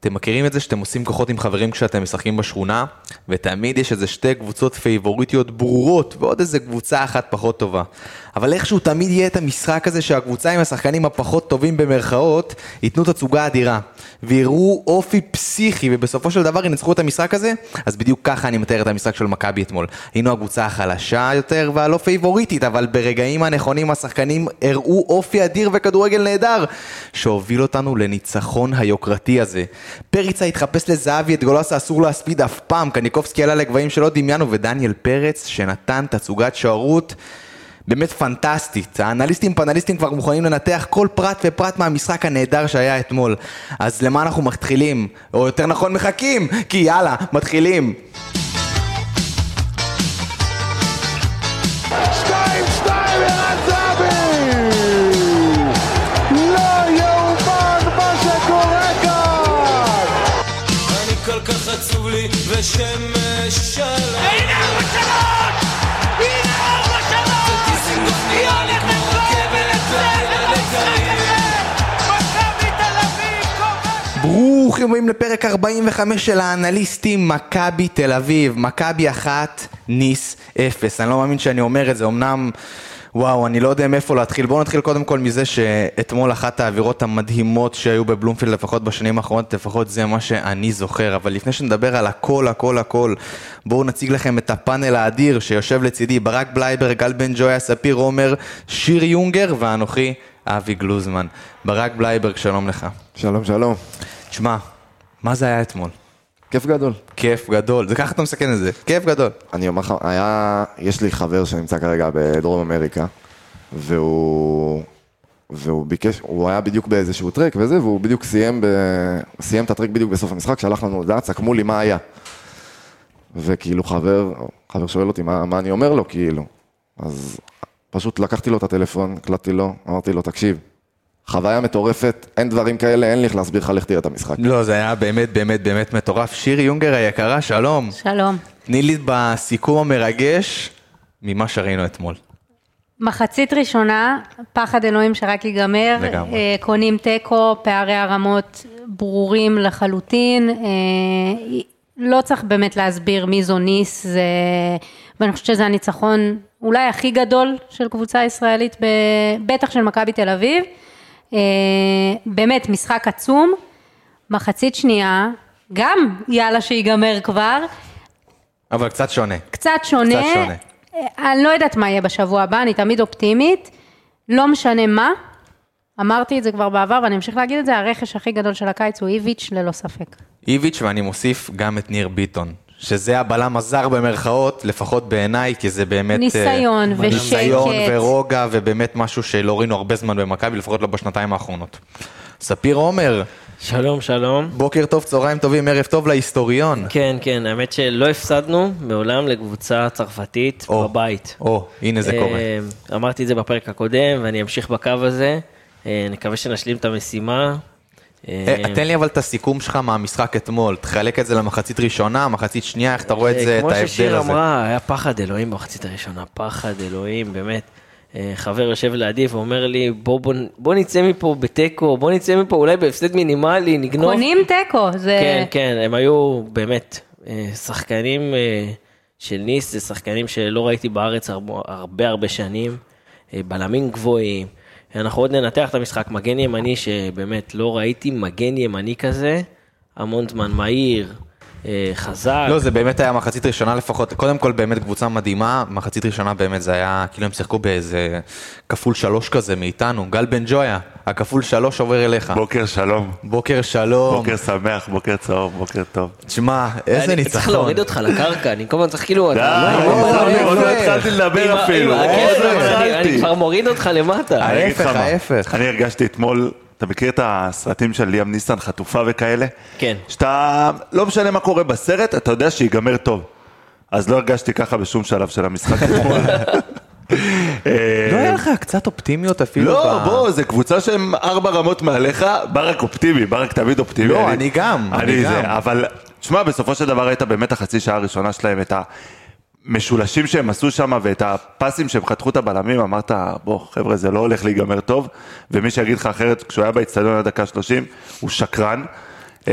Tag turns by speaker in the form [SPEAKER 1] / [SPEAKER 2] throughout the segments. [SPEAKER 1] אתם מכירים את זה שאתם עושים כוחות עם חברים כשאתם משחקים בשכונה, ותמיד יש איזה שתי קבוצות פייבוריטיות ברורות, ועוד איזה קבוצה אחת פחות טובה. אבל איכשהו תמיד יהיה את המשחק הזה שהקבוצה עם השחקנים הפחות טובים במרכאות, ייתנו תצוגה אדירה. ויראו אופי פסיכי, ובסופו של דבר ינצחו את המשחק הזה, אז בדיוק ככה אני מתאר את המשחק של מכבי אתמול. היינו הקבוצה החלשה יותר והלא פייבוריטית, אבל ברגעים הנכונים השחקנים הראו אופי אדיר וכדורגל נהדר, שהוביל אותנו לניצחון היוקרתי הזה. פריצה התחפש לזהבי, את גולסה אסור להספיד אף פעם, קניקובסקי עלה לגבהים שלא דמיינו, ודניאל פרץ, שנתן תצוגת שערות. באמת פנטסטית. האנליסטים פאנליסטים כבר מוכנים לנתח כל פרט ופרט מהמשחק הנהדר שהיה אתמול. אז למה אנחנו מתחילים? או יותר נכון מחכים! כי יאללה, מתחילים!
[SPEAKER 2] 2-2 ערן זהבי! לא יאומן מה שקורה כאן!
[SPEAKER 3] אני כל כך עצוב לי ושמש עליי
[SPEAKER 4] הנה ארבע שלוש! הנה ארבע שלוש! מיליון נכנסו ולצל במשחק הזה! מכבי תל אביב כובשת!
[SPEAKER 1] ברוכים הבאים לפרק 45 של האנליסטים, מכבי תל אביב, מכבי אחת, ניס אפס. אני לא מאמין שאני אומר את זה, אמנם... וואו, אני לא יודע מאיפה להתחיל. בואו נתחיל קודם כל מזה שאתמול אחת האווירות המדהימות שהיו בבלומפילד, לפחות בשנים האחרונות, לפחות זה מה שאני זוכר. אבל לפני שנדבר על הכל, הכל, הכל, בואו נציג לכם את הפאנל האדיר שיושב לצידי, ברק בלייבר, גל בן ג'ויה, ספיר עומר, שיר יונגר ואנוכי, אבי גלוזמן. ברק בלייברג, שלום לך.
[SPEAKER 5] שלום, שלום.
[SPEAKER 1] תשמע, מה זה היה אתמול?
[SPEAKER 5] כיף גדול.
[SPEAKER 1] כיף גדול, זה ככה אתה מסכן את זה, כיף גדול.
[SPEAKER 5] אני אומר לך, היה... יש לי חבר שנמצא כרגע בדרום אמריקה, והוא... והוא ביקש, הוא היה בדיוק באיזשהו טרק וזה, והוא בדיוק סיים, ב... סיים את הטרק בדיוק בסוף המשחק, שלח לנו הודעה, צקמו לי מה היה. וכאילו חבר, חבר שואל אותי מה, מה אני אומר לו, כאילו. אז פשוט לקחתי לו את הטלפון, הקלטתי לו, אמרתי לו, תקשיב, חוויה מטורפת, אין דברים כאלה, אין לי איך להסביר לך, לך תראה את המשחק.
[SPEAKER 1] לא, זה היה באמת באמת באמת מטורף. שירי יונגר היקרה, שלום.
[SPEAKER 6] שלום.
[SPEAKER 1] תני לי בסיכום המרגש ממה שראינו אתמול.
[SPEAKER 6] מחצית ראשונה, פחד אלוהים שרק ייגמר.
[SPEAKER 1] לגמרי.
[SPEAKER 6] אה, קונים תיקו, פערי הרמות ברורים לחלוטין. אה, לא צריך באמת להסביר מי זו ניס, זה... ואני חושבת שזה הניצחון אולי הכי גדול של קבוצה ישראלית, ב... בטח של מכבי תל אביב. אה, באמת, משחק עצום. מחצית שנייה, גם יאללה שיגמר כבר.
[SPEAKER 1] אבל קצת שונה.
[SPEAKER 6] קצת שונה.
[SPEAKER 1] קצת שונה.
[SPEAKER 6] אה, אני לא יודעת מה יהיה בשבוע הבא, אני תמיד אופטימית. לא משנה מה, אמרתי את זה כבר בעבר ואני אמשיך להגיד את זה, הרכש הכי גדול של הקיץ הוא איביץ' ללא ספק.
[SPEAKER 1] איביץ' ואני מוסיף גם את ניר ביטון. שזה הבלם הזר במרכאות, לפחות בעיניי, כי זה באמת... אה,
[SPEAKER 6] ניסיון ושקט.
[SPEAKER 1] ניסיון ורוגע, ובאמת משהו שלא ראינו הרבה זמן במכבי, לפחות לא בשנתיים האחרונות. ספיר עומר,
[SPEAKER 7] שלום, שלום.
[SPEAKER 1] בוקר טוב, צהריים טובים, ערב טוב להיסטוריון.
[SPEAKER 7] כן, כן, האמת שלא הפסדנו מעולם לקבוצה צרפתית
[SPEAKER 1] או,
[SPEAKER 7] בבית.
[SPEAKER 1] או, הנה זה קורה.
[SPEAKER 7] אה, אמרתי את זה בפרק הקודם, ואני אמשיך בקו הזה. אה, נקווה שנשלים את המשימה. אה,
[SPEAKER 1] אה, תן לי אבל את הסיכום שלך מהמשחק אתמול, תחלק את זה למחצית ראשונה, מחצית שנייה, איך אתה רואה את
[SPEAKER 7] אה,
[SPEAKER 1] זה, את
[SPEAKER 7] כמו
[SPEAKER 1] ההבדל
[SPEAKER 7] ששיר
[SPEAKER 1] הזה.
[SPEAKER 7] אמרה, היה פחד אלוהים במחצית הראשונה, פחד אלוהים, באמת. אה, חבר יושב לידי ואומר לי, בוא, בוא, בוא נצא מפה בתיקו, בוא נצא מפה אולי בהפסד מינימלי, נגנוב.
[SPEAKER 6] קונים תיקו, זה...
[SPEAKER 7] כן, כן, הם היו באמת אה, שחקנים אה, של ניס, זה שחקנים שלא ראיתי בארץ הרבה הרבה, הרבה שנים, אה, בלמים גבוהים. אנחנו עוד ננתח את המשחק, מגן ימני שבאמת לא ראיתי מגן ימני כזה, המון זמן מהיר, אה, חזק.
[SPEAKER 1] לא, זה באמת היה מחצית ראשונה לפחות, קודם כל באמת קבוצה מדהימה, מחצית ראשונה באמת זה היה, כאילו הם שיחקו באיזה כפול שלוש כזה מאיתנו, גל בן ג'ויה, הכפול שלוש עובר אליך.
[SPEAKER 8] בוקר שלום,
[SPEAKER 1] בוקר שלום,
[SPEAKER 8] בוקר שמח, בוקר צהוב, בוקר טוב.
[SPEAKER 1] תשמע, איזה
[SPEAKER 7] אה, אני צריך
[SPEAKER 1] ניצחון.
[SPEAKER 7] להוריד אותך לקרקע, אני כל הזמן צריך כאילו...
[SPEAKER 8] די,
[SPEAKER 7] אתה-
[SPEAKER 8] עוד
[SPEAKER 1] לא,
[SPEAKER 8] לא-
[SPEAKER 1] לא,
[SPEAKER 8] עוד
[SPEAKER 1] לא,
[SPEAKER 8] לא התחלתי
[SPEAKER 7] עם
[SPEAKER 8] לדבר
[SPEAKER 7] ה-
[SPEAKER 8] אפילו.
[SPEAKER 7] עם
[SPEAKER 8] עוד
[SPEAKER 7] הכסף,
[SPEAKER 8] לא
[SPEAKER 7] אבל אני- אני
[SPEAKER 8] התחלתי.
[SPEAKER 7] כבר מוריד אותך למטה.
[SPEAKER 8] אני אגיד לך
[SPEAKER 1] ההפך,
[SPEAKER 8] מה.
[SPEAKER 1] ההפך.
[SPEAKER 8] אני הרגשתי אתמול, אתה מכיר את הסרטים של ליאם ניסן, חטופה וכאלה?
[SPEAKER 7] כן.
[SPEAKER 8] שאתה, לא משנה מה קורה בסרט, אתה יודע שיגמר טוב. אז לא הרגשתי ככה בשום שלב של המשחק אתמול.
[SPEAKER 1] לא היה לך קצת אופטימיות אפילו?
[SPEAKER 8] אה, לא,
[SPEAKER 1] ב-
[SPEAKER 8] בוא, זה קבוצה שהם ארבע רמות מעליך, ברק אופטימי, ברק תמיד אופטימי.
[SPEAKER 1] לא, אני גם, אני
[SPEAKER 8] אני
[SPEAKER 1] גם.
[SPEAKER 8] זה, אבל, תשמע, בסופו של דבר הייתה באמת החצי שעה הראשונה שלהם, את המשולשים שהם עשו שם, ואת הפסים שהם חתכו את הבלמים, אמרת, בוא, חבר'ה, זה לא הולך להיגמר טוב, ומי שיגיד לך אחרת, כשהוא היה באצטדיון עד דקה 30, הוא שקרן. אה,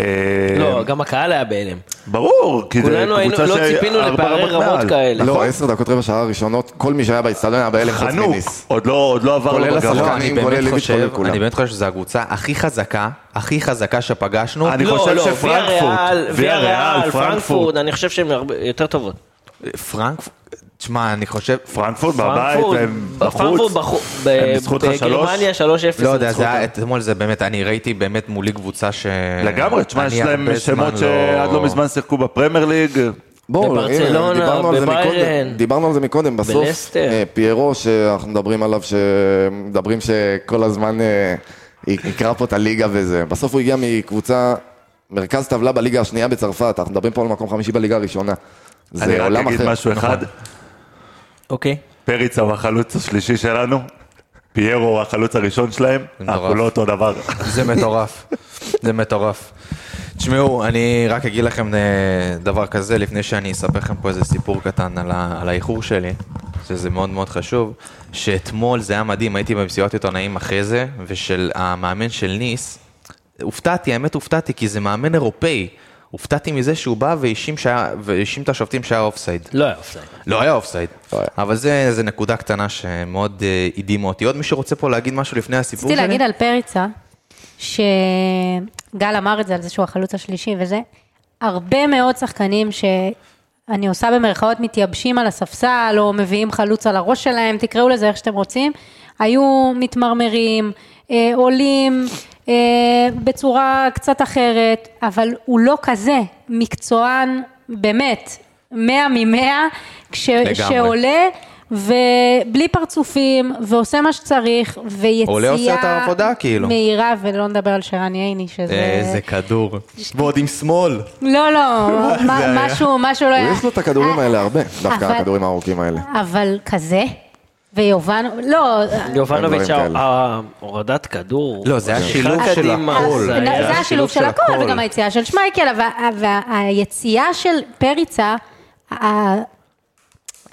[SPEAKER 7] לא, גם הקהל היה בהלם.
[SPEAKER 8] ברור, כי זה
[SPEAKER 7] כולנו היינו-
[SPEAKER 8] קבוצה
[SPEAKER 7] לא
[SPEAKER 8] שהיא
[SPEAKER 7] ציפינו
[SPEAKER 8] ארבע
[SPEAKER 7] לפערי
[SPEAKER 8] רמות
[SPEAKER 7] רמות
[SPEAKER 8] מעל.
[SPEAKER 7] כאלה.
[SPEAKER 5] לא, עשר דקות רבע שעה הראשונות, כל מי שהיה באצטדיון היה בהלם חוץ
[SPEAKER 8] נכון. חנוק,
[SPEAKER 5] מניס.
[SPEAKER 8] עוד לא עוד לא עבר
[SPEAKER 5] כולל
[SPEAKER 8] לו בגרון.
[SPEAKER 5] השחקן.
[SPEAKER 1] אני
[SPEAKER 5] כולל
[SPEAKER 1] באמת
[SPEAKER 5] ליביץ',
[SPEAKER 1] חושב,
[SPEAKER 5] כולל כולם.
[SPEAKER 1] אני באמת חושב שזו הקבוצה הכי חזקה, הכי חזקה שפגשנו.
[SPEAKER 8] אני
[SPEAKER 7] לא,
[SPEAKER 8] חושב
[SPEAKER 7] לא,
[SPEAKER 8] שפרנקפורט,
[SPEAKER 7] ויאריאל,
[SPEAKER 8] ויאריאל,
[SPEAKER 7] ויאריאל,
[SPEAKER 8] פרנקפורט.
[SPEAKER 7] פרנקפורט, אני חושב שהן הרבה- יותר טובות.
[SPEAKER 1] פרנק, תשמע, אני חושב,
[SPEAKER 8] פרנקפורט בבית,
[SPEAKER 7] פרנקפורט-
[SPEAKER 8] והם
[SPEAKER 7] פרנקפורט
[SPEAKER 8] בחוץ.
[SPEAKER 7] בחו- ב-
[SPEAKER 8] הם ניצחו אותך
[SPEAKER 7] בגרמניה 3-0.
[SPEAKER 1] לא יודע,
[SPEAKER 7] ניצחו
[SPEAKER 1] זה היה,
[SPEAKER 7] אותם.
[SPEAKER 1] אתמול זה באמת, אני ראיתי באמת מולי קבוצה ש...
[SPEAKER 8] לגמרי, תשמע, יש
[SPEAKER 1] אני
[SPEAKER 8] להם
[SPEAKER 1] הרבה
[SPEAKER 8] שמות
[SPEAKER 1] זמן לא-
[SPEAKER 8] שעד לא מזמן שיחקו בפרמייר ליג.
[SPEAKER 5] בואו, הנה,
[SPEAKER 7] בברצלונה,
[SPEAKER 5] דיברנו על זה
[SPEAKER 7] בביירן.
[SPEAKER 5] מקודם- דיברנו על זה מקודם, בסוף
[SPEAKER 7] בלסטר.
[SPEAKER 5] אה, פיירו שאנחנו מדברים עליו, שמדברים שכל הזמן אה, י- יקרא פה את הליגה וזה, בסוף הוא הגיע מקבוצה, מרכז טבלה בליגה השנייה בצרפת, אנחנו מדברים פה על מקום חמישי בליגה הראשונה.
[SPEAKER 8] אני
[SPEAKER 5] זה
[SPEAKER 8] רק
[SPEAKER 5] עולם
[SPEAKER 8] אגיד
[SPEAKER 5] אחר.
[SPEAKER 8] משהו אחד,
[SPEAKER 1] נכון.
[SPEAKER 7] אוקיי.
[SPEAKER 8] פריצה הוא החלוץ השלישי שלנו, פיירו הוא החלוץ הראשון שלהם,
[SPEAKER 1] מטורף.
[SPEAKER 8] אנחנו לא אותו דבר.
[SPEAKER 1] זה מטורף, זה מטורף. תשמעו, אני רק אגיד לכם אה, דבר כזה, לפני שאני אספר לכם פה איזה סיפור קטן על, ה, על האיחור שלי, שזה מאוד מאוד חשוב, שאתמול זה היה מדהים, הייתי במסיבת עיתונאים אחרי זה, ושל המאמן של ניס, הופתעתי, האמת הופתעתי, כי זה מאמן אירופאי. הופתעתי מזה שהוא בא והאשים שהיה- והאשים את השופטים שהיה אופסייד.
[SPEAKER 7] לא היה אופסייד.
[SPEAKER 1] לא היה אופסייד,
[SPEAKER 5] לא היה.
[SPEAKER 1] אבל זה, זה נקודה קטנה שמאוד אה, הדהימה אותי. עוד מישהו רוצה פה להגיד משהו לפני הסיפור שלי?
[SPEAKER 6] רציתי להגיד על פריצה, שגל אמר את זה, על זה שהוא החלוץ השלישי וזה, הרבה מאוד שחקנים שאני עושה במרכאות מתייבשים על הספסל, או מביאים חלוץ על הראש שלהם, תקראו לזה איך שאתם רוצים, היו מתמרמרים, אה, עולים אה, בצורה קצת אחרת, אבל הוא לא כזה מקצוען, באמת, מאה ממאה, כש-
[SPEAKER 1] לגמרי.
[SPEAKER 6] שעולה. ובלי פרצופים, ועושה מה שצריך, ויציאה...
[SPEAKER 1] עולה, עושה את העבודה, כאילו. אה,
[SPEAKER 6] מהירה, ולא נדבר על שרן ייני, שזה...
[SPEAKER 1] איזה כדור. ועוד עם שמאל.
[SPEAKER 6] לא, לא, מה- משהו, משהו לא היה...
[SPEAKER 5] יש לו את הכדורים האלה הרבה, דווקא
[SPEAKER 6] אבל-
[SPEAKER 5] הכדורים הארוכים האלה.
[SPEAKER 6] אבל כזה? ויובנו... לא,
[SPEAKER 7] יובנוביץ',
[SPEAKER 5] דברים כאלה.
[SPEAKER 7] ה- ההורדת כדור.
[SPEAKER 1] לא, זה היה שילוב
[SPEAKER 7] השיחה
[SPEAKER 1] של
[SPEAKER 7] קדימה,
[SPEAKER 1] הכל.
[SPEAKER 7] זה
[SPEAKER 1] היה
[SPEAKER 6] זה השילוב של הכל, וגם היציאה של שמייקל, אבל- והיציאה של פריצה, ה-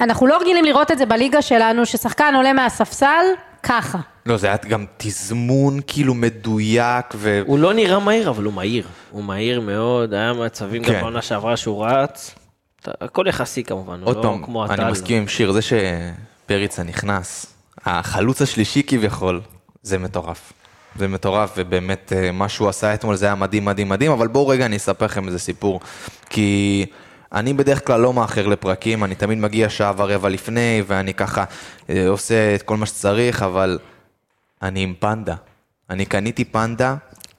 [SPEAKER 6] אנחנו לא רגילים לראות את זה בליגה שלנו, ששחקן עולה מהספסל, ככה.
[SPEAKER 1] לא, זה היה גם תזמון כאילו מדויק, ו...
[SPEAKER 7] הוא לא נראה מהיר, אבל הוא מהיר. הוא מהיר מאוד, היה מצבים גם
[SPEAKER 1] כן.
[SPEAKER 7] בעונה שעברה שהוא רץ. אתה- הכל יחסי כמובן, הוא
[SPEAKER 1] עוד
[SPEAKER 7] לא
[SPEAKER 1] פעם,
[SPEAKER 7] כמו
[SPEAKER 1] אני
[SPEAKER 7] הטל.
[SPEAKER 1] מסכים עם שיר, זה שפריצה נכנס, החלוץ השלישי כביכול, זה מטורף. זה מטורף, ובאמת אה, מה שהוא עשה אתמול זה היה מדהים, מדהים, מדהים, אבל בואו רגע אני אספר לכם איזה סיפור. כי אני בדרך כלל לא מאחר לפרקים, אני תמיד מגיע שעה ורבע לפני, ואני ככה אה, עושה את כל מה שצריך, אבל אני עם פנדה. אני קניתי פנדה,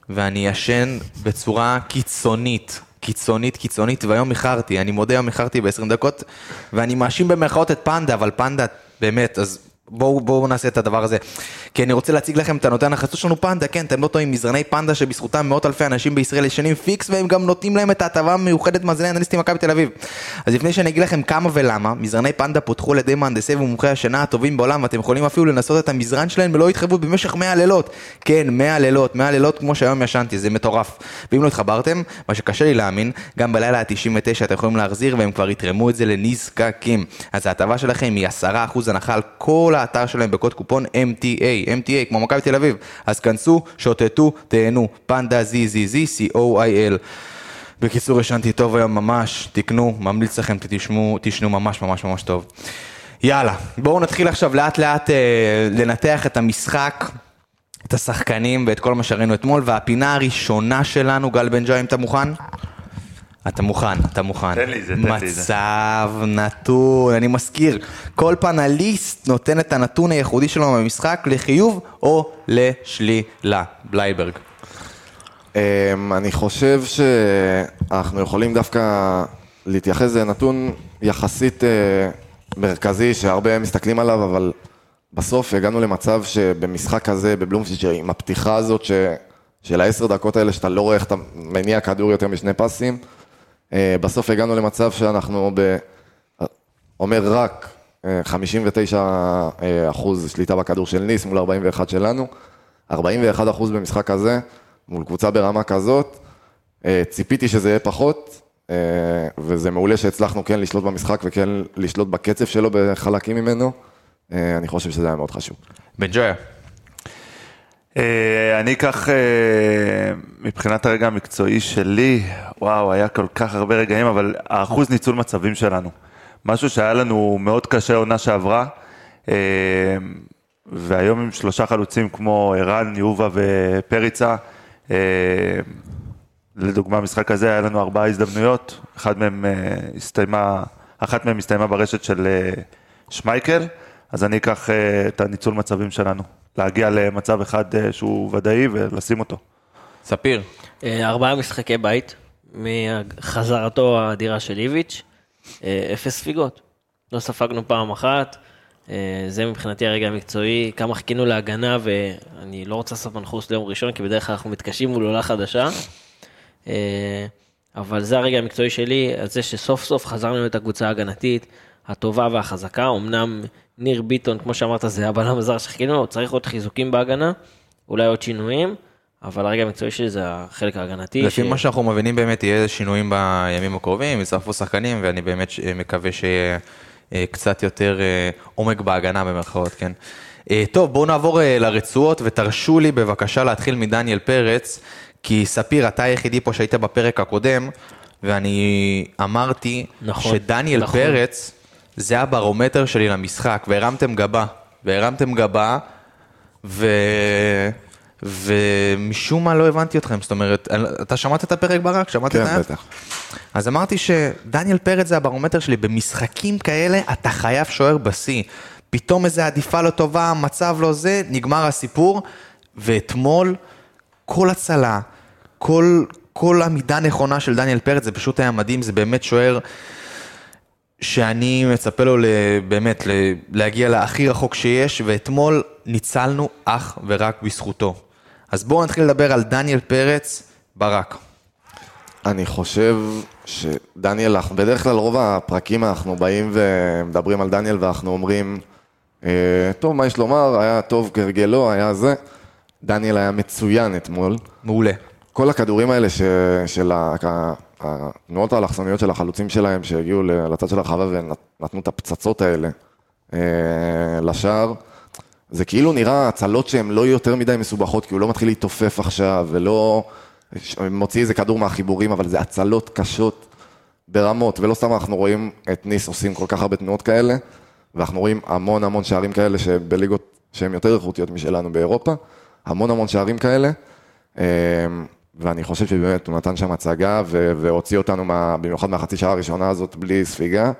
[SPEAKER 1] ואני ישן בצורה קיצונית. קיצונית, קיצונית, והיום איחרתי, אני מודה, היום איחרתי ב-20 דקות, ואני מאשים במרכאות את פנדה, אבל פנדה, באמת, אז בואו בואו נעשה את הדבר הזה. כי אני רוצה להציג לכם את הנותן החסות שלנו, פנדה, כן, אתם לא טועים, מזרני פנדה שבזכותם מאות אלפי אנשים בישראל ישנים פיקס, והם גם נותנים להם את ההטבה המיוחדת מאזיני אנליסטים מכבי תל אביב. אז לפני שאני אגיד לכם כמה ולמה, מזרני פנדה פותחו על ידי מהנדסי ומומחי השינה הטובים בעולם, ואתם יכולים אפילו לנסות את המזרן שלהם ללא התחייבות במשך 100 לילות. כן, 100 לילות, 100 לילות כמו שהיום ישנתי, זה מטורף. ואם לא התחברתם, מה שקשה לי להאמין, גם בלילה ה-99 אתם יכולים להחזיר והם כבר יתרמו את זה לנזקקים. אז ההטבה שלכם היא 10% הנחה על כל האתר שלהם בקוד קופון MTA, MTA כמו מכבי תל אביב. אז כנסו, שוטטו, תהנו, פנדה ZZZ, COIL. בקיצור, ישנתי טוב היום ממש, תקנו, ממליץ לכם, תשמעו, תשנו ממש ממש ממש טוב. יאללה, בואו נתחיל עכשיו לאט לאט אה, לנתח את המשחק, את השחקנים ואת כל מה שראינו אתמול, והפינה הראשונה שלנו, גל בן ג'אי, אם אתה מוכן? אתה מוכן, אתה מוכן.
[SPEAKER 8] תן לי זה, תן לי זה.
[SPEAKER 1] מצב נתון, אני מזכיר, כל פנליסט נותן את הנתון הייחודי שלו במשחק לחיוב או לשלילה. בלייברג.
[SPEAKER 5] אמ, אני חושב שאנחנו יכולים דווקא להתייחס לנתון יחסית אה, מרכזי שהרבה מסתכלים עליו, אבל בסוף הגענו למצב שבמשחק כזה, בבלומפילד, עם הפתיחה הזאת ש... של העשר דקות האלה, שאתה לא רואה איך אתה מניע כדור יותר משני פסים, אה, בסוף הגענו למצב שאנחנו ב... אומר רק אה, 59 אה, אחוז שליטה בכדור של ניס מול 41 שלנו, 41 אחוז במשחק הזה, מול קבוצה ברמה כזאת, אה, ציפיתי שזה יהיה פחות, אה, וזה מעולה שהצלחנו כן לשלוט במשחק וכן לשלוט בקצב שלו בחלקים ממנו, אה, אני חושב שזה היה מאוד חשוב.
[SPEAKER 1] בן ג'ויה.
[SPEAKER 8] אה, אני אקח, אה, מבחינת הרגע המקצועי שלי, וואו, היה כל כך הרבה רגעים, אבל האחוז ניצול מצבים שלנו, משהו שהיה לנו מאוד קשה עונה שעברה, אה, והיום עם שלושה חלוצים כמו ערן, יובה ופריצה, אה, לדוגמה, המשחק הזה היה לנו ארבעה הזדמנויות, אחד מהם אה, הסתיימה, אחת מהם הסתיימה ברשת של אה, שמייקל, אז אני אקח אה, את הניצול מצבים שלנו, להגיע למצב אחד אה, שהוא ודאי ולשים אותו.
[SPEAKER 1] ספיר,
[SPEAKER 7] אה, ארבעה משחקי בית, מחזרתו האדירה של איביץ', אה, אפס ספיגות. לא ספגנו פעם אחת, אה, זה מבחינתי הרגע המקצועי, כמה חיכינו להגנה, ואני לא רוצה לעשות מנחוס ליום ראשון, כי בדרך כלל אנחנו מתקשים מול עולה חדשה. אה, אבל זה הרגע המקצועי שלי, על זה שסוף סוף חזרנו להיות הקבוצה ההגנתית הטובה והחזקה. אמנם ניר ביטון, כמו שאמרת, זה הבלם הזר שחיכינו לו, צריך עוד חיזוקים בהגנה, אולי עוד שינויים, אבל הרגע המקצועי שלי זה החלק ההגנתי.
[SPEAKER 1] לפי מה שאנחנו מבינים באמת יהיה שינויים בימים הקרובים, יצטרפו שחקנים, ואני באמת ש- מקווה שיהיה אה, קצת יותר אה, עומק בהגנה במרכאות, כן. אה, טוב, בואו נעבור אה, לרצועות, ותרשו לי בבקשה להתחיל מדניאל פרץ, כי ספיר, אתה היחידי פה שהיית בפרק הקודם, ואני אמרתי
[SPEAKER 7] נכון,
[SPEAKER 1] שדניאל
[SPEAKER 7] נכון.
[SPEAKER 1] פרץ זה הברומטר שלי למשחק, והרמתם גבה, והרמתם גבה, ו... ומשום מה לא הבנתי אתכם, זאת אומרת, אתה שמעת את הפרק ברק? שמעת את
[SPEAKER 5] כן,
[SPEAKER 1] ה-
[SPEAKER 5] בטח.
[SPEAKER 1] אז אמרתי שדניאל פרץ זה הברומטר שלי, במשחקים כאלה אתה חייב שוער בשיא. פתאום איזה עדיפה לא טובה, מצב לא זה, נגמר הסיפור. ואתמול, כל הצלה, כל, כל עמידה נכונה של דניאל פרץ, זה פשוט היה מדהים, זה באמת שוער שאני מצפה לו ל- באמת ל- להגיע להכי רחוק שיש, ואתמול ניצלנו אך ורק בזכותו. אז בואו נתחיל לדבר על דניאל פרץ ברק.
[SPEAKER 5] אני חושב שדניאל, אח- בדרך כלל רוב הפרקים אנחנו באים ומדברים על דניאל ואנחנו אומרים, אה, טוב, מה יש לומר, היה טוב כהרגלו, היה זה. דניאל היה מצוין אתמול.
[SPEAKER 1] מעולה.
[SPEAKER 5] כל הכדורים האלה ש, של ה- ה- התנועות האלכסוניות של החלוצים שלהם שהגיעו ל- לצד של הרחבה ונתנו את הפצצות האלה אה, לשער, זה כאילו נראה הצלות שהן לא יותר מדי מסובכות, כי הוא לא מתחיל להתעופף עכשיו ולא ש- מוציא איזה כדור מהחיבורים, אבל זה הצלות קשות ברמות, ולא סתם אנחנו רואים את ניס עושים כל כך הרבה תנועות כאלה, ואנחנו רואים המון המון שערים כאלה שבליגות שהן יותר איכותיות משלנו באירופה, המון המון שערים כאלה. אמ, ואני חושב שבאמת הוא נתן שם הצגה ו- והוציא אותנו מה, במיוחד מהחצי שעה הראשונה הזאת בלי ספיגה,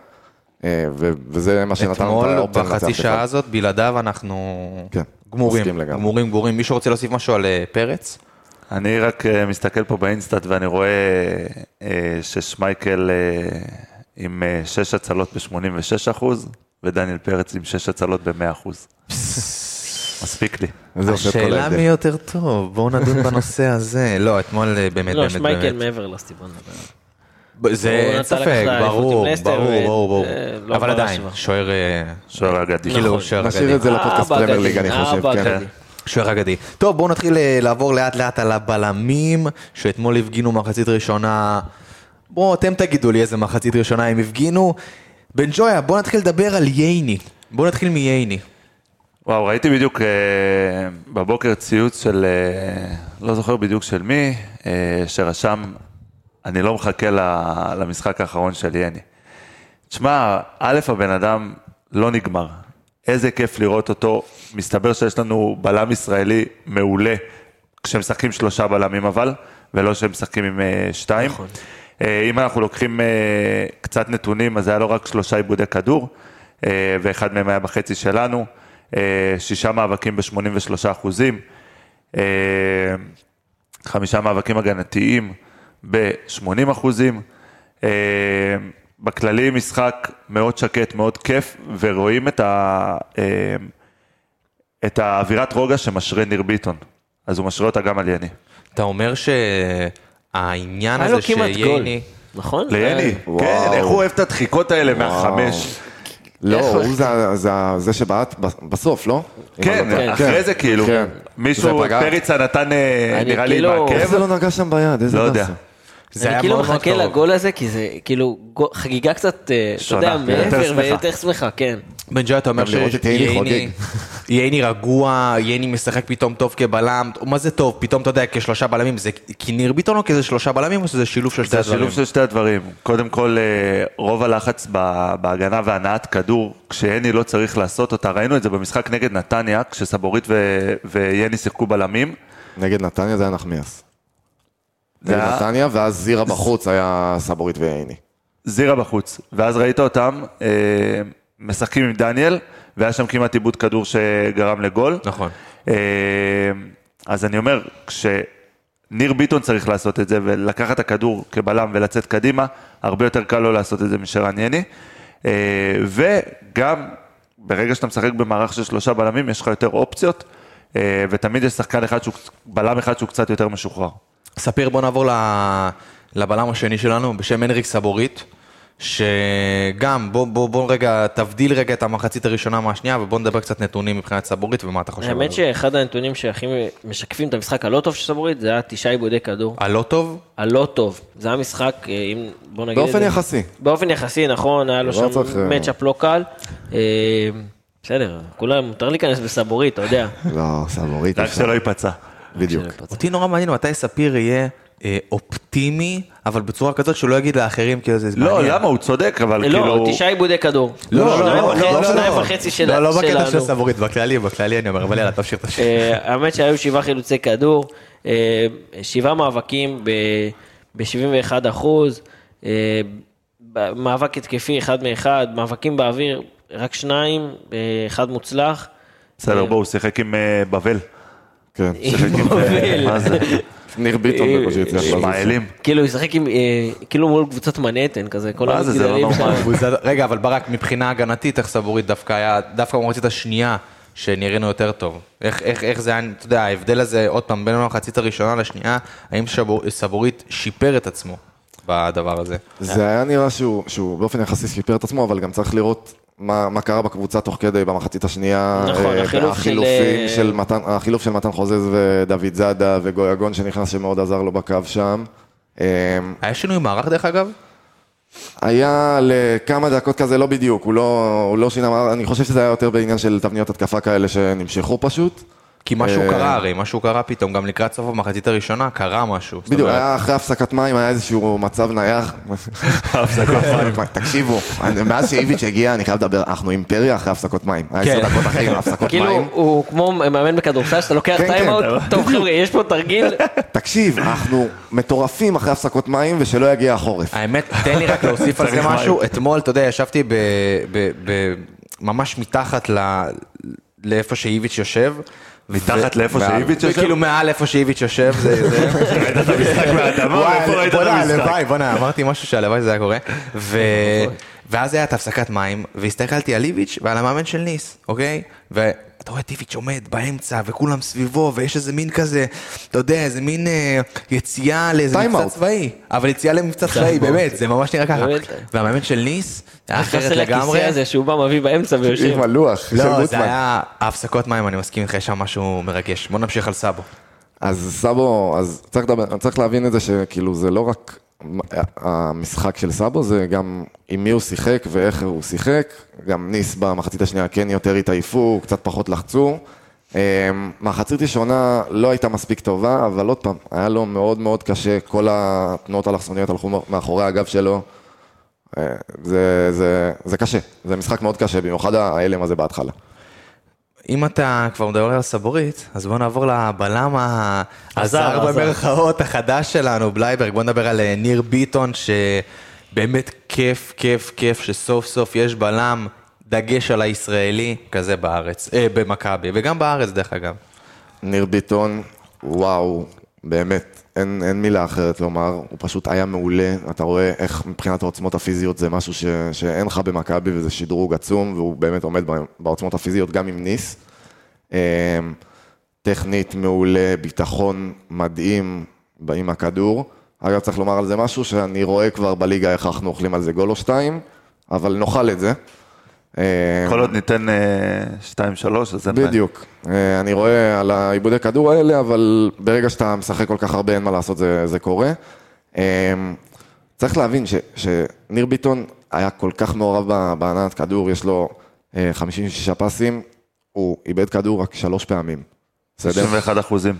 [SPEAKER 5] אה, ו- וזה מה שנתן לנו את
[SPEAKER 1] אתמול,
[SPEAKER 5] האופציה לנצח
[SPEAKER 1] בחצי
[SPEAKER 5] בכלל.
[SPEAKER 1] שעה הזאת, בלעדיו אנחנו
[SPEAKER 5] כן,
[SPEAKER 1] גמורים,
[SPEAKER 5] מסכים לגמרי.
[SPEAKER 1] גמורים, גמורים. מישהו רוצה להוסיף משהו על אה, פרץ?
[SPEAKER 8] אני רק אה, מסתכל פה באינסטאט ואני רואה אה, ששמייקל אה, עם אה, שש הצלות ב-86 אחוז, ודניאל פרץ עם שש הצלות ב-100 אחוז. מספיק לי.
[SPEAKER 5] זה עושה את כל
[SPEAKER 1] השאלה
[SPEAKER 5] ההבדל.
[SPEAKER 1] מי יותר טוב, בואו נדון בנושא הזה. לא, אתמול אה, באמת,
[SPEAKER 7] לא,
[SPEAKER 1] באמת,
[SPEAKER 7] שמייקל
[SPEAKER 1] באמת.
[SPEAKER 7] מעבר לסטיבון.
[SPEAKER 1] ב- זה
[SPEAKER 7] הוא
[SPEAKER 1] אין
[SPEAKER 7] רצה לקחת
[SPEAKER 1] ספק,
[SPEAKER 7] אליפות עם
[SPEAKER 1] ברור,
[SPEAKER 7] לסטר,
[SPEAKER 1] ברור,
[SPEAKER 7] ו-
[SPEAKER 1] ברור, ברור.
[SPEAKER 7] אה, לא
[SPEAKER 1] אבל
[SPEAKER 7] ברור
[SPEAKER 1] עדיין,
[SPEAKER 7] השוואה.
[SPEAKER 1] שוער... אה,
[SPEAKER 8] שוער אגדי.
[SPEAKER 1] כאילו, שוער
[SPEAKER 5] נשאיר
[SPEAKER 1] אגדי.
[SPEAKER 5] את זה לפודקאסט פרמייר ליג, אני חושב, כן.
[SPEAKER 1] שוער אגדי. טוב, בואו נתחיל אה, לעבור לאט לאט על הבלמים, שאתמול הפגינו מחצית ראשונה. בואו, אתם תגידו לי איזה מחצית ראשונה הם הפגינו. בן ג'ויה, בואו נתחיל לדבר על ייני. בואו נתחיל מייני.
[SPEAKER 8] וואו, ראיתי בדיוק אה, בבוקר ציוץ של, אה, לא זוכר בדיוק של מי, אה, שרשם, אני לא מחכה ל- למשחק האחרון של יני. תשמע, א', הבן אדם לא נגמר. איזה כיף לראות אותו. מסתבר שיש לנו בלם ישראלי מעולה, כשמשחקים שלושה בלמים אבל, ולא כשמשחקים עם אה, שתיים. נכון. אם אנחנו לוקחים אה, קצת נתונים, אז היה לו רק שלושה עיבודי כדור, אה, ואחד מהם היה בחצי שלנו. אה, שישה מאבקים ב-83 אחוזים. אה, חמישה מאבקים הגנתיים ב-80 אחוזים. אה, בכללי משחק מאוד שקט, מאוד כיף, ורואים את, ה, אה, את האווירת רוגע שמשרה ניר ביטון. אז הוא משרה אותה גם על יני.
[SPEAKER 1] אתה אומר שהעניין
[SPEAKER 7] היה לו
[SPEAKER 1] הזה
[SPEAKER 7] כמעט גול,
[SPEAKER 1] שייני...
[SPEAKER 7] נכון?
[SPEAKER 8] ליני,
[SPEAKER 5] וואו.
[SPEAKER 8] כן, איך הוא אוהב את הדחיקות האלה
[SPEAKER 5] וואו.
[SPEAKER 8] מהחמש.
[SPEAKER 5] לא,
[SPEAKER 7] איך-
[SPEAKER 8] כן.
[SPEAKER 5] הוא זה- זה- זה שבעט בס- בסוף, לא? אם אני
[SPEAKER 8] כן,
[SPEAKER 5] לא
[SPEAKER 8] אחרי
[SPEAKER 5] כן.
[SPEAKER 8] זה כאילו,
[SPEAKER 5] כן.
[SPEAKER 8] מישהו,
[SPEAKER 5] זה פגע.
[SPEAKER 8] פריצה נתן, אה,
[SPEAKER 7] אני
[SPEAKER 8] נראה לי,
[SPEAKER 7] כאילו-
[SPEAKER 8] מעכב.
[SPEAKER 5] טועה. איזה לא נגע שם ביד, איזה
[SPEAKER 8] לא יודע.
[SPEAKER 5] באסה.
[SPEAKER 1] זה
[SPEAKER 7] אני
[SPEAKER 1] היה
[SPEAKER 7] כאילו
[SPEAKER 1] מאוד מאוד
[SPEAKER 7] מחכה
[SPEAKER 1] קרוב.
[SPEAKER 7] לגול הזה, כי זה כאילו גו- חגיגה קצת, אה, אתה
[SPEAKER 8] שונה,
[SPEAKER 7] יודע,
[SPEAKER 8] יותר
[SPEAKER 7] מעבר
[SPEAKER 8] שמחה.
[SPEAKER 7] ויותר שמחה, כן.
[SPEAKER 1] בן ג'וי, אתה אומר
[SPEAKER 5] גם לראות את ייני
[SPEAKER 1] שייני...
[SPEAKER 5] חוגג.
[SPEAKER 1] ייני רגוע, ייני משחק פתאום טוב כבלם, מה זה טוב? פתאום אתה יודע, כשלושה בלמים, זה כניר ביטון או כאיזה שלושה בלמים או שזה שילוב של שתי
[SPEAKER 8] זה
[SPEAKER 1] הדברים?
[SPEAKER 8] השילוב של שתי הדברים. קודם כל, אה, רוב הלחץ ב- בהגנה והנעת כדור, כשהני לא צריך לעשות אותה, ראינו את זה במשחק נגד נתניה, כשסבורית ו- ויני שיחקו בלמים.
[SPEAKER 5] נגד נתניה זה היה נחמיאס.
[SPEAKER 8] זה
[SPEAKER 5] נגד
[SPEAKER 8] היה-
[SPEAKER 5] נתניה, ואז זירה בחוץ היה סבורית ועיני.
[SPEAKER 8] זירה בחוץ, ואז ראית אותם אה, משחקים עם דניאל, והיה שם כמעט עיבוד כדור שגרם לגול.
[SPEAKER 1] נכון.
[SPEAKER 8] אה, אז אני אומר, כשניר ביטון צריך לעשות את זה, ולקחת את הכדור כבלם ולצאת קדימה, הרבה יותר קל לו לעשות את זה משרן יני. אה, וגם, ברגע שאתה משחק במערך של שלושה בלמים, יש לך יותר אופציות, אה, ותמיד יש שחקן אחד, שהוא, בלם אחד שהוא קצת יותר משוחרר.
[SPEAKER 1] ספיר, בוא נעבור ל- לבלם השני שלנו, בשם הנריק סבורית, שגם, בוא, בוא, בוא רגע, תבדיל רגע את המחצית הראשונה מהשנייה, ובוא נדבר קצת נתונים מבחינת סבורית ומה אתה חושב.
[SPEAKER 7] האמת
[SPEAKER 1] עליו.
[SPEAKER 7] שאחד הנתונים שהכי משקפים את המשחק הלא טוב של סבורית, זה היה תשעה עיבודי כדור.
[SPEAKER 1] הלא טוב?
[SPEAKER 7] הלא טוב. זה היה משחק, אה, אם, בוא נגיד...
[SPEAKER 5] באופן
[SPEAKER 7] את זה-
[SPEAKER 5] יחסי.
[SPEAKER 7] באופן יחסי, נכון, היה לו
[SPEAKER 5] לא
[SPEAKER 7] שם
[SPEAKER 5] צריך, אה,
[SPEAKER 7] מצ'אפ לא קל. אה, בסדר, כולם, מותר להיכנס בסבורית, אתה יודע.
[SPEAKER 5] לא, סבורית.
[SPEAKER 1] נכון.
[SPEAKER 8] רק
[SPEAKER 5] אפשר.
[SPEAKER 8] שלא ייפצע.
[SPEAKER 5] בדיוק.
[SPEAKER 1] אותי נורא מעניין מתי ספיר יהיה אה, אופטימי, אבל בצורה כזאת שהוא לא יגיד לאחרים, כאילו זה
[SPEAKER 8] לא,
[SPEAKER 1] מעניין.
[SPEAKER 8] למה? הוא צודק, אבל כאילו...
[SPEAKER 7] לא, תשעה עיבודי כדור.
[SPEAKER 1] לא,
[SPEAKER 7] שניים
[SPEAKER 1] לא,
[SPEAKER 7] וחצי-
[SPEAKER 1] לא, לא,
[SPEAKER 7] שניים
[SPEAKER 1] לא.
[SPEAKER 7] וחצי של-
[SPEAKER 1] לא, לא בקטע של
[SPEAKER 7] שלנו.
[SPEAKER 1] סבורית, בכללי, בכללי אני אומר, אבל יאללה, תמשיך, תמשיך.
[SPEAKER 7] אה, האמת שהיו שבעה חילוצי כדור, אה, שבעה מאבקים ב-71 אחוז, אה, ב- מאבק התקפי אחד מאחד, מאבקים באוויר, רק שניים, אה, אחד מוצלח.
[SPEAKER 8] בסדר, בואו, הוא שיחק עם אה, בבל.
[SPEAKER 5] כן.
[SPEAKER 8] שיחק עם, אה, מה זה?
[SPEAKER 5] ניר ביטון
[SPEAKER 7] אה,
[SPEAKER 5] בקושי הצליח לזוז.
[SPEAKER 8] שמעאלים.
[SPEAKER 7] כאילו, הוא ישחק עם, אה, כאילו מול קבוצת מנהטן כזה, כל כאילו
[SPEAKER 8] מה זה, זה לא
[SPEAKER 7] המגדלים שם.
[SPEAKER 8] נורמלי.
[SPEAKER 1] קבוצת- רגע, אבל ברק, מבחינה הגנתית, איך סבורית דווקא היה, דווקא במחצית השנייה, שנראינו יותר טוב. איך, איך, איך זה היה, אתה יודע, ההבדל הזה, עוד פעם, בין המחצית הראשונה לשנייה, האם שבור, סבורית שיפר את עצמו בדבר הזה?
[SPEAKER 5] זה היה נראה שהוא, שהוא באופן יחסי שיפר את עצמו, אבל גם צריך לראות מה, מה קרה בקבוצה תוך כדי במחצית השנייה.
[SPEAKER 7] נכון,
[SPEAKER 5] אה,
[SPEAKER 7] החילוף
[SPEAKER 5] החילופים
[SPEAKER 7] של,
[SPEAKER 5] של
[SPEAKER 7] אה,
[SPEAKER 5] מתן, החילוף של מתן חוזז ודוד זאדה וגויגון שנכנס שמאוד עזר לו בקו שם. אה,
[SPEAKER 1] היה שינוי מערך דרך אגב?
[SPEAKER 5] היה לכמה דקות כזה, לא בדיוק, הוא לא, הוא לא שינה, אני חושב שזה היה יותר בעניין של תבניות התקפה כאלה שנמשכו פשוט.
[SPEAKER 1] כי משהו
[SPEAKER 5] אה.
[SPEAKER 1] קרה הרי, משהו קרה פתאום, גם לקראת סוף המחצית הראשונה קרה משהו. זאת
[SPEAKER 5] בדיוק,
[SPEAKER 1] אומרת,
[SPEAKER 5] היה אחרי הפסקת מים, היה איזשהו מצב נייח. תקשיבו, אני- מאז שאיביץ' הגיע, אני חייב לדבר, אנחנו אימפריה אחרי הפסקות מים. היה
[SPEAKER 1] כן.
[SPEAKER 5] עשר דקות אחרי הפסקות
[SPEAKER 7] כאילו,
[SPEAKER 5] מים.
[SPEAKER 7] הוא כמו מאמן בכדורסל, שאתה לוקח
[SPEAKER 5] כן, כן,
[SPEAKER 7] טיימאוט,
[SPEAKER 5] אתה-
[SPEAKER 7] טוב חבר'ה, יש פה תרגיל,
[SPEAKER 5] תקשיב, אנחנו מטורפים אחרי הפסקות מים, ושלא יגיע החורף.
[SPEAKER 1] האמת, תן לי רק להוסיף על זה
[SPEAKER 8] צריך
[SPEAKER 1] משהו. אתמול, אתה יודע, ישבתי ב, ב, ב, ממש מתחת ל, לאיפה שאיביץ' יושב.
[SPEAKER 8] מתחת
[SPEAKER 1] ו-
[SPEAKER 8] לאיפה
[SPEAKER 1] מעל-
[SPEAKER 8] שאיביץ' יושב?
[SPEAKER 1] כאילו מעל איפה שאיביץ' יושב, זה... זה-
[SPEAKER 8] ראית את המשחק מהאדמה? איפה
[SPEAKER 1] וואי,
[SPEAKER 8] ראית את
[SPEAKER 1] בוא'נה,
[SPEAKER 8] המשחק? נכון.
[SPEAKER 1] הלוואי, בוא'נה, אמרתי משהו שהלוואי זה היה קורה. ו- ואז היה את הפסקת מים, והסתכלתי על איביץ' ועל המאמן של ניס, אוקיי? ואתה רואה את איביץ' עומד באמצע, וכולם סביבו, ויש איזה מין כזה, אתה יודע, איזה מין אה, יציאה לאיזה
[SPEAKER 5] Time
[SPEAKER 1] מבצע
[SPEAKER 5] out.
[SPEAKER 1] צבאי. אבל יציאה למבצע צבאי, באמת, זה ממש נראה ככה.
[SPEAKER 7] באמת.
[SPEAKER 1] והמאמן של ניס, היה
[SPEAKER 7] נכנס
[SPEAKER 1] אחרת
[SPEAKER 7] אל
[SPEAKER 1] לגמרי.
[SPEAKER 7] הכיסא הזה שהוא בא מביא באמצע ויושב.
[SPEAKER 5] עם הלוח של
[SPEAKER 1] לא, זה
[SPEAKER 5] גוטמן.
[SPEAKER 1] היה הפסקות מים, אני מסכים איתך, יש שם משהו מרגש. בוא נמשיך על סאבו.
[SPEAKER 5] אז סאבו, אז צריך, לדבר, צריך להבין את זה שכאילו זה לא רק המשחק של סאבו, זה גם עם מי הוא שיחק ואיך הוא שיחק. גם ניס במחצית השנייה כן יותר התעייפו, קצת פחות לחצו. אמ, מחצית ראשונה לא הייתה מספיק טובה, אבל עוד פעם, היה לו מאוד מאוד קשה, כל התנועות האלכסוניות הלכו מאחורי הגב שלו. אה, זה, זה, זה קשה, זה משחק מאוד קשה, במיוחד ההלם הזה בהתחלה.
[SPEAKER 1] אם אתה כבר מדבר על סבורית, אז בוא נעבור לבלם ה-
[SPEAKER 7] הזר,
[SPEAKER 1] הזר
[SPEAKER 7] הזר.
[SPEAKER 1] במרכאות החדש שלנו, בלייברג. בוא נדבר על אה, ניר ביטון, שבאמת כיף, כיף, כיף שסוף סוף יש בלם, דגש על הישראלי, כזה בארץ, אה, במכבי, וגם בארץ דרך אגב.
[SPEAKER 5] ניר ביטון, וואו, באמת, אין, אין מילה אחרת לומר, הוא פשוט היה מעולה, אתה רואה איך מבחינת העוצמות הפיזיות זה משהו ש, שאין לך במכבי וזה שדרוג עצום, והוא באמת עומד ב- בעוצמות הפיזיות גם עם ניס. אמ, טכנית מעולה, ביטחון מדהים ב- עם הכדור. אגב, צריך לומר על זה משהו שאני רואה כבר בליגה איך אנחנו אוכלים על זה גול או שתיים, אבל נאכל את זה. אמ,
[SPEAKER 8] כל עוד ניתן אה, שתיים, שלוש, אז אין בעיה.
[SPEAKER 5] בדיוק. אה, אני רואה על העיבודי כדור האלה, אבל ברגע שאתה משחק כל כך הרבה, אין מה לעשות, זה, זה קורה. אה, צריך להבין ש, שניר ביטון היה כל כך מעורב ב- בהנעת כדור, יש לו אה, 56 פסים, הוא איבד כדור רק שלוש פעמים. בסדר?
[SPEAKER 8] 91 אחוזים.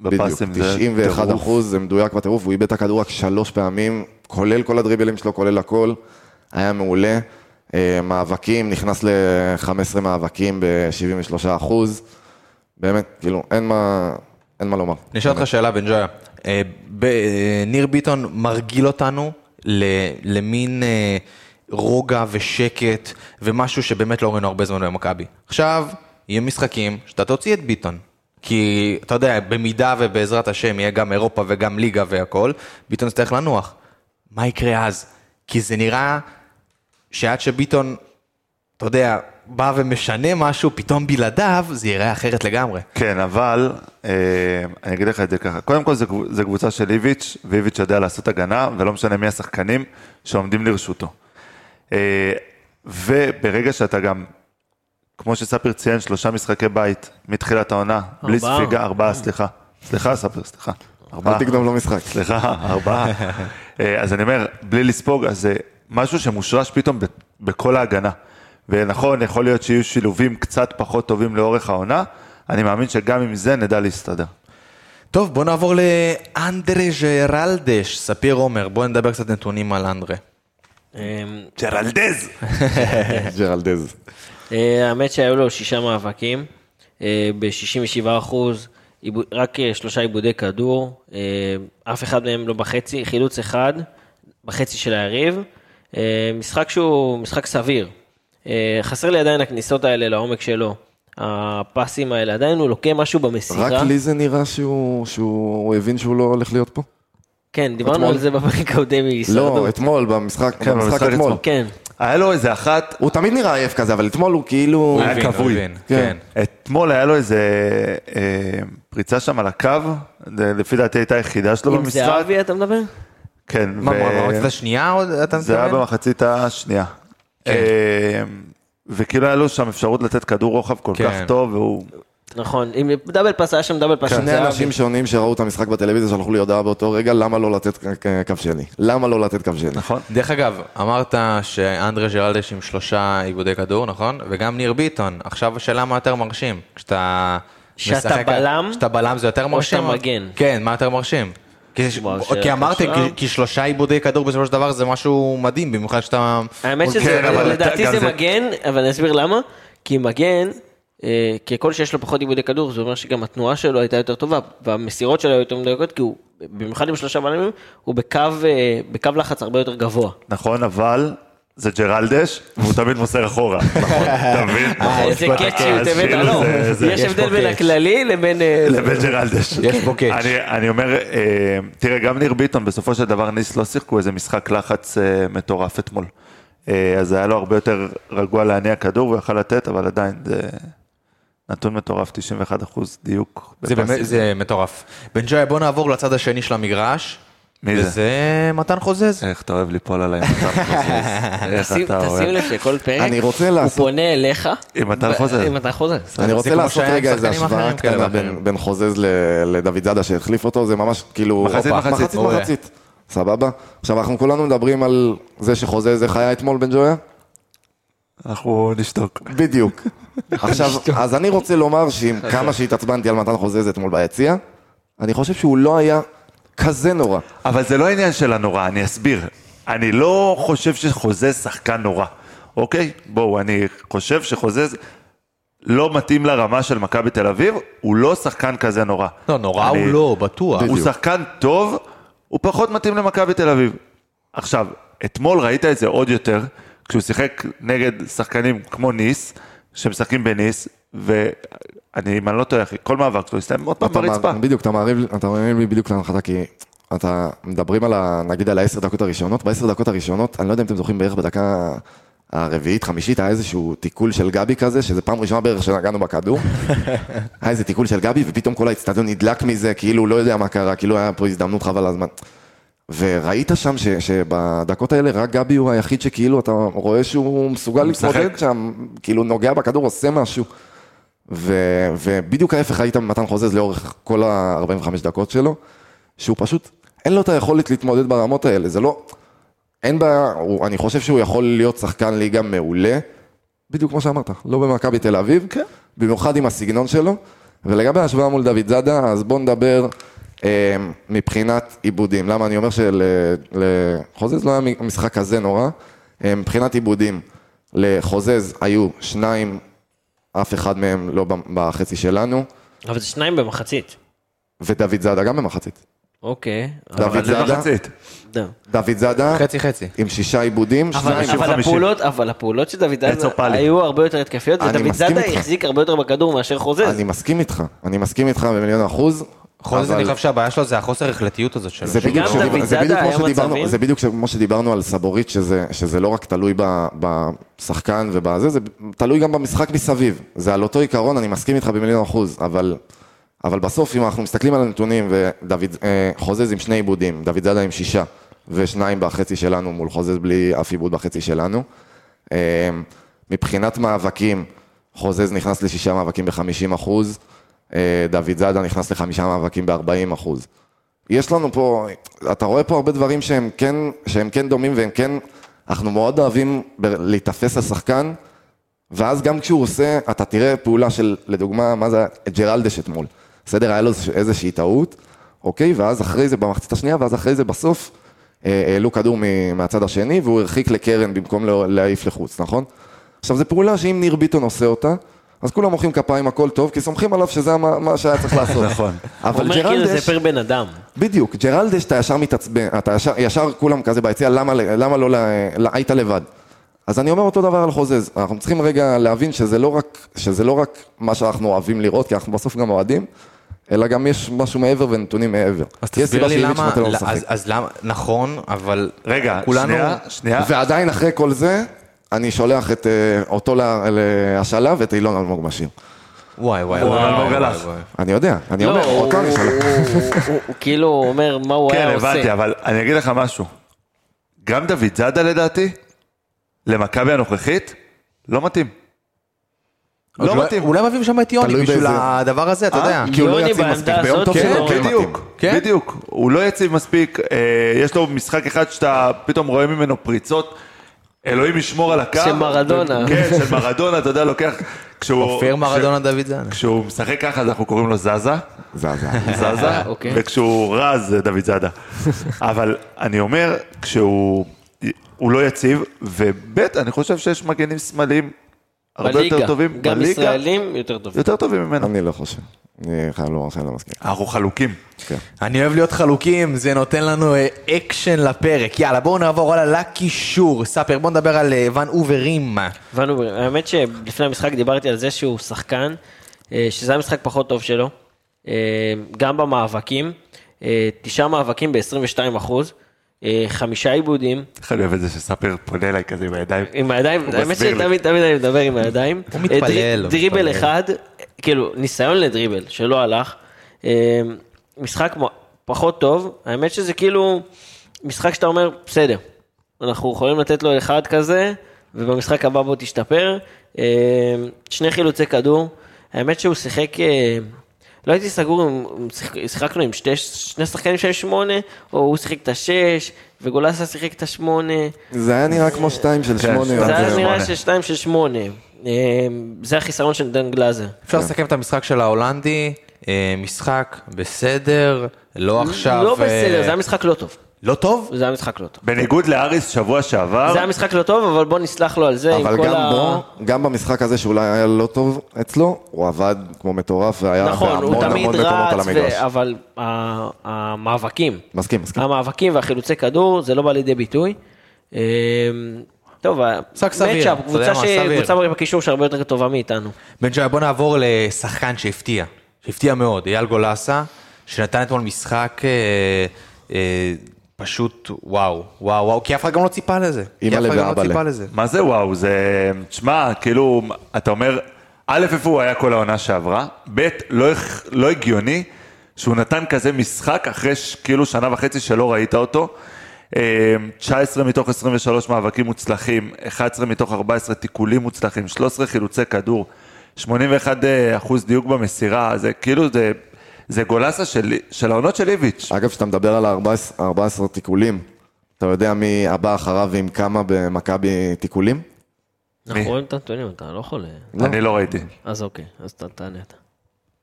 [SPEAKER 5] בדיוק,
[SPEAKER 8] בפסים זה
[SPEAKER 5] 91
[SPEAKER 8] טירוף.
[SPEAKER 5] אחוז זה מדויק בטירוף, הוא איבד את הכדור רק שלוש פעמים, כולל כל הדריבלים שלו, כולל הכל, היה מעולה. אה, מאבקים, נכנס ל-15 מאבקים ב-73 אחוז. באמת, כאילו, אין מה, אין מה לומר.
[SPEAKER 1] אני אשאל אותך שאלה, בן ג'ויה. אה, ב- אה, ניר ביטון מרגיל אותנו ל- למין אה, רוגע ושקט ומשהו שבאמת לא ראינו הרבה זמן במכבי. עכשיו, יהיו משחקים שאתה תוציא את ביטון. כי אתה יודע, במידה ובעזרת השם יהיה גם אירופה וגם ליגה והכל, ביטון יצטרך לנוח. מה יקרה אז? כי זה נראה שעד שביטון, אתה יודע, בא ומשנה משהו, פתאום בלעדיו זה ייראה אחרת לגמרי.
[SPEAKER 8] כן, אבל אה, אני אגיד לך את זה ככה. קודם כל, זו קבוצה של איביץ', ואיביץ' יודע לעשות הגנה, ולא משנה מי השחקנים שעומדים לרשותו. אה, וברגע שאתה גם, כמו שספיר ציין, שלושה משחקי בית מתחילת העונה, בלי
[SPEAKER 7] ארבעה.
[SPEAKER 8] ספיגה, ארבעה, סליחה. סליחה, ספיר, סליחה. ארבעה.
[SPEAKER 5] אל תגנוב לו משחק.
[SPEAKER 8] סליחה, ארבעה. אה, אז אני אומר, בלי לספוג, אז זה משהו שמושרש פתאום ב- בכל ההגנה. ונכון, יכול להיות שיהיו שילובים קצת פחות טובים לאורך העונה, אני מאמין שגם עם זה נדע להסתדר.
[SPEAKER 1] טוב, בוא נעבור לאנדרה ג'רלדש, ספיר עומר, בוא נדבר קצת נתונים על אנדרה.
[SPEAKER 7] אמ,
[SPEAKER 8] ג'רלדז!
[SPEAKER 5] ג'רלדז.
[SPEAKER 7] אה, האמת שהיו לו שישה מאבקים, אה, ב-67 אחוז, רק אה, שלושה עיבודי כדור, אה, אף אחד מהם לא בחצי, חילוץ אחד בחצי של היריב, אה, משחק שהוא משחק סביר. אה, חסר לי עדיין הכניסות האלה לעומק שלו, הפסים האלה, עדיין הוא לוקה משהו במסירה.
[SPEAKER 5] רק לי זה נראה שהוא, שהוא הבין שהוא לא הולך להיות פה.
[SPEAKER 7] כן, דיברנו
[SPEAKER 5] אתמול-
[SPEAKER 7] על זה בפרק הקודם
[SPEAKER 5] לא,
[SPEAKER 7] מהישרדות.
[SPEAKER 5] אתמול, במשחק,
[SPEAKER 8] כן,
[SPEAKER 5] במשחק
[SPEAKER 8] במשחק
[SPEAKER 5] אתמול.
[SPEAKER 8] אתמול.
[SPEAKER 7] כן,
[SPEAKER 8] היה לו איזה אחת,
[SPEAKER 5] הוא תמיד נראה עייף כזה, אבל אתמול הוא כאילו...
[SPEAKER 8] היה
[SPEAKER 1] הבין,
[SPEAKER 8] כבוי.
[SPEAKER 1] הבין, כן.
[SPEAKER 5] כן.
[SPEAKER 8] אתמול היה לו איזה אה, פריצה שם על הקו, זה לפי דעתי הייתה היחידה
[SPEAKER 5] לא
[SPEAKER 8] שלו
[SPEAKER 7] עם
[SPEAKER 8] במשחק.
[SPEAKER 7] זהבי אתה מדבר?
[SPEAKER 8] כן,
[SPEAKER 1] מה,
[SPEAKER 8] ו-
[SPEAKER 1] במחצית השנייה עוד אתה
[SPEAKER 8] זה היה
[SPEAKER 1] מתכוון?
[SPEAKER 8] במחצית השנייה.
[SPEAKER 1] כן.
[SPEAKER 8] אה, וכאילו היה לו שם אפשרות לתת כדור רוחב כל
[SPEAKER 1] כן.
[SPEAKER 8] כך טוב, והוא...
[SPEAKER 7] נכון, עם דאבל פס, היה שם דאבל פס עם
[SPEAKER 5] כן. שני
[SPEAKER 7] זהבי.
[SPEAKER 5] אנשים שונים שראו את המשחק בטלוויזיה שלחו לי הודעה באותו רגע, למה לא לתת ק- ק- קו שני? למה לא לתת קו שני?
[SPEAKER 8] נכון.
[SPEAKER 1] דרך אגב, אמרת שאנדרה ג'רלדש עם שלושה עיבודי כדור, נכון? וגם ניר ביטון. עכשיו השאלה מה יותר מרשים. כשאתה...
[SPEAKER 7] שאתה
[SPEAKER 1] משחק-
[SPEAKER 7] בלם?
[SPEAKER 1] כשאתה בלם זה יותר מרשים?
[SPEAKER 7] שאתה מגן?
[SPEAKER 1] כן, מה יותר מרשים? כי-
[SPEAKER 7] וואו, שאלה
[SPEAKER 1] כי אמרתם,
[SPEAKER 7] קשה.
[SPEAKER 1] כי- כי שלושה עיבודי כדור בסופו של דבר זה משהו מדהים, במיוחד שאתה...
[SPEAKER 7] האמת שזה,
[SPEAKER 8] כן, אבל
[SPEAKER 7] לדעתי
[SPEAKER 8] גם
[SPEAKER 7] זה
[SPEAKER 8] זה-
[SPEAKER 7] מגן, אבל אני אסביר למה. כי מגן, אה, ככל שיש לו פחות עיבודי כדור, זה אומר שגם התנועה שלו הייתה יותר טובה, והמסירות שלו היו יותר מדויקות, כי הוא, במיוחד עם שלושה בלמים, הוא בקו, אה, בקו לחץ הרבה יותר גבוה.
[SPEAKER 8] נכון, אבל זה ג'רלדש, והוא תמיד מוסר אחורה. נכון, אתה מבין?
[SPEAKER 7] איזה
[SPEAKER 1] יש פה
[SPEAKER 7] קאצ'יות,
[SPEAKER 8] את ה-
[SPEAKER 7] הבאת,
[SPEAKER 8] כאילו
[SPEAKER 7] לא.
[SPEAKER 8] זה- זה-
[SPEAKER 7] יש
[SPEAKER 1] יש
[SPEAKER 7] הבדל
[SPEAKER 1] פה
[SPEAKER 7] בין
[SPEAKER 1] קאץ'.
[SPEAKER 7] הכללי לבין... אה,
[SPEAKER 8] לבין ג'רלדש.
[SPEAKER 1] יש פה קאץ'.
[SPEAKER 8] אני- אני אומר, אה, תראה, גם ניר ביטון, בסופו של דבר ניס לא שיחקו איזה משחק לחץ אה, מטורף אתמול. אה, אז היה לו הרבה יותר רגוע להניע כדור, הוא יכל לתת, אבל עדיין זה נתון מטורף, 91 אחוז דיוק.
[SPEAKER 1] זה
[SPEAKER 8] בפסים.
[SPEAKER 1] באמת, זה מטורף. בן ג'וי, בוא נעבור לצד השני של המגרש.
[SPEAKER 8] מי זה?
[SPEAKER 1] וזה מתן חוזז.
[SPEAKER 8] איך אתה אוהב ליפול עליי, מתן חוזז. איך
[SPEAKER 7] תשים
[SPEAKER 8] אתה
[SPEAKER 7] תשים
[SPEAKER 8] אוהב.
[SPEAKER 7] לב שכל פרק,
[SPEAKER 5] אני רוצה
[SPEAKER 7] הוא
[SPEAKER 5] לעשות-
[SPEAKER 7] פונה אליך.
[SPEAKER 8] עם מתן
[SPEAKER 7] ו-
[SPEAKER 8] חוזז.
[SPEAKER 7] עם מתן חוזז.
[SPEAKER 5] אני
[SPEAKER 1] זה
[SPEAKER 5] רוצה
[SPEAKER 1] כמו
[SPEAKER 5] לעשות
[SPEAKER 1] שהיה עם
[SPEAKER 5] רגע איזה
[SPEAKER 1] שחקנים
[SPEAKER 5] השוואה
[SPEAKER 1] אחרים כאלה
[SPEAKER 5] קטנה
[SPEAKER 1] ואחרים.
[SPEAKER 5] בין- בין חוזז ל- לדוד זאדה שהחליף אותו, זה ממש כאילו...
[SPEAKER 8] מחצית,
[SPEAKER 5] הופה,
[SPEAKER 8] מחצית,
[SPEAKER 5] מחצית,
[SPEAKER 1] אורי.
[SPEAKER 5] מחצית. סבבה? עכשיו, אנחנו כולנו מדברים על זה שחוזז, איך היה אתמול בן ג'ויה?
[SPEAKER 8] אנחנו נשתוק.
[SPEAKER 5] בדיוק. עכשיו, אז אני רוצה לומר שעם
[SPEAKER 1] אוקיי.
[SPEAKER 5] כמה שהתעצבנתי על מתן חוזז אתמול ביציע, אני חושב שהוא לא היה כזה נורא.
[SPEAKER 8] אבל זה לא עניין של הנורא, אני אסביר. אני לא חושב שחוזה שחקן נורא, אוקיי? בואו, אני חושב שחוזה זה- לא מתאים לרמה של מכבי תל אביב, הוא לא שחקן כזה נורא.
[SPEAKER 1] לא, נורא
[SPEAKER 8] אני-
[SPEAKER 1] הוא לא, בטוח.
[SPEAKER 8] הוא
[SPEAKER 5] בדיוק.
[SPEAKER 8] שחקן טוב, הוא פחות מתאים למכבי תל אביב. עכשיו, אתמול ראית את זה עוד יותר, כשהוא שיחק נגד שחקנים כמו ניס, שמשחקים בניס, ואני, אם אני לא טועה, אחי, כל מאבק שלו הסתיים עוד פעם
[SPEAKER 5] אתה
[SPEAKER 8] ברצפה.
[SPEAKER 5] מע- בדיוק, אתה מעריב, אתה מעריב לי בדיוק להנחתה, כי אתה מדברים על, ה, נגיד, על העשר דקות הראשונות, בעשר דקות הראשונות, אני לא יודע אם אתם זוכרים בערך בדקה הרביעית, חמישית, היה איזשהו תיקול של גבי כזה, שזה פעם ראשונה בערך שנגענו בכדור, היה אה, איזה תיקול של גבי, ופתאום כל האצטדיון נדלק מזה, כאילו לא יודע מה קרה, כאילו היה פה הזדמנות חבל על הזמן. וראית שם ש, שבדקות האלה רק גבי הוא היחיד שכאילו אתה רואה שהוא מסוגל להתמודד שם, כאילו נוגע בכדור, עושה משהו. ו, ובדיוק ההפך היית ממתן חוזז לאורך כל ה-45 דקות שלו, שהוא פשוט, אין לו את היכולת להתמודד ברמות האלה, זה לא, אין בעיה, הוא- אני חושב שהוא יכול להיות שחקן ליגה מעולה, בדיוק כמו שאמרת, לא במכבי תל אביב, כן. במיוחד עם הסגנון שלו. ולגבי ההשוואה מול דוד זאדה, אז בואו נדבר אה, מבחינת עיבודים. למה אני אומר שלחוזז לא היה משחק כזה נורא? אה, מבחינת עיבודים, לחוזז היו שניים, אף אחד מהם לא ב- בחצי שלנו,
[SPEAKER 7] אבל זה שניים במחצית.
[SPEAKER 5] ודוד זאדה גם במחצית.
[SPEAKER 7] אוקיי.
[SPEAKER 5] דוד
[SPEAKER 8] זה
[SPEAKER 5] זאדה,
[SPEAKER 8] מחצית.
[SPEAKER 7] אבל-
[SPEAKER 5] דוד זאדה
[SPEAKER 1] חצי חצי.
[SPEAKER 5] עם שישה עיבודים,
[SPEAKER 7] אבל,
[SPEAKER 5] שניים.
[SPEAKER 8] אנשים
[SPEAKER 7] אבל,
[SPEAKER 8] חמישים.
[SPEAKER 7] הפעולות, אבל הפעולות של דוד
[SPEAKER 8] עץ
[SPEAKER 7] זאדה
[SPEAKER 8] אופלי.
[SPEAKER 7] היו הרבה יותר התקפיות,
[SPEAKER 5] אני
[SPEAKER 7] ודוד
[SPEAKER 5] מסכים
[SPEAKER 7] זאדה
[SPEAKER 5] איתך.
[SPEAKER 7] החזיק הרבה יותר בכדור מאשר חוזז.
[SPEAKER 5] אני מסכים איתך, אני מסכים איתך במיליון אחוז.
[SPEAKER 1] חוזז,
[SPEAKER 5] אבל-
[SPEAKER 1] אני חושב שהבעיה שלו זה החוסר החלטיות הזאת שלו.
[SPEAKER 5] זה בדיוק,
[SPEAKER 7] שגם
[SPEAKER 5] שדיבר,
[SPEAKER 7] דוד
[SPEAKER 5] זה בדיוק
[SPEAKER 7] זאדה
[SPEAKER 5] כמו
[SPEAKER 7] היה
[SPEAKER 5] שדיברנו,
[SPEAKER 7] מצבים.
[SPEAKER 5] זה בדיוק כמו שדיברנו על סבורית, שזה, שזה לא רק תלוי ב, בשחקן ובזה, זה תלוי גם במשחק מסביב. זה על אותו עיקרון, אני מסכים איתך במיליון אחוז, אבל, אבל בסוף, אם אנחנו מסתכלים על הנתונים, ודוד אה, חוזז עם שני עיבודים, דוד זאדה עם שישה, ושניים בחצי שלנו מול חוזז בלי אף עיבוד בחצי שלנו. אה, מבחינת מאבקים, חוזז נכנס לשישה מאבקים ב-50 אחוז, אה, דוד זאדה נכנס לחמישה מאבקים ב-40 אחוז. יש לנו פה, אתה רואה פה הרבה דברים שהם כן, שהם כן דומים והם כן, אנחנו מאוד אוהבים ב- להיתפס לשחקן, ואז גם כשהוא עושה, אתה תראה פעולה של, לדוגמה, מה זה ג'רלדש אתמול. בסדר, היה לו איזושהי טעות, אוקיי, ואז אחרי זה במחצית השנייה, ואז אחרי זה בסוף אה, העלו כדור מ- מהצד השני, והוא הרחיק לקרן במקום לא- להעיף לחוץ, נכון? עכשיו, זו פעולה שאם ניר ביטון עושה אותה, אז כולם מוחאים כפיים, הכל טוב, כי סומכים עליו שזה מה, מה שהיה צריך לעשות.
[SPEAKER 8] נכון.
[SPEAKER 7] הוא
[SPEAKER 5] אבל
[SPEAKER 7] אומר כאילו זה
[SPEAKER 5] ג'רלדש...
[SPEAKER 7] פר בן אדם.
[SPEAKER 5] בדיוק, ג'רלדש אתה ישר מתעצבן, אתה ישר, ישר כולם כזה ביציע, למה, למה לא, ל- ל- היית לבד? אז אני אומר אותו דבר על חוזז, אנחנו צריכים רגע להבין שזה לא רק, שזה לא רק מה שאנחנו אוהבים לראות, כי אנחנו בסוף גם אוהדים, אלא גם יש משהו מעבר ונתונים מעבר.
[SPEAKER 1] אז
[SPEAKER 5] יש
[SPEAKER 1] תסביר
[SPEAKER 5] סיבה
[SPEAKER 1] לי
[SPEAKER 5] שאיביץ'
[SPEAKER 1] למה,
[SPEAKER 5] נותן לו
[SPEAKER 1] לא,
[SPEAKER 5] לשחק.
[SPEAKER 1] אז- אז למה, נכון, אבל
[SPEAKER 8] רגע,
[SPEAKER 1] כולנו-
[SPEAKER 8] שנייה, שנייה.
[SPEAKER 5] ועדיין אחרי כל זה, אני שולח את אה, אותו לה- להשאלה ואת אילון אלמוג משאיר.
[SPEAKER 1] וואי וואי
[SPEAKER 8] הוא אלמוג
[SPEAKER 1] וואי,
[SPEAKER 8] הלך.
[SPEAKER 1] וואי.
[SPEAKER 5] אני יודע, אני
[SPEAKER 7] לא,
[SPEAKER 5] אומר,
[SPEAKER 7] הוא-
[SPEAKER 5] אותו אני
[SPEAKER 7] הוא-
[SPEAKER 5] שולח.
[SPEAKER 7] הוא- הוא כאילו אומר מה הוא
[SPEAKER 8] כן,
[SPEAKER 7] היה
[SPEAKER 8] הבנתי,
[SPEAKER 7] עושה.
[SPEAKER 8] אבל אני אגיד לך משהו. גם דוד זאדה לדעתי, למכבי הנוכחית, לא מתאים. לא
[SPEAKER 1] אולי-
[SPEAKER 8] מתאים.
[SPEAKER 1] אולי מביאים שם את יוני
[SPEAKER 5] תלוי
[SPEAKER 1] בשביל
[SPEAKER 5] באיזה-
[SPEAKER 1] הדבר הזה, אתה יודע.
[SPEAKER 5] כי הוא לא
[SPEAKER 7] יוני
[SPEAKER 5] יציב
[SPEAKER 7] בעמדה
[SPEAKER 5] מספיק, ביום
[SPEAKER 7] הזאת
[SPEAKER 5] טוב
[SPEAKER 8] כן,
[SPEAKER 5] שלו
[SPEAKER 7] שלו.
[SPEAKER 5] הוא כן מתאים.
[SPEAKER 8] בדיוק,
[SPEAKER 1] כן?
[SPEAKER 8] בדיוק. הוא לא יציב מספיק. אה, יש לו משחק אחד שאתה פתאום רואה ממנו פריצות. אלוהים ישמור על הקו.
[SPEAKER 7] של מרדונה.
[SPEAKER 8] כן, של מרדונה, אתה יודע, לוקח... כשהוא-
[SPEAKER 1] אופיר מרדונה דוד זאנה.
[SPEAKER 8] כשהוא משחק ככה, אז אנחנו קוראים לו זזה.
[SPEAKER 5] זה הזיה.
[SPEAKER 8] זזה,
[SPEAKER 7] אוקיי.
[SPEAKER 8] וכשהוא רע זה דוד זאדה. אבל אני אומר, כשהוא... הוא לא יציב, וב' אני חושב שיש מגנים שמאליים הרבה יותר טובים
[SPEAKER 7] גם ישראלים יותר טובים.
[SPEAKER 8] יותר טובים ממנו.
[SPEAKER 5] אני לא חושב. אני חייב לומר שאני לא מסכים.
[SPEAKER 8] אנחנו חלוקים.
[SPEAKER 1] אני אוהב להיות חלוקים, זה נותן לנו אה, אקשן לפרק. יאללה, בואו נעבור הלאה לקישור. ספיר, בואו נדבר על אה, ואן אוברימה.
[SPEAKER 7] ואנו- האמת שלפני המשחק דיברתי על זה שהוא שחקן, אה, שזה המשחק פחות טוב שלו, אה, גם במאבקים, אה, תשעה מאבקים ב-22 אחוז, אה, חמישה עיבודים,
[SPEAKER 8] איך אני אוהב את זה שספיר פונה אליי כזה עם הידיים.
[SPEAKER 7] עם הידיים,
[SPEAKER 8] הוא
[SPEAKER 7] האמת
[SPEAKER 8] מסביר לי.
[SPEAKER 7] שתמיד תמיד אני מדבר עם הידיים.
[SPEAKER 1] הוא מתפלל,
[SPEAKER 7] אה, דרי-
[SPEAKER 1] הוא מתפלל.
[SPEAKER 7] דריבל אחד, אה, כאילו, ניסיון לדריבל שלא הלך. אה, משחק מ- פחות טוב, האמת שזה כאילו משחק שאתה אומר, בסדר, אנחנו יכולים לתת לו אחד כזה, ובמשחק הבא בו תשתפר. אה, שני חילוצי כדור, האמת שהוא שיחק... אה, לא הייתי סגור אם אם שיחק- שיחקנו עם שתי, שני שחקנים של שמונה, או הוא שיחק את השש, וגולסה שיחק את השמונה.
[SPEAKER 5] זה היה נראה כמו שתיים של
[SPEAKER 8] כן,
[SPEAKER 5] שמונה.
[SPEAKER 8] שתיים
[SPEAKER 7] זה
[SPEAKER 5] אבל
[SPEAKER 7] היה
[SPEAKER 8] שמונה.
[SPEAKER 7] נראה של 2 של 8. זה החיסרון של דן גלאזר.
[SPEAKER 1] אפשר לסכם את המשחק של ההולנדי, אה, משחק בסדר, לא עכשיו...
[SPEAKER 7] לא
[SPEAKER 1] אה,
[SPEAKER 7] בסדר, זה היה משחק לא טוב.
[SPEAKER 1] לא טוב?
[SPEAKER 7] זה היה משחק לא טוב.
[SPEAKER 8] בניגוד לאריס שבוע שעבר,
[SPEAKER 7] זה היה משחק לא טוב, אבל בוא נסלח לו על זה עם
[SPEAKER 5] אבל
[SPEAKER 7] כל
[SPEAKER 5] גם
[SPEAKER 7] ה...
[SPEAKER 5] בו, גם במשחק הזה שאולי היה לא טוב אצלו, הוא עבד כמו מטורף והיה
[SPEAKER 7] נכון, הוא
[SPEAKER 5] בהמון
[SPEAKER 7] תמיד
[SPEAKER 5] המון מקומות על
[SPEAKER 7] רץ,
[SPEAKER 5] המגרש.
[SPEAKER 7] ו- אבל ה- המאבקים,
[SPEAKER 5] מסכים, מסכים.
[SPEAKER 7] המאבקים והחילוצי כדור, זה לא בא לידי ביטוי. אה, טוב,
[SPEAKER 1] משחק סביר,
[SPEAKER 7] מצ'אפ,
[SPEAKER 1] אתה יודע
[SPEAKER 7] קבוצה
[SPEAKER 1] מה,
[SPEAKER 7] ש-
[SPEAKER 1] סביר.
[SPEAKER 7] קבוצה בקישור שהרבה יותר טובה מאיתנו.
[SPEAKER 1] בן ג'וי, בוא נעבור לשחקן שהפתיע, שהפתיע מאוד, אייל גולסה, שנתן אתמול משחק אה, אה, פשוט וואו, וואו, וואו, כי אף אחד גם לא ציפה לזה. כי
[SPEAKER 5] אימא'לה
[SPEAKER 1] אף אחד גם לא
[SPEAKER 5] ואבאלה.
[SPEAKER 1] ציפה לזה.
[SPEAKER 8] מה זה וואו? זה... תשמע, כאילו, אתה אומר, א', איפה הוא היה כל העונה שעברה, ב', לא, הכ- לא הגיוני שהוא נתן כזה משחק אחרי ש- כאילו שנה וחצי שלא ראית אותו. אה, 19 מתוך 23 מאבקים מוצלחים, 11 מתוך 14 תיקולים מוצלחים, 13 חילוצי כדור, 81 אה, אחוז דיוק במסירה, זה כאילו, זה, זה גולסה של, של העונות של איביץ'.
[SPEAKER 5] אגב, כשאתה מדבר על ה-14 תיקולים, אתה יודע מי הבא אחריו עם כמה במכבי תיקולים?
[SPEAKER 7] אנחנו רואים את הנתונים, אתה לא חולה.
[SPEAKER 5] לא.
[SPEAKER 8] אני לא ראיתי.
[SPEAKER 7] אז אוקיי, אז ת- תענה אתה.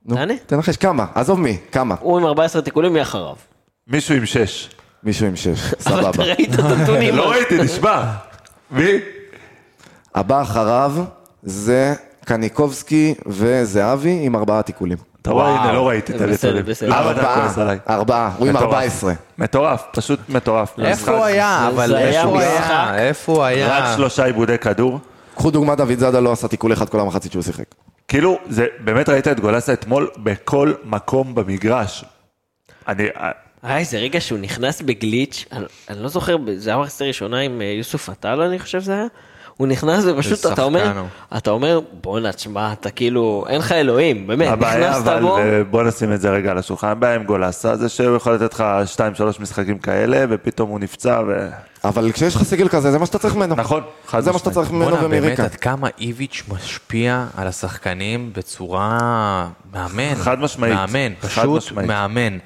[SPEAKER 5] נו,
[SPEAKER 7] תענה.
[SPEAKER 5] תנחש כמה, עזוב מי, כמה.
[SPEAKER 7] הוא עם 14 תיקולים, מי אחריו?
[SPEAKER 8] מישהו עם שש.
[SPEAKER 5] מישהו עם שש,
[SPEAKER 7] אבל אתה
[SPEAKER 5] סבבה.
[SPEAKER 7] ראית את הנתונים.
[SPEAKER 8] לא ראיתי, נשבע. מי?
[SPEAKER 5] הבא אחריו זה קניקובסקי וזהבי עם ארבעה תיקולים.
[SPEAKER 8] אתה רואה, הנה,
[SPEAKER 7] וואו.
[SPEAKER 8] לא ראיתי את
[SPEAKER 7] בסדר,
[SPEAKER 8] הנתונים.
[SPEAKER 7] בסדר.
[SPEAKER 8] למה אתה כועס עליי?
[SPEAKER 5] ארבעה, הוא עם
[SPEAKER 8] מטורף.
[SPEAKER 5] 14.
[SPEAKER 8] מטורף, פשוט מטורף.
[SPEAKER 1] איפה הוא היה?
[SPEAKER 7] זה
[SPEAKER 1] אבל
[SPEAKER 7] היה
[SPEAKER 1] איפה הוא
[SPEAKER 7] משחק.
[SPEAKER 1] היה? איפה הוא היה?
[SPEAKER 8] רק שלושה עיבודי כדור.
[SPEAKER 5] קחו דוגמא, דוד זאדה לא עשה תיקול אחד כל המחצית שהוא שיחק.
[SPEAKER 8] כאילו, זה, באמת ראית את גולסה אתמול בכל מקום במגרש. אני,
[SPEAKER 7] היה אה, איזה רגע שהוא נכנס בגליץ', אני, אני לא זוכר, זה היה מחצית ראשונה עם אה, יוסוף עטאלה, אני חושב שזה היה. הוא נכנס ופשוט,
[SPEAKER 1] איזה
[SPEAKER 7] אתה אומר,
[SPEAKER 1] שחקן
[SPEAKER 7] אתה אומר, בואנה, תשמע, אתה כאילו, אין לך אלוהים, באמת,
[SPEAKER 8] הבעיה
[SPEAKER 7] כן, נכנסת
[SPEAKER 8] אבל, אה,
[SPEAKER 7] בו,
[SPEAKER 8] בוא נשים את זה רגע על השולחן, הבעיה עם גולסה זה שהוא יכול לתת לך 2-3 משחקים כאלה, ופתאום הוא נפצע, ו...
[SPEAKER 5] אבל כשיש לך סגל כזה, זה מה שאתה צריך ממנו.
[SPEAKER 8] נכון, חד
[SPEAKER 5] זה מה שאתה
[SPEAKER 8] משמעית.
[SPEAKER 5] צריך ממנו
[SPEAKER 1] בואנה, באמת,
[SPEAKER 5] ומיריקה.
[SPEAKER 1] עד כמה איביץ' משפיע על השחקנים בצורה... מאמן.
[SPEAKER 8] חד משמעית.
[SPEAKER 1] מאמן,
[SPEAKER 8] חד
[SPEAKER 1] פשוט
[SPEAKER 8] משמעית.
[SPEAKER 1] מאמן.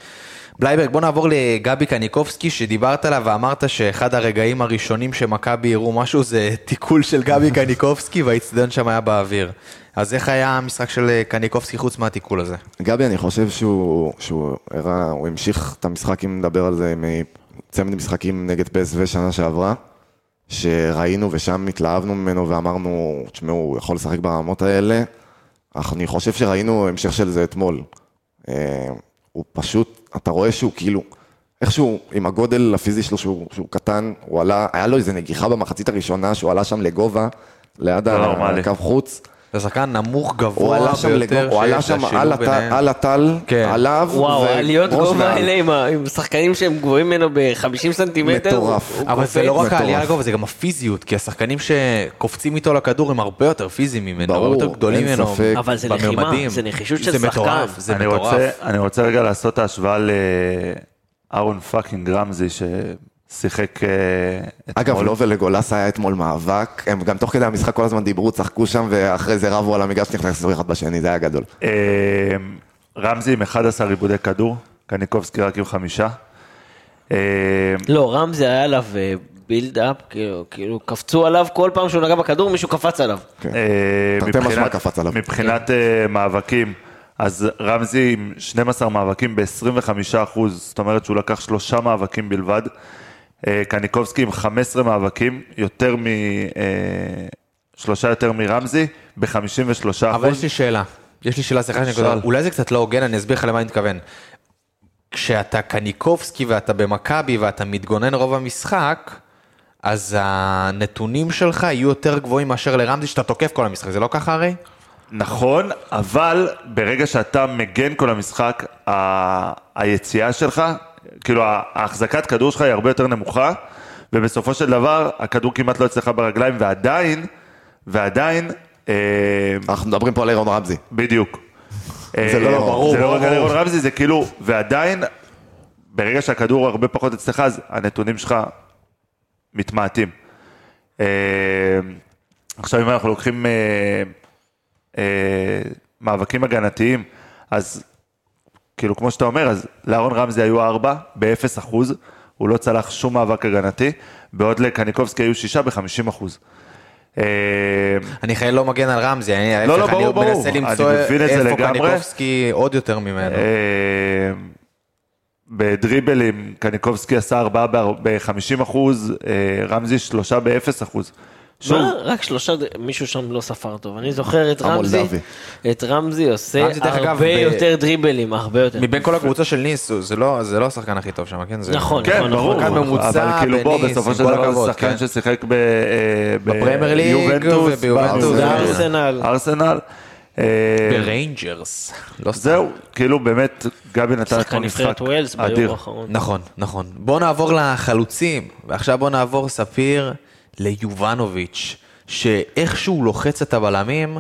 [SPEAKER 1] בלייברג, בוא נעבור לגבי קניקובסקי, שדיברת עליו ואמרת שאחד הרגעים הראשונים שמכבי הראו משהו זה תיקול של גבי קניקובסקי והאיצטדיון שם היה באוויר. אז איך היה המשחק של אה, קניקובסקי חוץ מהתיקול הזה?
[SPEAKER 5] גבי, אני חושב שהוא, שהוא הראה, הוא המשיך את המשחק, אם נדבר על זה, מצמד משחקים נגד פסו שנה שעברה, שראינו ושם התלהבנו ממנו ואמרנו, תשמעו, הוא יכול לשחק ברמות האלה. אך אני חושב שראינו המשך של זה אתמול. אה, הוא פשוט, אתה רואה שהוא כאילו, איכשהו, עם הגודל הפיזי שלו שהוא, שהוא קטן, הוא עלה, היה לו איזה נגיחה במחצית הראשונה, שהוא עלה שם לגובה, ליד
[SPEAKER 8] לא נורמלי.
[SPEAKER 5] הקו חוץ.
[SPEAKER 1] זה שחקן נמוך
[SPEAKER 5] הוא
[SPEAKER 1] גבוה
[SPEAKER 5] עלה שם, לגו...
[SPEAKER 1] ביותר
[SPEAKER 5] הוא עלה
[SPEAKER 1] שיש,
[SPEAKER 5] שם
[SPEAKER 1] השילוב
[SPEAKER 5] על, הת...
[SPEAKER 1] ביניהם.
[SPEAKER 5] על הטל,
[SPEAKER 1] כן.
[SPEAKER 5] עליו,
[SPEAKER 7] וואו,
[SPEAKER 5] וראש
[SPEAKER 7] העליות גובה
[SPEAKER 5] מעל.
[SPEAKER 7] האלה עם, ה- עם שחקנים שהם גבוהים ממנו ב-50 סנטימטר,
[SPEAKER 5] מטורף.
[SPEAKER 7] הוא- הוא
[SPEAKER 1] אבל זה
[SPEAKER 7] קופץ.
[SPEAKER 1] לא רק
[SPEAKER 5] מטורף.
[SPEAKER 1] העלייה לגובה, זה גם הפיזיות, כי השחקנים שקופצים איתו לכדור הם הרבה יותר פיזיים ממנו,
[SPEAKER 5] ברור,
[SPEAKER 1] הרבה יותר גדולים
[SPEAKER 5] אין
[SPEAKER 1] ממנו,
[SPEAKER 5] ספק.
[SPEAKER 7] אבל זה לחימה,
[SPEAKER 1] בממדים.
[SPEAKER 7] זה נחישות של
[SPEAKER 1] זה מטורף,
[SPEAKER 7] שחקן.
[SPEAKER 1] זה
[SPEAKER 8] אני
[SPEAKER 1] מטורף.
[SPEAKER 8] רוצה, אני רוצה רגע לעשות את ההשוואה לאהרון פאקינג רמזי, ששיחק אה, אתמול.
[SPEAKER 5] אגב, לו ולגולס היה אתמול מאבק, הם גם תוך כדי המשחק כל הזמן דיברו, צחקו שם, ואחרי זה רבו על המגרש, נכנסו אחד בשני, זה היה גדול.
[SPEAKER 8] אה, רמזי עם 11 עיבודי כדור, קניקובסקי רק עם חמישה. אה,
[SPEAKER 7] לא, רמזי היה עליו בילדאפ, כאילו, כאילו, קפצו עליו, כל פעם שהוא נגע בכדור, מישהו קפץ עליו.
[SPEAKER 8] אה,
[SPEAKER 5] כן. תרתי משמע
[SPEAKER 8] מבחינת-
[SPEAKER 5] קפץ עליו. כן.
[SPEAKER 8] מבחינת אה, מאבקים, אז רמזי עם 12 מאבקים ב-25 אחוז, זאת אומרת שהוא לקח שלושה מאבקים בלבד. אה, קניקובסקי עם 15 מאבקים, יותר מ... אה, שלושה יותר מרמזי, ב-53 אחוז.
[SPEAKER 1] אבל יש לי שאלה, יש לי שאלה, סליחה שאני קודם,
[SPEAKER 8] שאל.
[SPEAKER 1] אולי זה קצת לא הוגן, אני אסביר לך למה אני מתכוון. כשאתה קניקובסקי ואתה במכבי ואתה מתגונן רוב המשחק, אז הנתונים שלך יהיו יותר גבוהים מאשר לרמזי שאתה תוקף כל המשחק, זה לא ככה הרי?
[SPEAKER 8] נכון, אבל ברגע שאתה מגן כל המשחק, ה... היציאה שלך, כאילו ה- ההחזקת כדור שלך היא הרבה יותר נמוכה, ובסופו של דבר הכדור כמעט לא אצלך ברגליים, ועדיין, ועדיין, אה,
[SPEAKER 5] אנחנו מדברים פה על אירון רמזי.
[SPEAKER 8] בדיוק.
[SPEAKER 5] זה לא- ברור,
[SPEAKER 8] זה לא רק
[SPEAKER 5] ברור.
[SPEAKER 8] על אירון רמזי, זה כאילו, ועדיין, ברגע שהכדור הרבה פחות אצלך, אז הנתונים שלך מתמעטים. אה, עכשיו, אם אנחנו לוקחים אה, אה, מאבקים הגנתיים, אז כאילו, כמו שאתה אומר, אז לאהרון רמזי היו ארבע, באפס אחוז, הוא לא צלח שום מאבק הגנתי, בעוד לקניקובסקי היו שישה בחמישים אחוז. אה,
[SPEAKER 1] אני חייב לא מגן על רמזי, אני
[SPEAKER 8] לא,
[SPEAKER 1] ההפך,
[SPEAKER 8] ברור,
[SPEAKER 1] אני
[SPEAKER 8] ברור.
[SPEAKER 1] מנסה
[SPEAKER 8] אני
[SPEAKER 1] למצוא
[SPEAKER 8] מבין את זה
[SPEAKER 1] איפה
[SPEAKER 8] לגמרי.
[SPEAKER 1] קניקובסקי עוד יותר ממנו.
[SPEAKER 8] אה, בדריבלים, קניקובסקי עשה ארבעה ב-50 אחוז, אה, רמזי שלושה ב-0 אחוז. שוב,
[SPEAKER 7] מה? לא, רק שלושה, ד- מישהו שם לא ספר טוב. אני זוכר את רמזי,
[SPEAKER 5] המולדבי.
[SPEAKER 7] את רמזי עושה
[SPEAKER 1] רמזי, דרך אגב, ב-
[SPEAKER 7] הרבה יותר דריבלים, הרבה יותר.
[SPEAKER 1] מבין כל הקבוצה של ניס, הוא- זה לא, זה לא השחקן הכי טוב שם, כן? זה...
[SPEAKER 7] נכון,
[SPEAKER 8] כן,
[SPEAKER 7] נכון,
[SPEAKER 8] ברור,
[SPEAKER 7] נכון.
[SPEAKER 1] שחקן ממוצע
[SPEAKER 8] אבל כאילו בוא,
[SPEAKER 1] בניס,
[SPEAKER 8] בסופו
[SPEAKER 1] עם
[SPEAKER 8] של
[SPEAKER 1] כל
[SPEAKER 8] דבר
[SPEAKER 1] הכבוד,
[SPEAKER 8] זה שחקן
[SPEAKER 1] כן.
[SPEAKER 8] ששיחק ב- אה, ב-
[SPEAKER 1] בפרמייר ליג
[SPEAKER 8] יובנטוס,
[SPEAKER 1] וביובנטוס.
[SPEAKER 8] ב-
[SPEAKER 7] בארסנל.
[SPEAKER 8] ארסנל. אה,
[SPEAKER 1] בריינג'רס. לא סתם.
[SPEAKER 8] זהו, כאילו באמת, גבי נתן את
[SPEAKER 7] שחקן נבחרת ווילס ביום האחרון.
[SPEAKER 1] נכון, נכון. בואו נעבור לחלוצים, ועכשיו בואו נעבור ספיר ליובנוביץ', שאיכשהו לוחץ את הבלמים,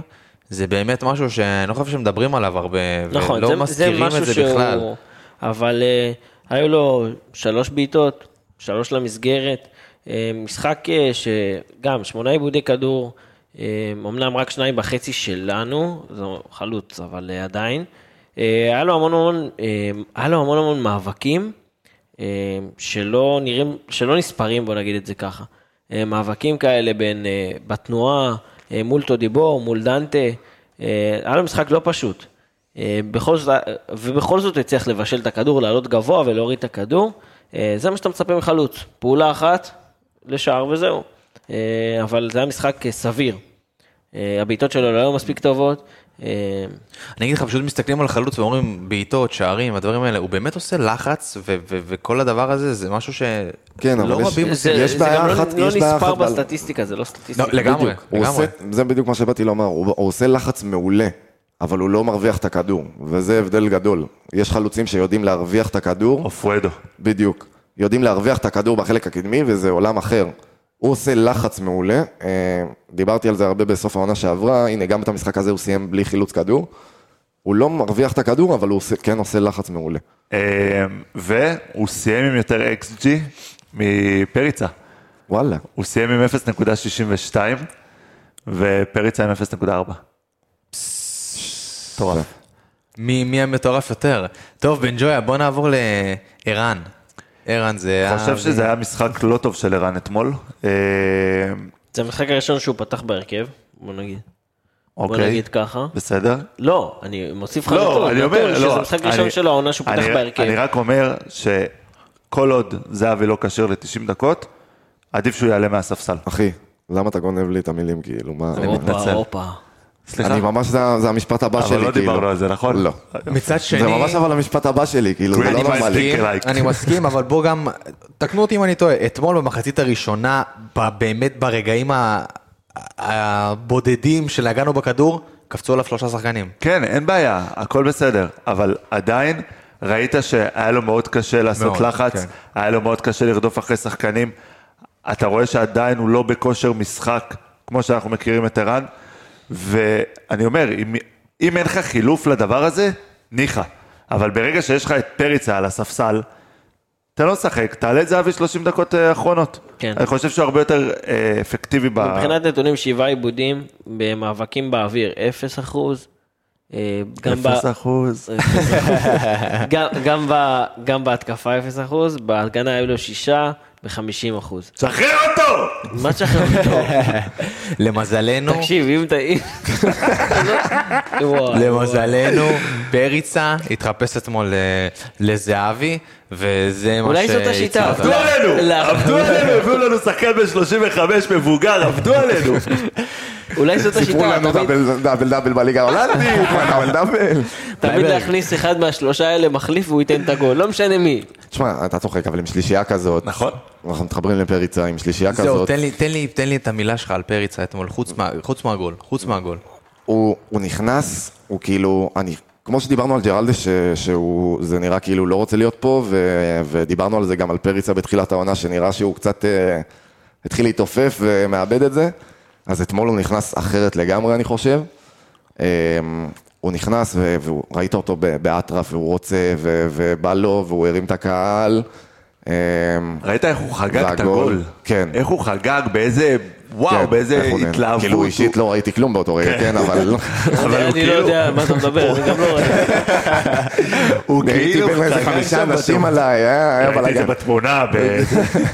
[SPEAKER 1] זה באמת משהו שאני לא חושב שמדברים עליו הרבה,
[SPEAKER 7] נכון,
[SPEAKER 1] ולא
[SPEAKER 7] זה-
[SPEAKER 1] מזכירים
[SPEAKER 7] משהו
[SPEAKER 1] את זה
[SPEAKER 7] שהוא-
[SPEAKER 1] בכלל.
[SPEAKER 7] אבל אה, היו לו שלוש בעיטות, שלוש למסגרת, אה, משחק אה, שגם שמונה עיבודי כדור, אה, אמנם רק שניים וחצי שלנו, זו חלוץ, אבל אה, עדיין. אה, היה לו המון המון, אה, היה לו המון המון מאבקים, אה, שלא נראים, שלא נספרים, בוא נגיד את זה ככה. אה, מאבקים כאלה בין, אה, בתנועה, אה, אה, מול טודיבור, מול דנטה. אה, היה לו משחק לא פשוט. אה, בכל זאת, ובכל זאת הוא הצליח לבשל את הכדור, לעלות גבוה ולהוריד את הכדור. אה, זה מה שאתה מצפה מחלוץ. פעולה אחת לשער וזהו. אה, אבל זה היה משחק אה, סביר. אה, הבעיטות שלו לא היו מספיק טובות. אה,
[SPEAKER 1] אני אגיד לך, פשוט מסתכלים על חלוץ ואומרים בעיטות, שערים, הדברים האלה, הוא באמת עושה לחץ, ו- ו- וכל הדבר הזה זה משהו שלא
[SPEAKER 5] כן, אבל יש-
[SPEAKER 1] רבים
[SPEAKER 7] זה
[SPEAKER 1] עושים.
[SPEAKER 5] יש
[SPEAKER 7] זה
[SPEAKER 5] בעיה
[SPEAKER 7] גם לא-
[SPEAKER 5] אחת-
[SPEAKER 7] לא
[SPEAKER 5] יש בעיה
[SPEAKER 7] נספר
[SPEAKER 5] אחת בעל-
[SPEAKER 7] בסטטיסטיקה, זה לא
[SPEAKER 1] לא,
[SPEAKER 7] סטטיסטיקה.
[SPEAKER 1] לגמרי,
[SPEAKER 5] הוא
[SPEAKER 1] לגמרי.
[SPEAKER 5] עושה, זה בדיוק מה שבאתי לומר, הוא, הוא עושה לחץ מעולה, אבל הוא לא מרוויח את הכדור, וזה הבדל גדול. יש חלוצים שיודעים להרוויח את הכדור,
[SPEAKER 8] אופואדו.
[SPEAKER 5] בדיוק. יודעים להרוויח את הכדור בחלק הקדמי, וזה עולם אחר. הוא עושה לחץ מעולה, אה, דיברתי על זה הרבה בסוף העונה שעברה, הנה, גם את המשחק הזה הוא סיים בלי חילוץ כדור. הוא לא מרוויח את הכדור, אבל הוא עושה, כן עושה לחץ מעולה.
[SPEAKER 8] אה, והוא סיים עם יותר XG מפריצה.
[SPEAKER 5] וואלה.
[SPEAKER 8] הוא סיים עם 0.62 ופריצה עם
[SPEAKER 7] אה,
[SPEAKER 8] 0.4.
[SPEAKER 5] מטורף.
[SPEAKER 1] מי מי המטורף יותר? טוב, בן ג'ויה, בוא נעבור לערן. ערן זה...
[SPEAKER 8] אני חושב שזה היה משחק לא טוב של ערן אתמול. אה,
[SPEAKER 7] זה המשחק הראשון שהוא פתח בהרכב, בוא נגיד. בוא
[SPEAKER 8] אוקיי,
[SPEAKER 7] נגיד ככה.
[SPEAKER 8] בסדר.
[SPEAKER 7] לא, אני מוסיף לך
[SPEAKER 8] לא, אני אומר, לא.
[SPEAKER 7] שזה משחק ראשון
[SPEAKER 8] אני-
[SPEAKER 7] שלו, העונה שהוא פתח
[SPEAKER 8] אני-
[SPEAKER 7] בהרכב.
[SPEAKER 8] אני רק אומר שכל עוד זהבי לא כשיר ל-90 דקות, עדיף שהוא יעלה מהספסל.
[SPEAKER 5] אחי, למה אתה גונב לי את המילים, כאילו, מה...
[SPEAKER 8] אני
[SPEAKER 7] הופה,
[SPEAKER 8] מתנצל.
[SPEAKER 7] הופה.
[SPEAKER 8] סליחה,
[SPEAKER 5] אני ממש, זה זה המשפט הבא שלי,
[SPEAKER 8] אבל
[SPEAKER 5] כאילו.
[SPEAKER 8] לא דיברנו על זה, נכון?
[SPEAKER 5] לא.
[SPEAKER 1] מצד שני...
[SPEAKER 5] זה ממש אבל המשפט הבא שלי, כאילו, זה
[SPEAKER 8] Great
[SPEAKER 5] לא
[SPEAKER 8] minds
[SPEAKER 5] נורמלי.
[SPEAKER 8] think alike.
[SPEAKER 1] אני מסכים, אבל בוא גם, תקנו אותי אם אני טועה, אתמול במחצית הראשונה, ב- באמת ברגעים ה- הבודדים שנגענו בכדור, קפצו עליו שלושה שחקנים.
[SPEAKER 8] כן, אין בעיה, הכל בסדר, אבל עדיין ראית שהיה לו מאוד קשה לעשות
[SPEAKER 1] מאוד,
[SPEAKER 8] מאוד, לחץ,
[SPEAKER 1] כן.
[SPEAKER 8] כן. היה לו מאוד קשה לרדוף אחרי שחקנים, אתה רואה שעדיין הוא לא בכושר משחק, כמו שאנחנו מכירים את ערן, ואני אומר, אם, אם אין לך חילוף לדבר הזה, ניחא, אבל ברגע שיש לך את פריצה על הספסל, אתה לא משחק, תעלה את זהבי 30 דקות אה, אחרונות.
[SPEAKER 7] כן.
[SPEAKER 8] אני חושב שהוא הרבה יותר אה, אפקטיבי ב...
[SPEAKER 7] מבחינת נתונים, שבעה עיבודים במאבקים באוויר, אפס אחוז. אה, גם ב- אה,
[SPEAKER 8] אפס אחוז.
[SPEAKER 7] גם- גם ב- גם בהתקפה אפס אחוז, בהגנה היו לו שישה ב-50 אחוז.
[SPEAKER 8] שחרר אותו!
[SPEAKER 7] מה שחררו
[SPEAKER 1] למזלנו,
[SPEAKER 7] תקשיב, אם אתה... אם- וואי,
[SPEAKER 1] למזלנו, פריצה התחפש אתמול אה, לזהבי, וזה מה
[SPEAKER 7] אולי זאת השיטה.
[SPEAKER 1] אותנו.
[SPEAKER 8] עבדו
[SPEAKER 7] לא,
[SPEAKER 8] עלינו,
[SPEAKER 7] לא.
[SPEAKER 8] עבדו עלינו, הביאו לנו שחקן בן 35 מבוגר, עבדו עלינו.
[SPEAKER 7] וואי. אולי זאת
[SPEAKER 5] סיפרו
[SPEAKER 7] השיטה,
[SPEAKER 5] לנו
[SPEAKER 7] תמיד-
[SPEAKER 5] דאבל דאבל דאבל בליגה ההולנדית, מה דאבל דאבל.
[SPEAKER 7] תמיד
[SPEAKER 1] טייבר.
[SPEAKER 7] להכניס אחד מהשלושה האלה מחליף והוא ייתן את הגול, לא משנה מי.
[SPEAKER 5] תשמע, אתה צוחק, אבל עם שלישייה כזאת,
[SPEAKER 8] נכון.
[SPEAKER 5] אנחנו מתחברים לפריצה עם שלישייה
[SPEAKER 1] זהו,
[SPEAKER 5] כזאת,
[SPEAKER 1] תן לי, תן לי, תן לי את המילה שלך על פריצה אתמול, חוץ מה- חוץ מהגול, חוץ מהגול.
[SPEAKER 5] הוא הוא נכנס, הוא כאילו, אני, כמו שדיברנו על ג'רלדה, ש- שהוא, זה נראה כאילו הוא לא רוצה להיות פה, ו- ודיברנו על זה גם על פריצה בתחילת העונה, שנראה שהוא קצת אה, התחיל להתעופף ומאבד את זה, אז אתמול הוא נכנס אחרת לגמרי, אני חושב. אה, הוא נכנס, ו- והוא- ראית אותו ב- באטרף, והוא רוצה, ו- ובא לו, והוא הרים את הקהל. אה,
[SPEAKER 8] ראית איך הוא חגג את
[SPEAKER 5] והגול,
[SPEAKER 8] הגול?
[SPEAKER 5] כן.
[SPEAKER 8] איך הוא חגג, באיזה, וואו,
[SPEAKER 5] כן,
[SPEAKER 8] באיזה
[SPEAKER 5] אנחנו נהנה.
[SPEAKER 8] התלהבות.
[SPEAKER 5] כאילו אישית לא ראיתי כלום באותו רגע, כן, אבל
[SPEAKER 8] אבל הוא
[SPEAKER 7] אני לא
[SPEAKER 8] כאילו-
[SPEAKER 7] יודע על מה אתה מדבר, אני גם לא רואה.
[SPEAKER 8] הוא
[SPEAKER 5] הייתי
[SPEAKER 8] כאילו
[SPEAKER 5] בין איזה
[SPEAKER 8] חגג
[SPEAKER 5] חמישה
[SPEAKER 8] שם
[SPEAKER 5] אנשים
[SPEAKER 8] בטוח.
[SPEAKER 5] עליי, היה היה
[SPEAKER 8] ראיתי את זה
[SPEAKER 5] בלאגן.
[SPEAKER 8] בתמונה, ב-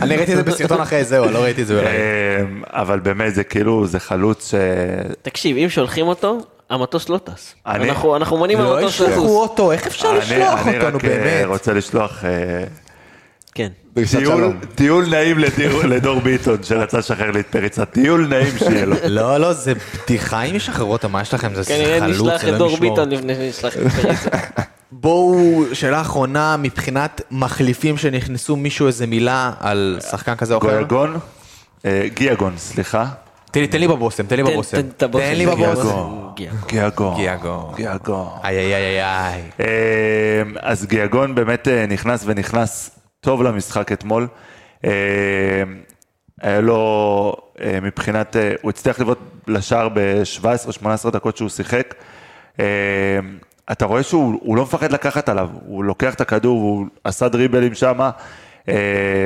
[SPEAKER 1] אני ראיתי את זה בסרטון אחרי, זהו, לא ראיתי את זה בלילה.
[SPEAKER 8] אמ, אבל באמת זה כאילו, זה חלוץ ש...
[SPEAKER 7] תקשיב, אם שולחים אותו, המטוס לא טס.
[SPEAKER 8] אני-
[SPEAKER 7] אנחנו אנחנו מונעים
[SPEAKER 1] לא
[SPEAKER 7] מהמטוס לטוס.
[SPEAKER 1] ישלחו אותו, איך אפשר לשלוח
[SPEAKER 8] אני
[SPEAKER 1] אותנו
[SPEAKER 8] רק אה,
[SPEAKER 1] באמת?
[SPEAKER 8] רוצה לשלוח אה,
[SPEAKER 7] כן.
[SPEAKER 5] דרישת
[SPEAKER 8] טיול-
[SPEAKER 5] שלום.
[SPEAKER 8] טיול נעים לדיר- לדור ביטון שרצה לשחרר לי את פריצה, טיול נעים שיהיה לו.
[SPEAKER 1] לא, לא, זה בדיחה אם ישחררו אותם, מה יש לכם? זה
[SPEAKER 7] כנראה
[SPEAKER 1] חלוץ,
[SPEAKER 7] נשלח כן, את
[SPEAKER 1] אלוהים
[SPEAKER 7] דור
[SPEAKER 1] ישמור.
[SPEAKER 7] ביטון לפני שנשלח את פריצה.
[SPEAKER 1] בואו, שאלה אחרונה, מבחינת מחליפים שנכנסו מישהו איזה מילה על שחקן כזה או אחר?
[SPEAKER 8] גויגון, אה, גיאגון, סליחה.
[SPEAKER 1] תן לי- תן לי בבושם, תן לי
[SPEAKER 7] תן-
[SPEAKER 1] בבושם.
[SPEAKER 7] תן את הבושם.
[SPEAKER 1] תן לי
[SPEAKER 7] גיאגון.
[SPEAKER 1] בבושם.
[SPEAKER 7] גיאגון.
[SPEAKER 8] גיאגון.
[SPEAKER 1] גיאגון.
[SPEAKER 8] גיאגון.
[SPEAKER 1] איי איי איי איי.
[SPEAKER 8] אה, אז גיאגון באמת אה, נכנס ונכנס טוב למשחק אתמול. אה, היה לו אה, מבחינת, אה, הוא הצליח לבעוט לשער ב-17-18 דקות שהוא שיחק. אה, אתה רואה שהוא הוא לא מפחד לקחת עליו, הוא לוקח את הכדור, הוא עשה דריבלים שמה. אה,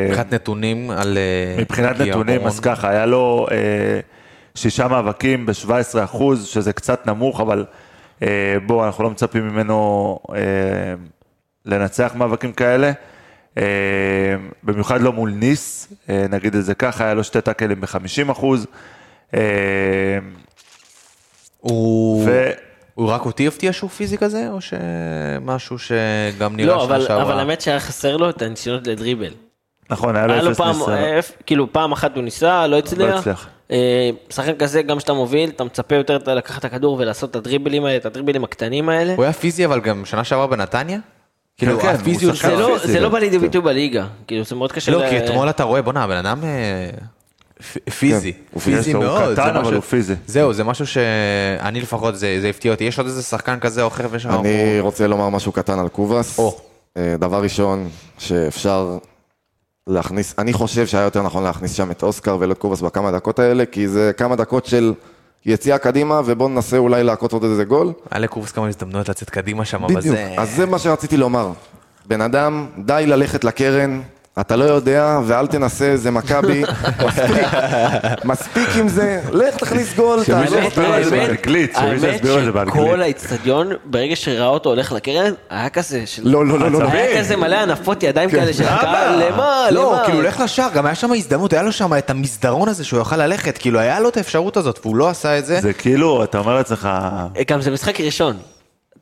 [SPEAKER 1] מבחינת נתונים על... אה,
[SPEAKER 8] מבחינת
[SPEAKER 1] גיאגון.
[SPEAKER 8] נתונים, אז ככה, היה לו אה, שישה מאבקים ב-17 אחוז, שזה קצת נמוך, אבל אה, בואו, אנחנו לא מצפים ממנו אה, לנצח מאבקים כאלה. אה, במיוחד לא מול ניס, אה, נגיד את זה ככה, היה לו שתי טאקלים ב-50 אחוז. אה,
[SPEAKER 1] הוא...
[SPEAKER 8] ו-
[SPEAKER 1] הוא רק אותי הפתיע שהוא פיזי כזה, או שמשהו שגם נראה
[SPEAKER 7] לא,
[SPEAKER 1] שנה
[SPEAKER 7] אבל, אבל
[SPEAKER 1] שעברה?
[SPEAKER 7] האמת שהיה חסר לו את הניסיונות לדריבל.
[SPEAKER 8] נכון, היה
[SPEAKER 7] היה
[SPEAKER 8] לו
[SPEAKER 7] לו
[SPEAKER 8] אפס
[SPEAKER 7] פעם,
[SPEAKER 8] ניסיון.
[SPEAKER 7] אה, אפ- כאילו פעם אחת הוא ניסה, לא הצליח.
[SPEAKER 8] לא הצליח.
[SPEAKER 7] אה, שחקן כזה, גם כשאתה מוביל, אתה מצפה יותר אתה לקחת את הכדור ולעשות את הדריבלים האלה, את הדריבלים הקטנים האלה.
[SPEAKER 1] הוא היה פיזי אבל גם שנה שעברה בנתניה? כאילו
[SPEAKER 8] כן, הוא
[SPEAKER 1] הפיזיות
[SPEAKER 8] שחקן
[SPEAKER 7] זה לא-
[SPEAKER 8] פיזי,
[SPEAKER 7] זה לא
[SPEAKER 8] כן.
[SPEAKER 7] בא לידי ביטוי בליגה, כאילו זה מאוד קשה.
[SPEAKER 1] לא,
[SPEAKER 7] ל-
[SPEAKER 1] כי אתמול אתה רואה, בואנה, הבן אדם אה, פ- פיזי.
[SPEAKER 5] כן,
[SPEAKER 1] הוא
[SPEAKER 5] הוא
[SPEAKER 1] פיזי
[SPEAKER 8] פיזי, הוא
[SPEAKER 1] מאוד. זה
[SPEAKER 8] קטן, אבל
[SPEAKER 1] משהו-
[SPEAKER 8] הוא פיזי.
[SPEAKER 1] זהו, זה משהו שאני לפחות, זה זה הפתיע אותי. יש עוד איזה שחקן כזה או אחר
[SPEAKER 8] אה,
[SPEAKER 1] ויש לך...
[SPEAKER 8] אוקיי.
[SPEAKER 5] אני רוצה לומר משהו קטן על קובאס.
[SPEAKER 1] או.
[SPEAKER 5] אה, דבר ראשון, שאפשר להכניס, אני חושב שהיה יותר נכון להכניס שם את אוסקר ולא את קובאס בכמה דקות האלה, כי זה כמה דקות של יציאה קדימה, ובואו ננסה אולי להכות עוד איזה גול.
[SPEAKER 1] היה לקורס כמה הזדמנויות לצאת קדימה שם, אבל
[SPEAKER 5] בדיוק,
[SPEAKER 1] זה...
[SPEAKER 5] אז זה מה שרציתי לומר. בן אדם, די ללכת לקרן. אתה לא יודע, ואל תנסה, זה מכבי, מספיק, מספיק עם זה, לך תכניס גול,
[SPEAKER 8] שמישהו
[SPEAKER 5] תעזוב
[SPEAKER 8] יסביר לו את זה
[SPEAKER 7] האמת-
[SPEAKER 8] באנגלית, שמישהו
[SPEAKER 7] האמת
[SPEAKER 8] יסביר לו את זה באנגלית.
[SPEAKER 7] שכל האיצטדיון, ברגע שראה אותו הולך לקרן, היה כזה של...
[SPEAKER 5] לא, לא, לא, לא, לא.
[SPEAKER 7] היה כזה מלא הנפות ידיים
[SPEAKER 8] כן.
[SPEAKER 7] כאלה של הקהל, למה,
[SPEAKER 1] לא,
[SPEAKER 7] למה?
[SPEAKER 1] כאילו, לך לשער, גם היה שם הזדמנות, היה לו שם את המסדרון הזה שהוא יוכל ללכת, כאילו, היה לו את האפשרות הזאת, והוא לא עשה את זה.
[SPEAKER 8] זה כאילו, אתה אומר לעצמך...
[SPEAKER 7] אה, גם זה משחק ראשון.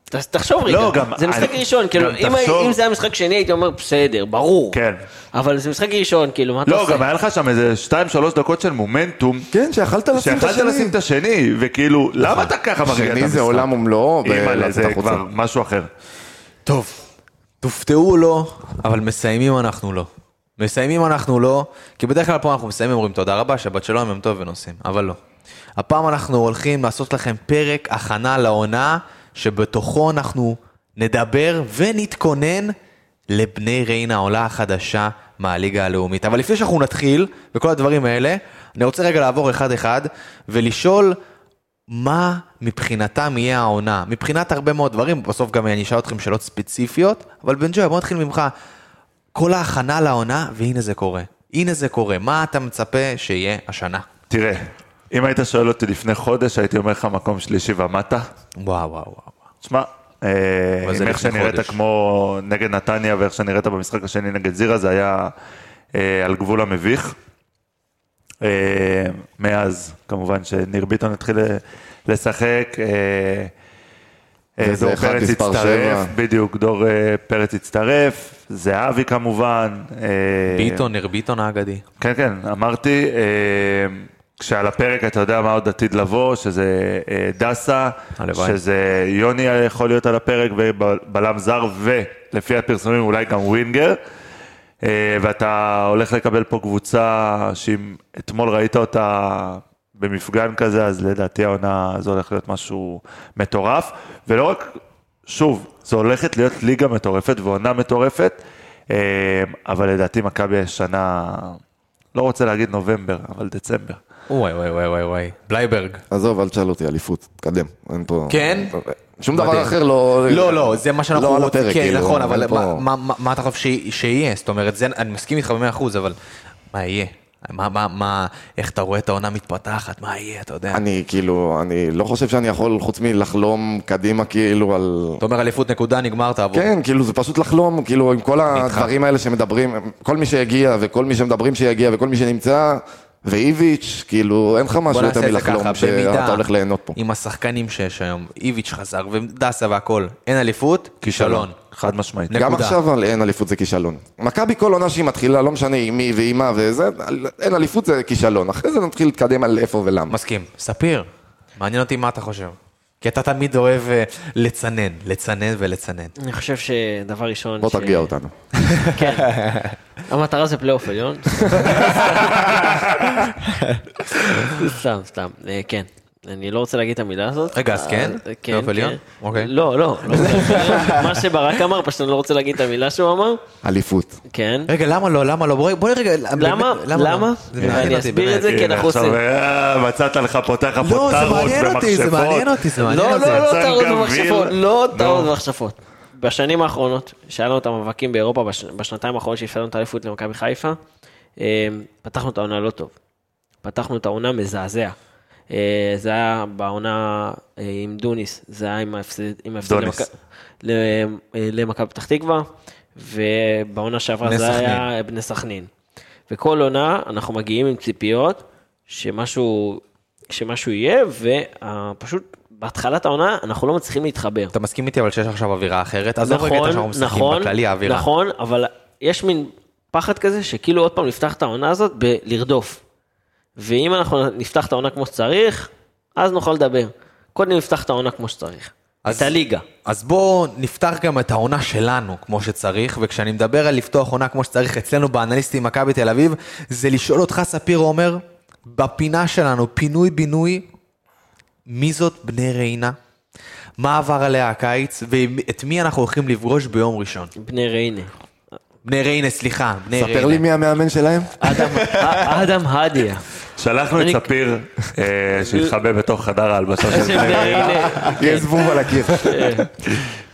[SPEAKER 7] ת- תחשוב רגע,
[SPEAKER 8] לא, גם-
[SPEAKER 7] זה משחק
[SPEAKER 8] אני-
[SPEAKER 7] ראשון, כאילו,
[SPEAKER 8] גם
[SPEAKER 7] אם
[SPEAKER 8] תחשוב-
[SPEAKER 7] אם זה היה משחק שני הייתי אומר, בסדר, ברור.
[SPEAKER 8] כן.
[SPEAKER 7] אבל זה משחק ראשון, כאילו, מה אתה
[SPEAKER 8] לא,
[SPEAKER 7] עושה?
[SPEAKER 8] גם היה לך שם איזה 2-3 דקות של מומנטום.
[SPEAKER 5] כן, שיכלת לשים את
[SPEAKER 8] שיכלת
[SPEAKER 5] השני.
[SPEAKER 8] לשים את השני, וכאילו, למה אתה ככה מרגיע את המשחק?
[SPEAKER 5] שני נכון. זה עולם ומלואו,
[SPEAKER 8] אימא'לה,
[SPEAKER 5] ולצאת
[SPEAKER 8] זה
[SPEAKER 5] החוצה.
[SPEAKER 8] כבר משהו אחר.
[SPEAKER 1] טוב, תופתעו או לא, אבל מסיימים אנחנו לא. מסיימים אנחנו לא, כי בדרך כלל פה אנחנו מסיימים, אומרים תודה רבה, שבת שלום, יום טוב ונוסעים, אבל לא. הפעם אנחנו הולכים לעשות לכם פרק הכנה לעונה, שבתוכו אנחנו נדבר ונתכונן לבני ריינה העולה החדשה מהליגה הלאומית. אבל לפני שאנחנו נתחיל, וכל הדברים האלה, אני רוצה רגע לעבור אחד-אחד, ולשאול מה מבחינתם יהיה העונה? מבחינת הרבה מאוד דברים, בסוף גם אני אשאל אתכם שאלות ספציפיות, אבל בן ג'וי, בוא נתחיל ממך. כל ההכנה לעונה, והנה זה קורה. הנה זה קורה, מה אתה מצפה שיהיה השנה?
[SPEAKER 8] תראה, אם היית שואל אותי לפני חודש, הייתי אומר לך מקום שלישי ומטה.
[SPEAKER 1] וואו, וואו, וואו.
[SPEAKER 8] תשמע, אה,
[SPEAKER 1] אבל זה
[SPEAKER 8] עם איך
[SPEAKER 1] לפני
[SPEAKER 8] שנראית
[SPEAKER 1] חודש.
[SPEAKER 8] כמו נגד נתניה ואיך שנראית במשחק השני נגד זירה, זה היה אה, על גבול המביך. אה, מאז, כמובן, שניר ביטון התחיל ל- לשחק. אה, אה,
[SPEAKER 5] וזה
[SPEAKER 8] דור
[SPEAKER 5] אחד
[SPEAKER 8] פרץ
[SPEAKER 5] מספר
[SPEAKER 8] הצטרף,
[SPEAKER 5] שבע.
[SPEAKER 8] בדיוק, דור אה, פרץ הצטרף, זהבי כמובן. אה,
[SPEAKER 1] ביטון, ניר ביטון האגדי.
[SPEAKER 8] כן, כן, אמרתי, אה, כשעל הפרק אתה יודע מה עוד עתיד לבוא, שזה אה, דסה,
[SPEAKER 1] הלוואי.
[SPEAKER 8] שזה יוני יכול להיות על הפרק, ובלם זר, ולפי הפרסומים אולי גם ווינגר. אה, ואתה הולך לקבל פה קבוצה שאם אתמול ראית אותה במפגן כזה, אז לדעתי העונה הזו הולך להיות משהו מטורף. ולא רק, שוב, זו הולכת להיות ליגה מטורפת ועונה מטורפת, אה, אבל לדעתי מכבי השנה, לא רוצה להגיד נובמבר, אבל דצמבר.
[SPEAKER 1] וואי, וואי, וואי, וואי, וואי. בלייברג.
[SPEAKER 5] עזוב, אל תשאל אותי, אליפות, תקדם, אין פה...
[SPEAKER 1] כן?
[SPEAKER 5] שום
[SPEAKER 1] מדהים.
[SPEAKER 5] דבר אחר לא...
[SPEAKER 1] לא, לא, זה מה שאנחנו
[SPEAKER 5] לא על
[SPEAKER 1] רוצים,
[SPEAKER 5] הפרק,
[SPEAKER 1] כן,
[SPEAKER 5] כאילו,
[SPEAKER 1] נכון, אבל
[SPEAKER 5] אין פה-
[SPEAKER 1] מה- מה- מה- מה אתה חושב ש- שיהיה? זאת אומרת, זה- אני מסכים איתך במאה אחוז, אבל מה יהיה? מה, מה, מה, איך אתה רואה את העונה מתפתחת? מה יהיה, אתה יודע?
[SPEAKER 5] אני כאילו, אני לא חושב שאני יכול, חוץ מלחלום קדימה כאילו על...
[SPEAKER 1] אתה אומר אליפות נקודה, נגמר, תעבור.
[SPEAKER 5] כן, כאילו זה פשוט לחלום, כאילו עם כל הדברים האלה שמדברים, כל מי שיגיע וכל מי שמדברים שיגיע וכל מי שנמצא, ואיביץ', כאילו אין לך משהו יותר מלחלום שאתה הולך ליהנות פה.
[SPEAKER 1] עם השחקנים שיש היום, איביץ' חזר ודסה והכל, אין אליפות, כישלון.
[SPEAKER 8] חד משמעית.
[SPEAKER 1] נק-
[SPEAKER 5] גם
[SPEAKER 1] נקודה.
[SPEAKER 5] עכשיו על- אין אליפות זה כישלון. מכבי כל עונה שהיא מתחילה, לא משנה עם מי ועם מה וזה, על- אין אליפות זה כישלון. אחרי זה נתחיל להתקדם על איפה ולמה.
[SPEAKER 1] מסכים. ספיר, מעניין אותי מה אתה חושב. כי אתה תמיד אוהב אה, לצנן, לצנן ולצנן.
[SPEAKER 7] אני חושב שדבר ראשון...
[SPEAKER 5] בוא
[SPEAKER 7] ש-
[SPEAKER 5] תרגיע אותנו.
[SPEAKER 7] כן. המטרה זה פלייאוף עליון. סתם, סתם, אה, כן. אני לא רוצה להגיד את המילה הזאת.
[SPEAKER 1] רגע, אז כן?
[SPEAKER 7] אה, כן,
[SPEAKER 1] פלייאוף עליון?
[SPEAKER 7] כן.
[SPEAKER 1] אוקיי.
[SPEAKER 7] לא, לא. לא. מה שברק אמר, פשוט אני לא רוצה להגיד את המילה שהוא אמר.
[SPEAKER 5] אליפות.
[SPEAKER 7] כן.
[SPEAKER 1] רגע, למה לא? למה לא? בואי בואי רגע...
[SPEAKER 7] למה?
[SPEAKER 1] באמת, לא?
[SPEAKER 7] למה?
[SPEAKER 1] זה מעניין
[SPEAKER 7] אני
[SPEAKER 1] אותי,
[SPEAKER 7] אסביר
[SPEAKER 1] באמת.
[SPEAKER 7] את זה, כי
[SPEAKER 8] הנה,
[SPEAKER 7] כן, אנחנו
[SPEAKER 8] עכשיו,
[SPEAKER 7] עושים...
[SPEAKER 8] אה, מצאת לך פותח
[SPEAKER 1] לא,
[SPEAKER 8] הפוטרות
[SPEAKER 1] זה מעניין אותי, זה
[SPEAKER 8] במכשפות.
[SPEAKER 1] מעניין אותי, זה מעניין
[SPEAKER 7] לא,
[SPEAKER 1] אותי.
[SPEAKER 7] לא, לא
[SPEAKER 8] יצא
[SPEAKER 7] טעות
[SPEAKER 8] גביר.
[SPEAKER 7] ומכשפות, לא
[SPEAKER 8] נו.
[SPEAKER 7] טעות ומכשפות. בשנים האחרונות, שהיה לנו את המאבקים באירופה, בש- בשנתיים האחרונות שהפסדנו את האליפות למכבי חיפה, אה, פתחנו את העונה לא טוב. פתחנו את העונה מזעזע. אה, זה היה בעונה אה, עם דוניס, זה היה עם ההפסד עם ההפסד
[SPEAKER 8] דוניס.
[SPEAKER 7] למכ- ל- אה, למכבי פתח תקווה, ובעונה שעברה
[SPEAKER 1] בני
[SPEAKER 7] זה
[SPEAKER 1] סכנין.
[SPEAKER 7] היה בני סכנין. וכל עונה אנחנו מגיעים עם ציפיות שמשהו, שמשהו יהיה, ופשוט בהתחלת העונה אנחנו לא מצליחים להתחבר.
[SPEAKER 1] אתה מסכים איתי אבל שיש עכשיו אווירה אחרת? עזוב רגע את השאר המשחקים, בכללי האווירה.
[SPEAKER 7] נכון, אבל יש מין פחד כזה שכאילו עוד פעם נפתח את העונה הזאת בלרדוף. ואם אנחנו נפתח את העונה כמו שצריך, אז נוכל לדבר. קודם נפתח את העונה כמו שצריך.
[SPEAKER 1] אז-
[SPEAKER 7] את הליגה.
[SPEAKER 1] אז בואו נפתח גם את העונה שלנו כמו שצריך, וכשאני מדבר על לפתוח עונה כמו שצריך אצלנו באנליסטים מכבי תל אביב, זה לשאול אותך, ספיר עומר, בפינה שלנו, פינוי-בינוי, מי זאת בני ריינה? מה עבר עליה הקיץ, ואת מי אנחנו הולכים לפגוש ביום ראשון?
[SPEAKER 7] בני ריינה.
[SPEAKER 1] בני ריינה, סליחה, בני ריינה.
[SPEAKER 5] ספר לי מי המאמן שלהם.
[SPEAKER 7] אדם- אדם הדיה.
[SPEAKER 8] שלחנו את
[SPEAKER 7] אני-
[SPEAKER 8] ספיר, אה, שהתחבא בתוך חדר ההלבשה של
[SPEAKER 7] זה בני ריינה.
[SPEAKER 5] יהיה זבוב על הקיר.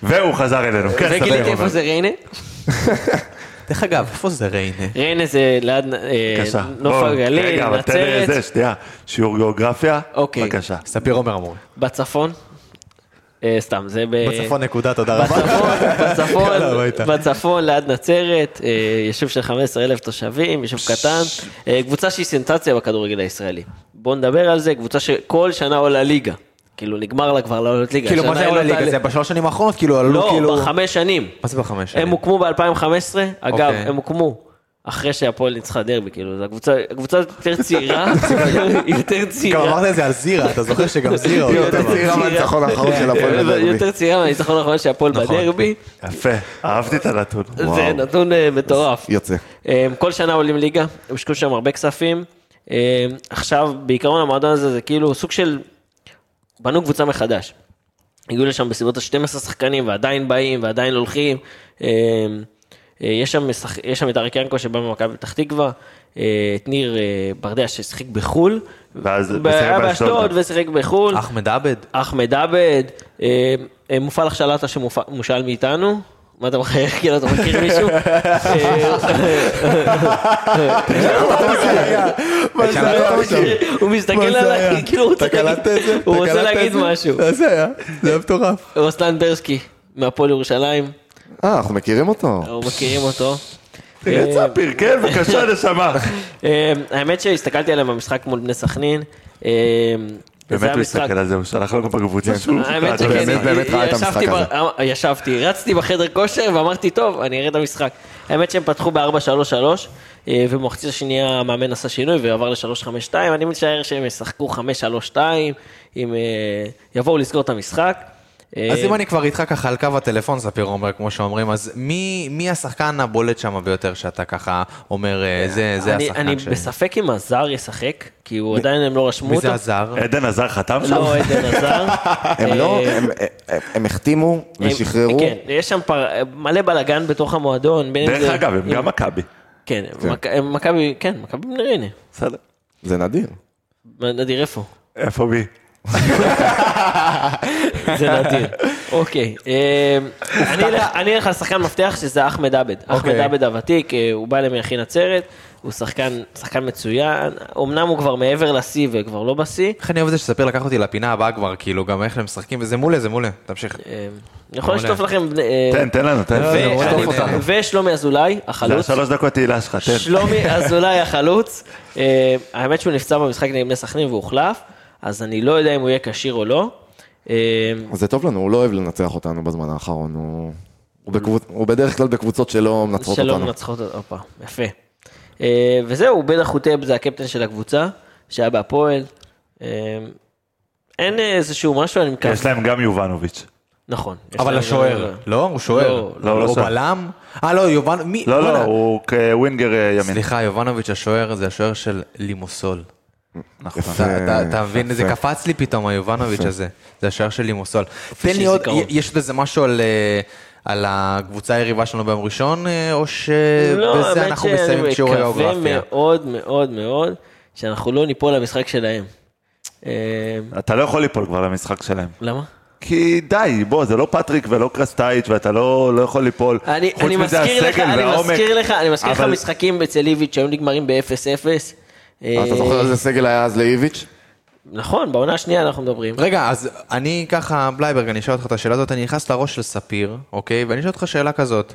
[SPEAKER 8] והוא חזר אלינו. כן,
[SPEAKER 7] וגיליתי איפה
[SPEAKER 8] ספיר.
[SPEAKER 7] זה ריינה?
[SPEAKER 1] דרך אגב, איפה זה ריינה?
[SPEAKER 7] ריינה זה ליד אה,
[SPEAKER 8] בבקשה.
[SPEAKER 7] נוף
[SPEAKER 8] בוא,
[SPEAKER 7] הגליל,
[SPEAKER 8] רגע, אבל תן לי
[SPEAKER 7] נצרת,
[SPEAKER 8] זה, שנייה. שיעור גיאוגרפיה.
[SPEAKER 7] אוקיי.
[SPEAKER 8] בבקשה.
[SPEAKER 1] ספיר עומר אמור.
[SPEAKER 7] בצפון. אה, סתם, זה ב...
[SPEAKER 1] בצפון נקודה, תודה רבה.
[SPEAKER 7] בצפון, בצפון,
[SPEAKER 1] יאללה, הביתה.
[SPEAKER 7] בצפון ליד נצרת, אה, יישוב של 15 אלף תושבים, יישוב קטן, אה, קבוצה שהיא סנסציה בכדורגל הישראלי. בואו נדבר על זה, קבוצה שכל שנה עולה ליגה. כאילו נגמר לה כבר לעלות ליגה.
[SPEAKER 1] כאילו, מה
[SPEAKER 7] השנה
[SPEAKER 1] זה
[SPEAKER 7] היא
[SPEAKER 1] עולה
[SPEAKER 7] לא
[SPEAKER 1] ליגה?
[SPEAKER 7] תעלה-
[SPEAKER 1] זה בשלוש שנים האחרונות? כאילו, עלו כאילו...
[SPEAKER 7] לא, בחמש שנים.
[SPEAKER 1] מה זה בחמש אה,
[SPEAKER 7] הם
[SPEAKER 1] שנים?
[SPEAKER 7] הוקמו ב-2015, אגב,
[SPEAKER 1] אוקיי.
[SPEAKER 7] הם הוקמו אחרי שהפועל ניצחה דרבי, כאילו, זו הקבוצה הקבוצה יותר צעירה, יותר
[SPEAKER 1] גם
[SPEAKER 7] צעירה.
[SPEAKER 1] אמרת את זה על זירה, אתה זוכר שגם זירה... אותו
[SPEAKER 5] יותר
[SPEAKER 1] דבר.
[SPEAKER 5] צעירה מהניצחון האחרון של הפועל בדרבי.
[SPEAKER 7] אה, יותר צעירה מהניצחון האחרון של הפועל
[SPEAKER 1] נכון.
[SPEAKER 7] בדרבי,
[SPEAKER 8] יפה, אהבתי את הנתון.
[SPEAKER 7] זה נתון אה, מטורף.
[SPEAKER 5] יוצא.
[SPEAKER 7] אה, כל שנה עולים ליגה, הם השקיעו שם הרבה כספים. אה, עכשיו, בעיקרון המועדון הזה זה כאילו סוג של... בנו קבוצה מחדש. הגיעו לשם בסביבות ה-12 שחקנים ועדיין באים ועדיין הולכים. אה, אה, יש שם, משח- יש שם את אריק ינקו שבא ממכבי פתח תקווה, אה, את ניר אה, ברדע ששיחק בחו"ל.
[SPEAKER 8] ואז
[SPEAKER 7] ב-
[SPEAKER 8] ושיחק
[SPEAKER 7] היה
[SPEAKER 8] באשדוד.
[SPEAKER 7] באשדוד ושיחק בחו"ל.
[SPEAKER 1] אחמד עבד?
[SPEAKER 7] אחמד עבד, אה, אה, מופעל החשלטה שמושאל מאיתנו. מה אתה מחייך? כאילו אתה מכיר מישהו? אה,
[SPEAKER 1] לא
[SPEAKER 7] הוא מסתכל עליי, כאילו הוא רוצה להגיד- הוא רוצה להגיד משהו.
[SPEAKER 1] זה היה, זה היה מטורף.
[SPEAKER 7] רוסלן ברסקי, מהפועל ירושלים,
[SPEAKER 5] אה, אנחנו מכירים אותו.
[SPEAKER 7] אנחנו מכירים אותו.
[SPEAKER 8] תראה את ספיר, כן, בבקשה, נשמה.
[SPEAKER 7] אה, האמת שהסתכלתי עליהם במשחק מול בני סכנין. אה, זה
[SPEAKER 8] באמת הוא
[SPEAKER 7] המשחק-
[SPEAKER 8] הסתכל על זה, הוא שלח לנו בקבוצה שהוא...
[SPEAKER 7] האמת
[SPEAKER 8] הוא
[SPEAKER 7] שכן,
[SPEAKER 8] באמת, באמת.
[SPEAKER 5] באמת ראה את
[SPEAKER 7] ישבתי
[SPEAKER 5] המשחק
[SPEAKER 7] ב- אה, ישבתי, רצתי בחדר כושר ואמרתי, טוב, אני אראה את המשחק. האמת שהם פתחו ב-4-3-3, אה, ובמחצית השנייה המאמן עשה שינוי ועבר ל-3-5-2, אני משער שהם ישחקו 5-3-2, אם אה, יבואו לזכור את המשחק. אה,
[SPEAKER 1] אז אם אני כבר איתך ככה על קו הטלפון, ספיר עומר, כמו שאומרים, אז מי מי השחקן הבולט שם ביותר שאתה ככה אומר, אה, זה זה
[SPEAKER 7] אני-
[SPEAKER 1] השחקן
[SPEAKER 7] אני
[SPEAKER 1] שלי?
[SPEAKER 7] בספק אם הזר ישחק, כי הוא עדיין הם לא רשמו
[SPEAKER 1] מי
[SPEAKER 7] אותו.
[SPEAKER 1] זה הזר?
[SPEAKER 8] עדן עזר חתם שם?
[SPEAKER 7] לא, עדן הזר.
[SPEAKER 5] הם לא, הם- הם- הם החתימו ושחררו.
[SPEAKER 7] אה, כן, יש שם פר- מלא בלאגן בתוך המועדון. בין אם
[SPEAKER 8] דרך
[SPEAKER 7] זה-
[SPEAKER 8] אגב, הם
[SPEAKER 7] אם-
[SPEAKER 8] גם מכבי.
[SPEAKER 7] כן, מכ- הם מכבי, כן, מכבי בני ריינה.
[SPEAKER 8] בסדר.
[SPEAKER 5] זה נדיר.
[SPEAKER 7] נדיר איפה?
[SPEAKER 8] איפה מי?
[SPEAKER 7] זה נדיר. אוקיי, אה, אני אלך- אני אלך על שחקן מפתח שזה אחמד עבד.
[SPEAKER 8] אוקיי.
[SPEAKER 7] אחמד עבד הוותיק, אה, הוא בא למלכי נצרת, הוא שחקן שחקן מצוין, אמנם הוא כבר מעבר לשיא וכבר לא בשיא.
[SPEAKER 1] איך אני אוהב את זה שספיר לקח אותי לפינה הבאה כבר, כאילו, גם איך הם משחקים, וזה מולה, זה מולה, תמשיך.
[SPEAKER 7] אה, אני יכול
[SPEAKER 1] מעולה.
[SPEAKER 7] לשטוף לכם... בני- אה,
[SPEAKER 8] תן, תן לנו, תן.
[SPEAKER 7] ו-
[SPEAKER 1] זה
[SPEAKER 8] לנו.
[SPEAKER 1] מאוד
[SPEAKER 7] אני-
[SPEAKER 1] טוב אותנו.
[SPEAKER 7] ושלומי אזולאי,
[SPEAKER 8] זה
[SPEAKER 7] החלוץ.
[SPEAKER 8] השלוש דקות תהילה שלך, תן.
[SPEAKER 7] שלומי אזולאי החלוץ, אה, האמת שהוא נפצע במשחק נגד בני סכנין והוחלף, אז אני לא יודע אם הוא יהיה כשיר או לא. אה,
[SPEAKER 5] זה טוב לנו, הוא לא אוהב לנצח אותנו בזמן האחרון, הוא- הוא בקבוצ- הוא בדרך כלל בקבוצות שלא מנצחות
[SPEAKER 7] שלא
[SPEAKER 5] אותנו.
[SPEAKER 7] מנצחות אותנו. הופה, יפה. אה, וזהו, בן החוטב זה הקפטן של הקבוצה, שהיה בהפועל. אה, אין איזשהו משהו, אני מקווה.
[SPEAKER 8] יש להם גם יובנוביץ'.
[SPEAKER 7] נכון. יש
[SPEAKER 1] אבל
[SPEAKER 7] להם-
[SPEAKER 1] השוער, לא? הוא שוער.
[SPEAKER 7] לא,
[SPEAKER 8] לא, לא
[SPEAKER 1] הוא
[SPEAKER 8] שוער.
[SPEAKER 1] בלם? אה, לא, יובנוביץ', מי?
[SPEAKER 8] לא,
[SPEAKER 1] בוא'נה.
[SPEAKER 8] לא, הוא כווינגר אה, ימין.
[SPEAKER 1] סליחה, יובנוביץ' השוער זה השוער של לימוסול.
[SPEAKER 8] נכון.
[SPEAKER 1] אתה- אתה אתה מבין, זה
[SPEAKER 5] יפה.
[SPEAKER 1] קפץ לי פתאום, היובנוביץ' הזה. זה השער של לימוסול. תן לי
[SPEAKER 7] של
[SPEAKER 1] עוד,
[SPEAKER 7] זיכרון.
[SPEAKER 1] יש עוד איזה משהו על... אה, על הקבוצה היריבה שלנו ביום ראשון, אה, או
[SPEAKER 7] לא,
[SPEAKER 1] שבזה
[SPEAKER 7] האמת
[SPEAKER 1] אנחנו מסיימים את שיעור
[SPEAKER 7] שאני מקווה
[SPEAKER 1] הגיאוגרפיה?
[SPEAKER 7] מאוד מאוד מאוד שאנחנו לא ניפול למשחק שלהם. אה,
[SPEAKER 8] אתה לא יכול ליפול כבר למשחק שלהם.
[SPEAKER 7] למה?
[SPEAKER 8] כי די, בוא, זה לא פטריק ולא קרסטייץ' ואתה לא לא יכול ליפול.
[SPEAKER 7] אני,
[SPEAKER 8] חוץ
[SPEAKER 7] אני,
[SPEAKER 8] מזה,
[SPEAKER 7] מזכיר לך,
[SPEAKER 8] הסגל
[SPEAKER 7] אני
[SPEAKER 8] והעומק.
[SPEAKER 7] מזכיר לך, אני מזכיר לך
[SPEAKER 8] אבל-
[SPEAKER 7] משחקים אצל איביץ' שהיו נגמרים ב-0-0.
[SPEAKER 5] אה, אתה זוכר איזה סגל היה אז לאיביץ'?
[SPEAKER 7] נכון, בעונה השנייה אנחנו מדברים.
[SPEAKER 1] רגע, אז אני ככה, בלייברג, אני אשאל אותך את השאלה הזאת, אני נכנס לראש של ספיר, אוקיי? ואני אשאל אותך שאלה כזאת.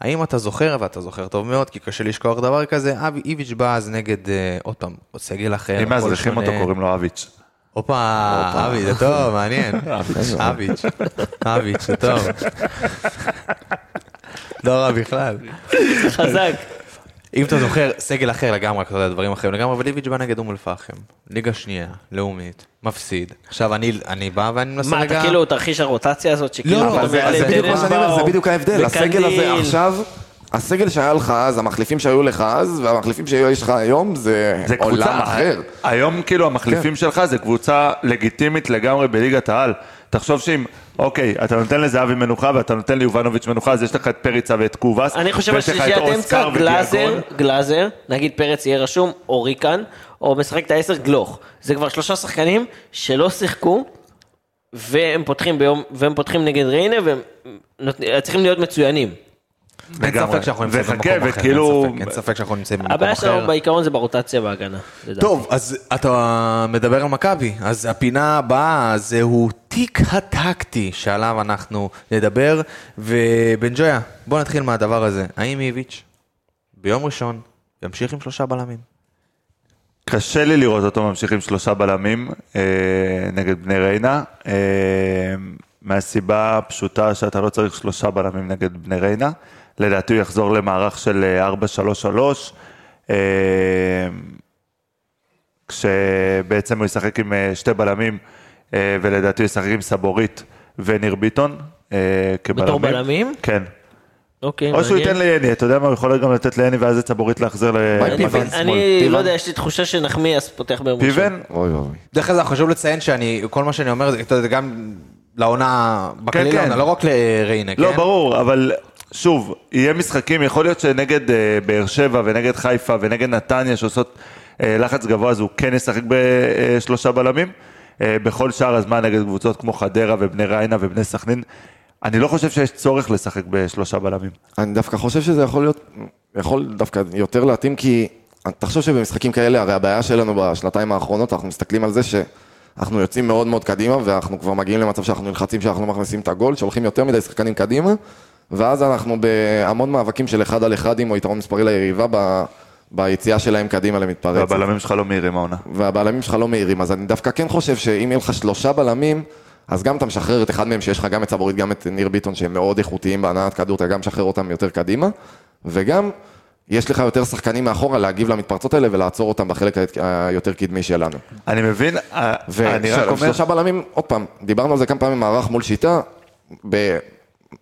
[SPEAKER 1] האם אתה זוכר, ואתה זוכר טוב מאוד, כי קשה לשכוח דבר כזה, אבי איביץ' בא אז נגד, אה, עוד פעם, עוד סגל אחר.
[SPEAKER 8] אם
[SPEAKER 1] הכל
[SPEAKER 8] מאזרחים
[SPEAKER 1] שונה.
[SPEAKER 8] אותו קוראים לו אביץ'.
[SPEAKER 1] הופה, אבי, זה טוב, מעניין. אביץ', אביץ', זה טוב. לא רע בכלל.
[SPEAKER 7] חזק.
[SPEAKER 1] אם אתה זוכר, סגל אחר לגמרי, אתה יודע, דברים אחרים לגמרי, אבל איביץ' בא נגד אום אל-פחם. ליגה שנייה, לאומית, מפסיד. עכשיו אני אני בא ואני מנסה
[SPEAKER 7] מה,
[SPEAKER 1] רגע...
[SPEAKER 7] אתה כאילו תרחיש הרוטציה הזאת, שכאילו...
[SPEAKER 1] לא,
[SPEAKER 7] אתה
[SPEAKER 1] אבל זה-
[SPEAKER 7] מעלה
[SPEAKER 1] אז
[SPEAKER 5] זה
[SPEAKER 1] בדיוק
[SPEAKER 5] בדיוק
[SPEAKER 7] דרן
[SPEAKER 5] מה שאני אומר, זה
[SPEAKER 7] באו,
[SPEAKER 5] בדיוק ההבדל. הסגל הזה
[SPEAKER 7] וקנדיל.
[SPEAKER 5] עכשיו, הסגל שהיה לך אז, המחליפים שהיו לך אז, והמחליפים שיש לך היום, זה
[SPEAKER 8] זה קבוצה,
[SPEAKER 5] עולם אחר.
[SPEAKER 8] היום כאילו המחליפים שלך זה קבוצה לגיטימית לגמרי בליגת העל. תחשוב שאם, אוקיי, אתה נותן לזהבי מנוחה ואתה נותן ליובנוביץ' מנוחה, אז יש לך את פריצה ואת קובאס.
[SPEAKER 7] אני חושב על
[SPEAKER 8] ויש לך את
[SPEAKER 7] שלישיית אמצע,
[SPEAKER 8] אוסקר
[SPEAKER 7] גלאזר,
[SPEAKER 8] ודיאגון.
[SPEAKER 7] גלאזר, נגיד פרץ יהיה רשום, או ריקן, או משחק את העשר גלוך. זה כבר שלושה שחקנים שלא שיחקו, והם פותחים ביום, והם פותחים נגד ריינה, והם נותנים- צריכים להיות מצוינים.
[SPEAKER 1] אין
[SPEAKER 8] לגמרי.
[SPEAKER 1] ספק שאנחנו נמצאים
[SPEAKER 8] וחכה,
[SPEAKER 1] במקום אחר.
[SPEAKER 8] וכאילו-
[SPEAKER 1] אין ספק, אין ספק שאנחנו נמצאים במקום אחר.
[SPEAKER 7] הבעיה שלנו בעיקרון זה ברוטציה בהגנה. לדעתי.
[SPEAKER 1] טוב, אז אתה מדבר על מכבי, אז הפינה הבאה זהו תיק הטקטי שעליו אנחנו נדבר, ובן ג'ויה, בוא נתחיל מהדבר הזה. האם איביץ' ביום ראשון ימשיך עם שלושה בלמים?
[SPEAKER 8] קשה לי לראות אותו ממשיך עם שלושה בלמים אה, נגד בני ריינה, אה, מהסיבה הפשוטה שאתה לא צריך שלושה בלמים נגד בני ריינה. לדעתי הוא יחזור למערך של אה, 4-3-3, אה, כשבעצם הוא ישחק עם אה, שתי בלמים, אה, ולדעתי הוא ישחק עם סבורית וניר ביטון אה, כבלמים.
[SPEAKER 7] בתור בלמים?
[SPEAKER 8] כן.
[SPEAKER 7] אוקיי,
[SPEAKER 8] או שהוא
[SPEAKER 7] מעניין.
[SPEAKER 8] ייתן ליני, אתה יודע מה, הוא יכול גם לתת ליני ואז את סבורית להחזיר ל...
[SPEAKER 5] ביי, פיבן.
[SPEAKER 7] אני-
[SPEAKER 5] שמאל,
[SPEAKER 7] אני
[SPEAKER 5] פיבן.
[SPEAKER 7] לא יודע, יש לי תחושה שנחמיאס פותח ביום ראשון.
[SPEAKER 8] פיבן,
[SPEAKER 5] אוי ואבוי.
[SPEAKER 1] דרך אגב, חשוב לציין שאני, כל מה שאני אומר, זה אתה יודע, גם לעונה, בכללי
[SPEAKER 8] כן.
[SPEAKER 1] לעונה, לא רק לריינה, כן?
[SPEAKER 8] לא, ברור, אבל שוב, יהיה משחקים, יכול להיות שנגד אה, באר שבע ונגד חיפה ונגד נתניה שעושות אה, לחץ גבוה, אז הוא כן ישחק בשלושה בלמים. אה, בכל שאר הזמן נגד קבוצות כמו חדרה ובני ריינה ובני סכנין. אני לא חושב שיש צורך לשחק בשלושה בלמים.
[SPEAKER 5] אני דווקא חושב שזה יכול להיות, יכול דווקא יותר להתאים, כי תחשוב שבמשחקים כאלה, הרי הבעיה שלנו בשנתיים האחרונות, אנחנו מסתכלים על זה שאנחנו יוצאים מאוד מאוד קדימה, ואנחנו כבר מגיעים למצב שאנחנו נלחצים, שאנחנו לא מכניסים את הגול, שהולכים יותר מדי שחקנים קדימה, ואז אנחנו בהמון מאבקים של אחד על אחד או יתרון מספרי ליריבה ב... ביציאה שלהם קדימה למתפרצת.
[SPEAKER 8] והבלמים שלך לא מהירים העונה.
[SPEAKER 5] והבלמים שלך לא מהירים, אז אני דווקא כן חושב שאם יהיה לך שלושה בלמים, אז גם אתה משחרר את אחד מהם, שיש לך גם את סבורית, גם את ניר ביטון, שהם מאוד איכותיים בהנעת כדור, אתה גם משחרר אותם יותר קדימה, וגם יש לך יותר שחקנים מאחורה להגיב למתפרצות האלה ולעצור אותם בחלק ה- היותר קדמי שלנו.
[SPEAKER 8] אני מבין, אה, אני רק אומר...
[SPEAKER 5] ושלושה בלמים, עוד פעם, דיברנו על זה כמה פעמים, מערך מול שיטה, ב-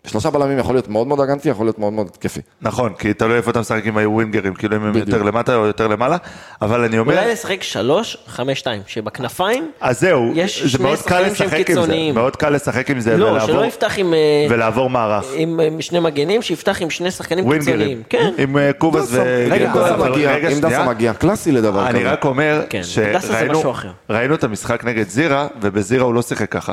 [SPEAKER 5] שלושה בלמים יכול להיות מאוד מאוד הגנתי, יכול להיות מאוד מאוד התקפי.
[SPEAKER 8] נכון, כי תלוי איפה אתה משחק עם הווינגרים, כאילו אם הם
[SPEAKER 5] בדיוק.
[SPEAKER 8] יותר למטה או יותר למעלה, אבל אני אומר...
[SPEAKER 7] אולי נשחק שלוש, חמש, שתיים, שבכנפיים,
[SPEAKER 8] אז זהו,
[SPEAKER 7] יש
[SPEAKER 8] זה
[SPEAKER 7] שני
[SPEAKER 8] מאוד קל
[SPEAKER 7] שחקנים שהם
[SPEAKER 8] לשחק עם זה,
[SPEAKER 7] קיצוניים.
[SPEAKER 8] מאוד קל לשחק עם זה
[SPEAKER 7] לא,
[SPEAKER 8] ולעבור-
[SPEAKER 7] שלא יפתח עם... אה,
[SPEAKER 8] ולעבור מערך.
[SPEAKER 7] עם אה, שני מגנים, שיפתח עם שני שחקנים קיצוניים. כן.
[SPEAKER 8] עם אה, קובאס ו...
[SPEAKER 5] רגע,
[SPEAKER 8] גלבוע.
[SPEAKER 5] דסה
[SPEAKER 8] אבל
[SPEAKER 5] מגיע,
[SPEAKER 8] רגע,
[SPEAKER 5] אם דסה
[SPEAKER 8] שנייה.
[SPEAKER 5] מגיע, קלאסי לדבר כזה.
[SPEAKER 8] אני רק אומר
[SPEAKER 7] כן, דסה זה משהו
[SPEAKER 8] שראינו
[SPEAKER 7] אחר.
[SPEAKER 8] ראינו את המשחק נגד זירה, ובזירה הוא לא שיחק ככה.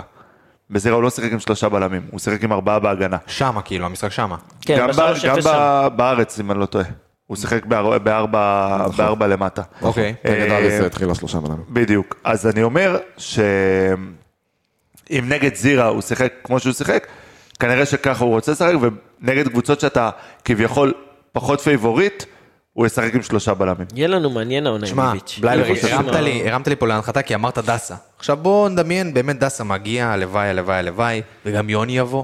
[SPEAKER 8] בזירה הוא לא שיחק עם שלושה בלמים, הוא שיחק עם ארבעה בהגנה.
[SPEAKER 1] שמה, כאילו, המשחק שמה.
[SPEAKER 7] כן,
[SPEAKER 8] גם ב-
[SPEAKER 7] בשלוש
[SPEAKER 8] גם
[SPEAKER 7] אפס שם.
[SPEAKER 8] ב- בארץ, אם אני לא טועה. הוא שיחק באר- בארבע
[SPEAKER 5] נכון.
[SPEAKER 8] בארבע למטה.
[SPEAKER 1] אוקיי.
[SPEAKER 5] נגד
[SPEAKER 8] אה,
[SPEAKER 5] אריס התחילה שלושה בלמים.
[SPEAKER 8] בדיוק. אז אני אומר ש... אם נגד זירה הוא שיחק כמו שהוא שיחק, כנראה שככה הוא רוצה לשחק, ונגד קבוצות שאתה כביכול פחות פייבוריט, הוא ישחק עם שלושה בלמים.
[SPEAKER 7] יהיה לנו מעניין העונה עם
[SPEAKER 1] שמע,
[SPEAKER 7] איביץ'.
[SPEAKER 1] בלייבר,
[SPEAKER 7] איביץ',
[SPEAKER 1] הרמת
[SPEAKER 7] שמע,
[SPEAKER 1] לי- הרמת לי פה להנחתה כי אמרת דסה. עכשיו בואו נדמיין, באמת דסה מגיע, הלוואי, הלוואי, הלוואי, וגם יוני יבוא.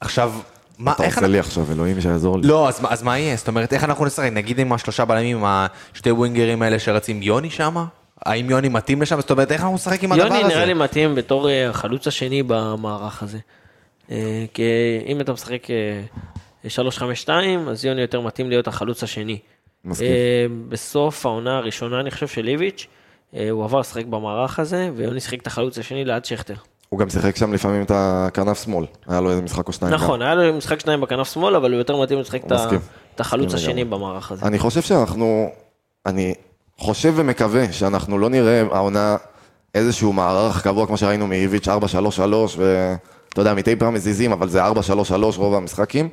[SPEAKER 1] עכשיו, מה,
[SPEAKER 5] אתה
[SPEAKER 1] איך...
[SPEAKER 5] עושה
[SPEAKER 1] אנחנו-
[SPEAKER 5] לי עכשיו, אלוהים שיעזור לי.
[SPEAKER 1] לא, אז מה- אז מה יהיה? זאת אומרת, איך אנחנו נשחק? נגיד עם השלושה בלמים, עם השתי ווינגרים האלה שרצים יוני שמה? האם יוני מתאים לשם? זאת אומרת, איך אנחנו נשחק עם הדבר הזה?
[SPEAKER 7] יוני נראה לי מתאים בתור אה, החלוץ השני במערך הזה. אה, כי אם אתה משחק אה, 3-5-2, אז יוני יותר מתאים להיות החלוץ השני.
[SPEAKER 5] מסכים.
[SPEAKER 7] אה, בסוף העונה הראשונה, אני חושב, של איביץ', אה, הוא עבר לשחק במערך הזה, ויוני שיחק את החלוץ השני ליד שכטר.
[SPEAKER 5] הוא גם שיחק שם לפעמים את הכנף שמאל, היה לו איזה משחק או שניים. גם.
[SPEAKER 7] נכון, היה לו משחק שניים בכנף שמאל, אבל הוא יותר מתאים לשחק את ה-
[SPEAKER 5] מסכים.
[SPEAKER 7] את החלוץ
[SPEAKER 5] מסכים
[SPEAKER 7] השני במערך הזה.
[SPEAKER 5] אני חושב שאנחנו, אני חושב ומקווה שאנחנו לא נראה העונה איזשהו מערך קבוע כמו שראינו מאיביץ' 433 ואתה יודע, מדי פעם מזיזים, אבל זה 433 רוב המשחקים.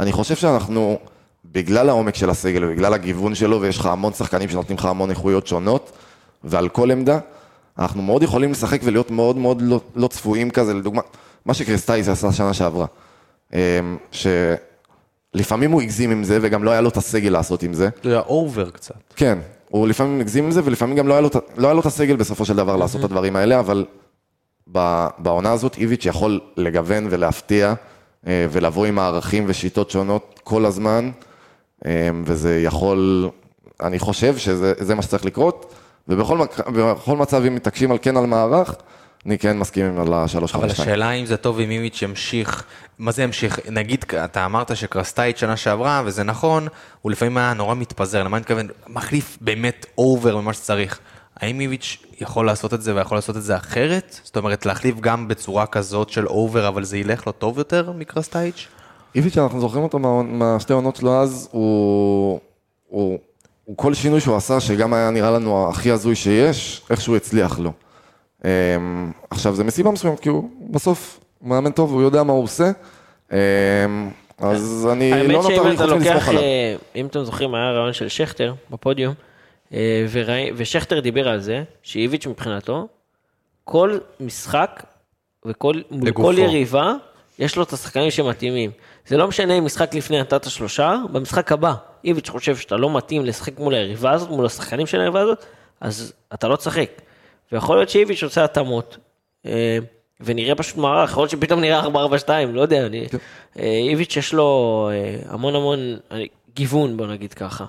[SPEAKER 5] אני חושב שאנחנו, בגלל העומק של הסגל ובגלל הגיוון שלו, ויש לך המון שחקנים שנותנים לך המון איכויות שונות, ועל כל עמדה, אנחנו מאוד יכולים לשחק ולהיות מאוד מאוד לא, לא צפויים כזה, לדוגמה, מה שקריסטייס עשה שנה שעברה, אמ, שלפעמים הוא הגזים עם זה, וגם לא היה לו את הסגל לעשות עם זה.
[SPEAKER 1] זה אובר קצת.
[SPEAKER 5] כן, הוא לפעמים הגזים עם זה, ולפעמים גם לא היה לו, את- לא היה לו את הסגל בסופו של דבר לעשות את הדברים האלה, אבל ב- בעונה הזאת איביץ' יכול לגוון ולהפתיע, אה, ולבוא עם הערכים ושיטות שונות כל הזמן, אה, וזה יכול, אני חושב שזה זה מה שצריך לקרות, ובכל מק- בכל מצב, אם מתעקשים על כן על מערך, אני כן מסכים עם על השלוש
[SPEAKER 1] אבל
[SPEAKER 5] חמש שתיים.
[SPEAKER 1] השאלה אם זה טוב אם איביץ' ימשיך, מה זה ימשיך? נגיד, אתה אמרת שקרסטייץ' שנה שעברה, וזה נכון, הוא לפעמים היה נורא מתפזר, למה אני מתכוון? מחליף באמת אובר ממה שצריך. האם איביץ' יכול לעשות את זה ויכול לעשות את זה אחרת? זאת אומרת, להחליף גם בצורה כזאת של אובר, אבל זה ילך לו טוב יותר מקרסטייץ'?
[SPEAKER 5] איביץ', אנחנו זוכרים אותו מה- מהשתי עונות שלו אז, הוא, הוא, הוא כל שינוי שהוא עשה, שגם היה נראה לנו הכי הזוי שיש, איכשהו הצליח לו. אמ, עכשיו, זה מסיבה מסוימת, כי הוא בסוף מאמן טוב, הוא יודע מה הוא עושה, אמ, אז אני לא נותר לי
[SPEAKER 7] האמת שאם
[SPEAKER 5] חוץ
[SPEAKER 7] אתה
[SPEAKER 5] מלסמוך
[SPEAKER 7] לוקח,
[SPEAKER 5] עליו.
[SPEAKER 7] אה, אם אתם זוכרים, היה רעיון של שכטר בפודיום, אה, וראי- ושכטר דיבר על זה, שאיביץ' מבחינתו, כל משחק וכל מול
[SPEAKER 1] לגופו.
[SPEAKER 7] כל יריבה, יש לו את השחקנים שמתאימים. זה לא משנה אם משחק לפני נתת שלושה, במשחק הבא, איביץ' חושב שאתה לא מתאים לשחק מול היריבה הזאת, מול השחקנים של היריבה הזאת, אז אתה לא תשחק. ויכול להיות שאיביץ' עושה התאמות, אה, ונראה פשוט מערך, יכול להיות שפתאום נראה 4-4-2, לא יודע, אני... אה, איביץ' יש לו אה, המון המון אה, גיוון, בוא נגיד ככה.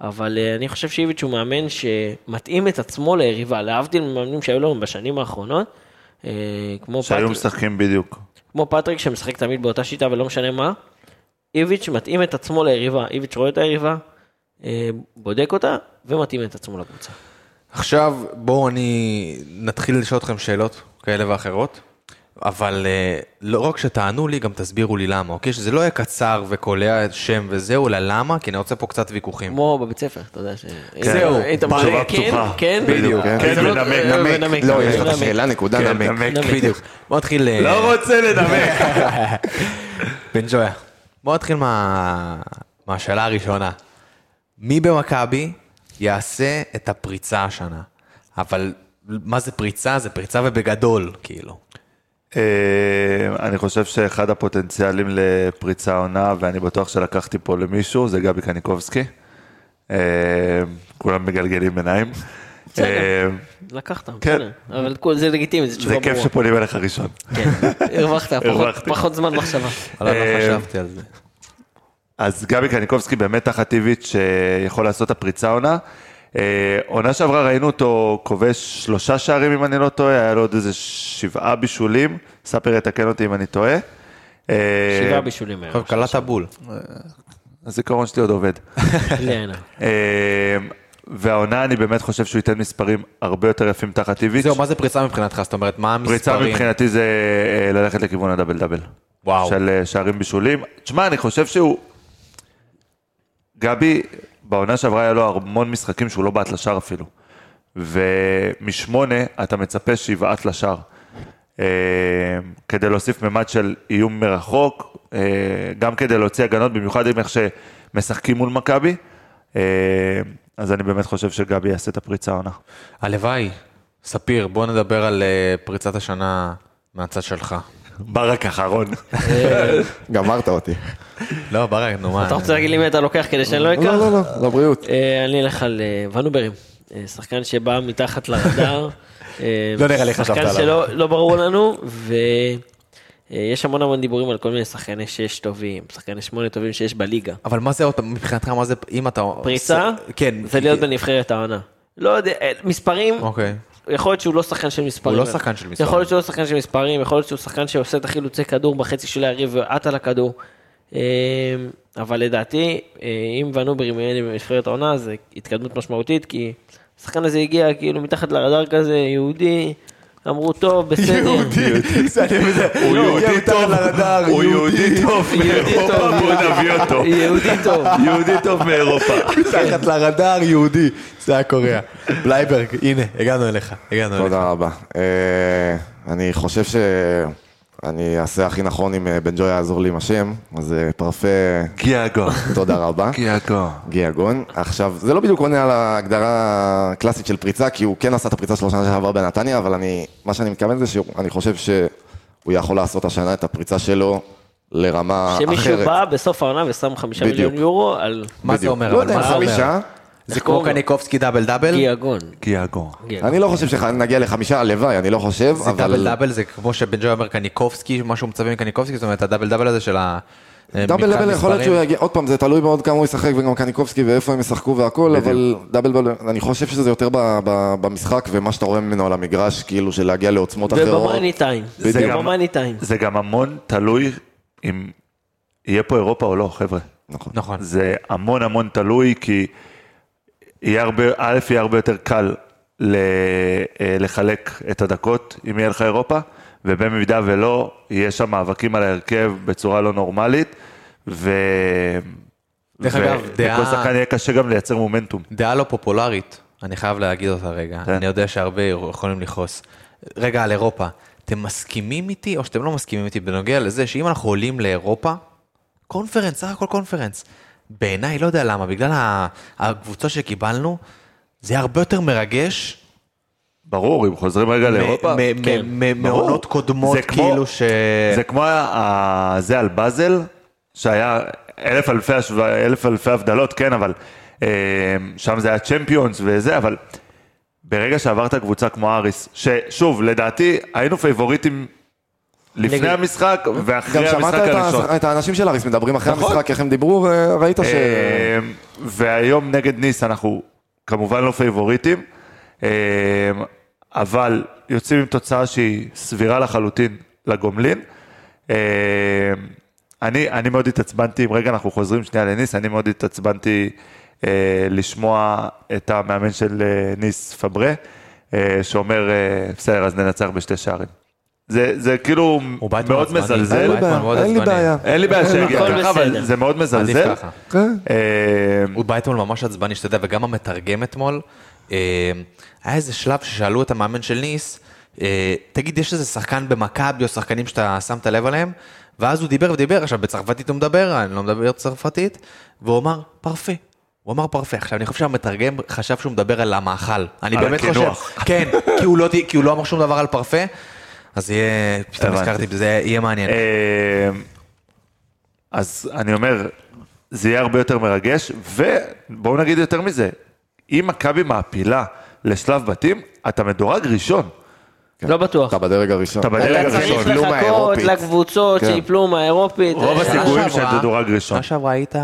[SPEAKER 7] אבל אה, אני חושב שאיביץ' הוא מאמן שמתאים את עצמו ליריבה, להבדיל ממאמנים שהיו לנו בשנים האחרונות, אה, כמו
[SPEAKER 8] שהיו
[SPEAKER 7] פטריק-
[SPEAKER 8] משחקים בדיוק.
[SPEAKER 7] כמו פטריק שמשחק תמיד באותה שיטה ולא משנה מה, איביץ' מתאים את עצמו ליריבה, איביץ' רואה את היריבה, אה, בודק אותה ומתאים את עצמו לקבוצה.
[SPEAKER 1] עכשיו בואו אני נתחיל לשאול אתכם שאלות כאלה ואחרות, אבל אה, לא רק שתענו לי, גם תסבירו לי למה, אוקיי? שזה לא יהיה קצר וקולע שם וזהו, אלא למה? כי אני רוצה פה קצת ויכוחים.
[SPEAKER 7] כמו בבית ספר, אתה יודע ש...
[SPEAKER 1] זהו,
[SPEAKER 7] היית
[SPEAKER 1] תשובה
[SPEAKER 7] מראה, כן,
[SPEAKER 8] כן. פתוחה.
[SPEAKER 7] כן,
[SPEAKER 8] בדיוק,
[SPEAKER 5] כן,
[SPEAKER 8] כן,
[SPEAKER 7] זה לא-
[SPEAKER 8] ונמק.
[SPEAKER 7] אה,
[SPEAKER 5] נמק.
[SPEAKER 7] ונמק,
[SPEAKER 5] לא, יש
[SPEAKER 7] ונמק.
[SPEAKER 5] לך שאלה, נקודה,
[SPEAKER 8] כן,
[SPEAKER 5] נמק.
[SPEAKER 8] נמק.
[SPEAKER 1] בדיוק. בוא נתחיל... אה,
[SPEAKER 8] לא רוצה לנמק.
[SPEAKER 1] בן ג'ויה. בוא נתחיל מה... מהשאלה הראשונה. מי במכבי יעשה את הפריצה השנה? אבל מה זה פריצה? זה פריצה ובגדול, כאילו.
[SPEAKER 8] אה, אני חושב שאחד הפוטנציאלים לפריצה עונה, ואני בטוח שלקחתי פה למישהו, זה גבי קניקובסקי. אה, כולם מגלגלים עיניים.
[SPEAKER 7] בסדר.
[SPEAKER 8] אה,
[SPEAKER 7] לקחת,
[SPEAKER 8] כן.
[SPEAKER 7] בסדר. אבל כל- זה לגיטימי, זו
[SPEAKER 8] זה
[SPEAKER 7] תשובה
[SPEAKER 8] כיף
[SPEAKER 7] ברורה.
[SPEAKER 8] שפונים אליך ראשון.
[SPEAKER 7] כן, הרווחת, פחות-
[SPEAKER 8] הרווחתי.
[SPEAKER 7] פחות זמן מחשבה.
[SPEAKER 1] אבל לא
[SPEAKER 8] אה,
[SPEAKER 1] חשבתי על זה.
[SPEAKER 8] אז גבי קניקובסקי באמת תחת איביץ' אה, יכול לעשות את הפריצה עונה. אה, עונה שעברה ראינו אותו כובש שלושה שערים אם אני לא טועה, היה לו עוד איזה שבעה בישולים, ספיר יתקן אותי אם אני טועה. אה,
[SPEAKER 7] שבעה בישולים היה.
[SPEAKER 1] טוב,
[SPEAKER 8] אוקיי.
[SPEAKER 1] קלעת בול.
[SPEAKER 8] הזיכרון שלי עוד עובד.
[SPEAKER 7] בלי עין הרע.
[SPEAKER 8] אה, והעונה אני באמת חושב שהוא ייתן מספרים הרבה יותר יפים תחת איביץ'.
[SPEAKER 1] זהו, מה זה פריצה מבחינתך? זאת אומרת, מה המספרים?
[SPEAKER 8] פריצה מבחינתי זה אה, ללכת לכיוון הדאבל דאבל.
[SPEAKER 1] וואו.
[SPEAKER 8] של אה, שערים בישולים. תשמע, אני חושב שהוא... גבי, בעונה שעברה היה לו המון משחקים שהוא לא בעט לשער אפילו. ומשמונה אתה מצפה שיבעט לשער. אה, כדי להוסיף ממד של איום מרחוק, אה, גם כדי להוציא הגנות, במיוחד עם איך שמשחקים מול מכבי. אה, אז אני באמת חושב שגבי יעשה את הפריצה העונה.
[SPEAKER 1] הלוואי. ספיר, בוא נדבר על אה, פריצת השנה מהצד שלך.
[SPEAKER 8] ברק אחרון.
[SPEAKER 5] גמרת אותי.
[SPEAKER 1] לא, ברק, נו מה.
[SPEAKER 7] אתה רוצה להגיד לי מי אתה לוקח כדי שאני לא אקח?
[SPEAKER 5] לא, לא, לא, לבריאות.
[SPEAKER 7] אה, אני אלך על אה, ונוברים, אה, שחקן שבא מתחת לרדאר. אה,
[SPEAKER 1] לא נראה לי חשבת עליו.
[SPEAKER 7] שחקן שלא לא ברור לנו, ויש המון המון דיבורים על כל מיני שחקני שש טובים, שחקני שמונה טובים שיש בליגה.
[SPEAKER 1] אבל מה זה עוד פעם, מבחינתך, מה זה, אם אתה...
[SPEAKER 7] פריצה,
[SPEAKER 1] כן.
[SPEAKER 7] זה להיות בנבחרת העונה. לא יודע, אה, מספרים,
[SPEAKER 1] אוקיי.
[SPEAKER 7] יכול להיות שהוא לא שחקן של מספרים.
[SPEAKER 1] הוא לא שחקן של מספרים.
[SPEAKER 7] יכול להיות שהוא לא שחקן של מספרים, יכול להיות שהוא שחקן שעושה את החילוצי כדור בחצי של היריב ועט על הכדור. אה, אבל לדעתי, אה, אם ונוברים יהיה בנבחרת העונה, זה התקדמות משמעותית, כי השחקן הזה הגיע כאילו מתחת לרדאר כזה, יהודי, אמרו טוב, בסדר.
[SPEAKER 8] הוא
[SPEAKER 1] לא,
[SPEAKER 8] יהודי טוב, הוא יהודי טוב
[SPEAKER 7] יהודי
[SPEAKER 8] מאירופה,
[SPEAKER 7] טוב.
[SPEAKER 8] בואו נביא אותו.
[SPEAKER 7] יהודי טוב.
[SPEAKER 8] יהודי טוב מאירופה.
[SPEAKER 1] מתחת לרדאר יהודי, זה היה קוריאה. בלייברג, הנה, הגענו אליך, הגענו אליך.
[SPEAKER 5] תודה רבה. אה, אני חושב שאני אעשה הכי נכון אם אה, בן ג'וי יעזור לי עם השם, אז אה, פרפה,
[SPEAKER 8] גיאגו.
[SPEAKER 5] תודה רבה.
[SPEAKER 8] גיאגו.
[SPEAKER 5] גיאגון. עכשיו, זה לא בדיוק עונה על ההגדרה הקלאסית של פריצה, כי הוא כן עשה את הפריצה שלו שנה שעברה בנתניה, אבל אני, מה שאני מתכוון זה שאני חושב שהוא יכול לעשות השנה את הפריצה שלו לרמה אה, אחרת.
[SPEAKER 7] שמישהו בא בסוף העונה ושם חמישה
[SPEAKER 5] בדיוק.
[SPEAKER 7] מיליון יורו על...
[SPEAKER 1] מה זה
[SPEAKER 5] בדיוק.
[SPEAKER 1] אומר?
[SPEAKER 5] לא
[SPEAKER 1] אבל
[SPEAKER 5] יודע,
[SPEAKER 1] מה זה אומר?
[SPEAKER 5] חמישה.
[SPEAKER 1] זה כמו קניקובסקי דאבל דאבל?
[SPEAKER 7] גיאגון.
[SPEAKER 8] גיאגו.
[SPEAKER 5] אני לא חושב שנגיע לחמישה, הלוואי, אני לא חושב,
[SPEAKER 1] זה דאבל
[SPEAKER 5] אבל...
[SPEAKER 1] דאבל זה כמו שבן ג'וי אומר קניקובסקי, משהו מצווה מקניקובסקי, זאת אומרת הדאבל דאבל הזה של ה... אה,
[SPEAKER 5] דאבל
[SPEAKER 1] מבחן
[SPEAKER 5] דאבל יכול להיות
[SPEAKER 1] מספרים.
[SPEAKER 5] שהוא יגיע, עוד פעם, זה תלוי מאוד כמה הוא ישחק וגם קניקובסקי ואיפה הם ישחקו והכל, אבל דאבל דאבל, אני חושב שזה יותר ב- ב- במשחק ומה שאתה רואה ממנו על המגרש, כאילו של להגיע לעוצמות אחרות.
[SPEAKER 7] ובמאני טיים.
[SPEAKER 8] זה גם-
[SPEAKER 7] ובמאני טיים.
[SPEAKER 8] זה גם המון תלוי אם יהיה פה אירופה או לא, חבר'ה.
[SPEAKER 5] נכון.
[SPEAKER 1] נכון.
[SPEAKER 8] זה המון המון תלוי, כי יהיה הרבה, א', יהיה הרבה יותר קל ל, אה, לחלק את הדקות, אם יהיה לך אירופה, ובמידה ולא, יהיה שם מאבקים על ההרכב בצורה לא נורמלית, ו...
[SPEAKER 1] דרך
[SPEAKER 8] ו-
[SPEAKER 1] אגב, דעה-
[SPEAKER 8] לכל שחקן יהיה קשה גם לייצר מומנטום.
[SPEAKER 1] דעה לא פופולרית, אני חייב להגיד אותה רגע,
[SPEAKER 8] כן.
[SPEAKER 1] אני יודע שהרבה יכולים לכעוס. רגע, על אירופה, אתם מסכימים איתי או שאתם לא מסכימים איתי בנוגע לזה שאם אנחנו עולים לאירופה, קונפרנס, סך הכל קונפרנס. בעיניי, לא יודע למה, בגלל ה- הקבוצות שקיבלנו, זה היה הרבה יותר מרגש
[SPEAKER 8] ברור, אם חוזרים רגע לאירופה.
[SPEAKER 1] מ- מ-
[SPEAKER 7] כן,
[SPEAKER 1] מ-
[SPEAKER 8] ברור.
[SPEAKER 1] מעונות קודמות,
[SPEAKER 8] זה כמו-
[SPEAKER 1] כאילו ש...
[SPEAKER 8] זה כמו ה- זה על באזל, שהיה אלף אלפי, השו... אלף אלפי הבדלות, כן, אבל אה, שם זה היה צ'מפיונס וזה, אבל ברגע שעברת קבוצה כמו אריס, ששוב, לדעתי, היינו פייבוריטים לפני
[SPEAKER 7] נגד-
[SPEAKER 8] המשחק
[SPEAKER 5] גם
[SPEAKER 8] ואחרי
[SPEAKER 5] שמעת
[SPEAKER 8] המשחק
[SPEAKER 5] את ה-
[SPEAKER 8] הראשון.
[SPEAKER 5] את האנשים של אריס מדברים אחרי
[SPEAKER 8] נכון.
[SPEAKER 5] המשחק, איך הם דיברו, אה, ראית ש...
[SPEAKER 8] אה, והיום נגד ניס אנחנו כמובן לא פייבוריטים, אה, אבל יוצאים עם תוצאה שהיא סבירה לחלוטין לגומלין. אה, אני, אני מאוד התעצבנתי, אם רגע אנחנו חוזרים שנייה לניס, אני מאוד התעצבנתי אה, לשמוע את המאמן של אה, ניס פברה, אה, שאומר, אה, בסדר, אז ננצח בשתי שערים. זה, זה כאילו
[SPEAKER 1] הוא בא אתמול
[SPEAKER 8] מאוד
[SPEAKER 1] עצבני,
[SPEAKER 8] מזלזל.
[SPEAKER 5] אין לי
[SPEAKER 1] בית
[SPEAKER 5] בעיה,
[SPEAKER 1] מאוד
[SPEAKER 5] אין לי
[SPEAKER 1] עצבני.
[SPEAKER 5] בעיה.
[SPEAKER 8] אין לי בעיה שיגיע
[SPEAKER 7] הכל בסדר.
[SPEAKER 8] ככה, אבל זה מאוד
[SPEAKER 1] עדיף
[SPEAKER 8] מזלזל.
[SPEAKER 1] ככה.
[SPEAKER 5] כן.
[SPEAKER 8] אה,
[SPEAKER 1] הוא בא אתמול ממש עצבני, שאתה יודע, וגם המתרגם אתמול, אה, היה איזה שלב ששאלו את המאמן של ניס, אה, תגיד, יש איזה שחקן במכבי או שחקנים שאתה שמת לב עליהם? ואז הוא דיבר ודיבר, עכשיו בצרפתית הוא מדבר, אני לא מדבר צרפתית, והוא אמר, פרפה. הוא אמר פרפה. עכשיו, אני חושב שהמתרגם חשב שהוא מדבר על המאכל. אני
[SPEAKER 8] על
[SPEAKER 1] באמת חושב.
[SPEAKER 8] הקינוח.
[SPEAKER 1] כן, כי הוא לא ת- כי הוא לא אמר שום דבר על פרפה, אז יהיה, פתאום
[SPEAKER 8] הבנתי.
[SPEAKER 1] נזכרתי בזה, יהיה מעניין.
[SPEAKER 8] אה, אז אני אומר, זה יהיה הרבה יותר מרגש, ובואו נגיד יותר מזה, אם מכבי מעפילה לשלב בתים, אתה מדורג ראשון.
[SPEAKER 7] לא בטוח.
[SPEAKER 5] אתה בדרג הראשון.
[SPEAKER 8] אתה בדרג
[SPEAKER 7] אתה
[SPEAKER 8] רגע,
[SPEAKER 7] צריך
[SPEAKER 8] ראשון,
[SPEAKER 5] שיפלו
[SPEAKER 7] לחכות
[SPEAKER 5] לא, מהאירופית.
[SPEAKER 7] לקבוצות
[SPEAKER 5] כן.
[SPEAKER 7] שיפלו מהאירופית.
[SPEAKER 8] רוב
[SPEAKER 7] אה,
[SPEAKER 1] שנה
[SPEAKER 8] הסיכויים
[SPEAKER 1] שעברה-
[SPEAKER 8] שאתה מדורג ראשון.
[SPEAKER 1] שנה שעברה היית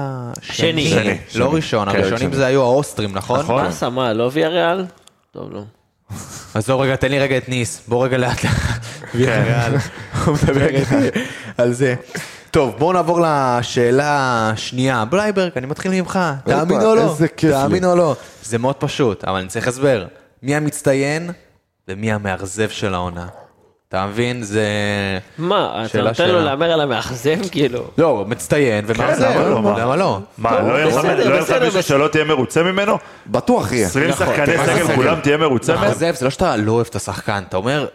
[SPEAKER 7] שני.
[SPEAKER 8] שני,
[SPEAKER 1] לא
[SPEAKER 8] שני.
[SPEAKER 1] ראשון,
[SPEAKER 8] כן,
[SPEAKER 1] הראשונים
[SPEAKER 8] שני.
[SPEAKER 1] זה היו האוסטרים, נכון?
[SPEAKER 8] נכון.
[SPEAKER 7] מה עשה? מה, לא ויה ריאל? טוב, לא.
[SPEAKER 1] אז לא, רגע, תן לי רגע את ניס, בוא רגע לאט לאט.
[SPEAKER 8] כן.
[SPEAKER 1] ויאריאל. הוא מדבר איתי על זה. טוב, בואו נעבור לשאלה השנייה. בלייברג, אני מתחיל ממך,
[SPEAKER 5] הופה,
[SPEAKER 1] תאמין או לא,
[SPEAKER 5] איזה כיף לי.
[SPEAKER 1] תאמין או לא. זה מאוד פשוט, אבל אני צריך הסבר. מי המצטיין ומי המאכזב של העונה. אתה מבין? זה...
[SPEAKER 7] מה, אתה
[SPEAKER 1] שאלה,
[SPEAKER 7] נותן לו
[SPEAKER 1] שאלה.
[SPEAKER 7] להמר על המאכזב? כאילו...
[SPEAKER 1] לא, מצטיין ומאכזב,
[SPEAKER 8] למה לא? מה?
[SPEAKER 1] למה לא?
[SPEAKER 8] מה, לא יהיה לך-
[SPEAKER 7] בסדר,
[SPEAKER 8] לא יהיה
[SPEAKER 7] בסדר, כן.
[SPEAKER 8] לך
[SPEAKER 7] נכון,
[SPEAKER 8] מישהו
[SPEAKER 7] בסדר.
[SPEAKER 8] שלא תהיה מרוצה ממנו?
[SPEAKER 5] בטוח יהיה.
[SPEAKER 8] 20 שחקני
[SPEAKER 5] תראה,
[SPEAKER 8] סגל,
[SPEAKER 5] סגל.
[SPEAKER 8] כולם תהיה מרוצה
[SPEAKER 7] נכון.
[SPEAKER 8] מהם?
[SPEAKER 1] מאכזב, זה לא שאתה לא אוהב את השחקן, אתה אומר,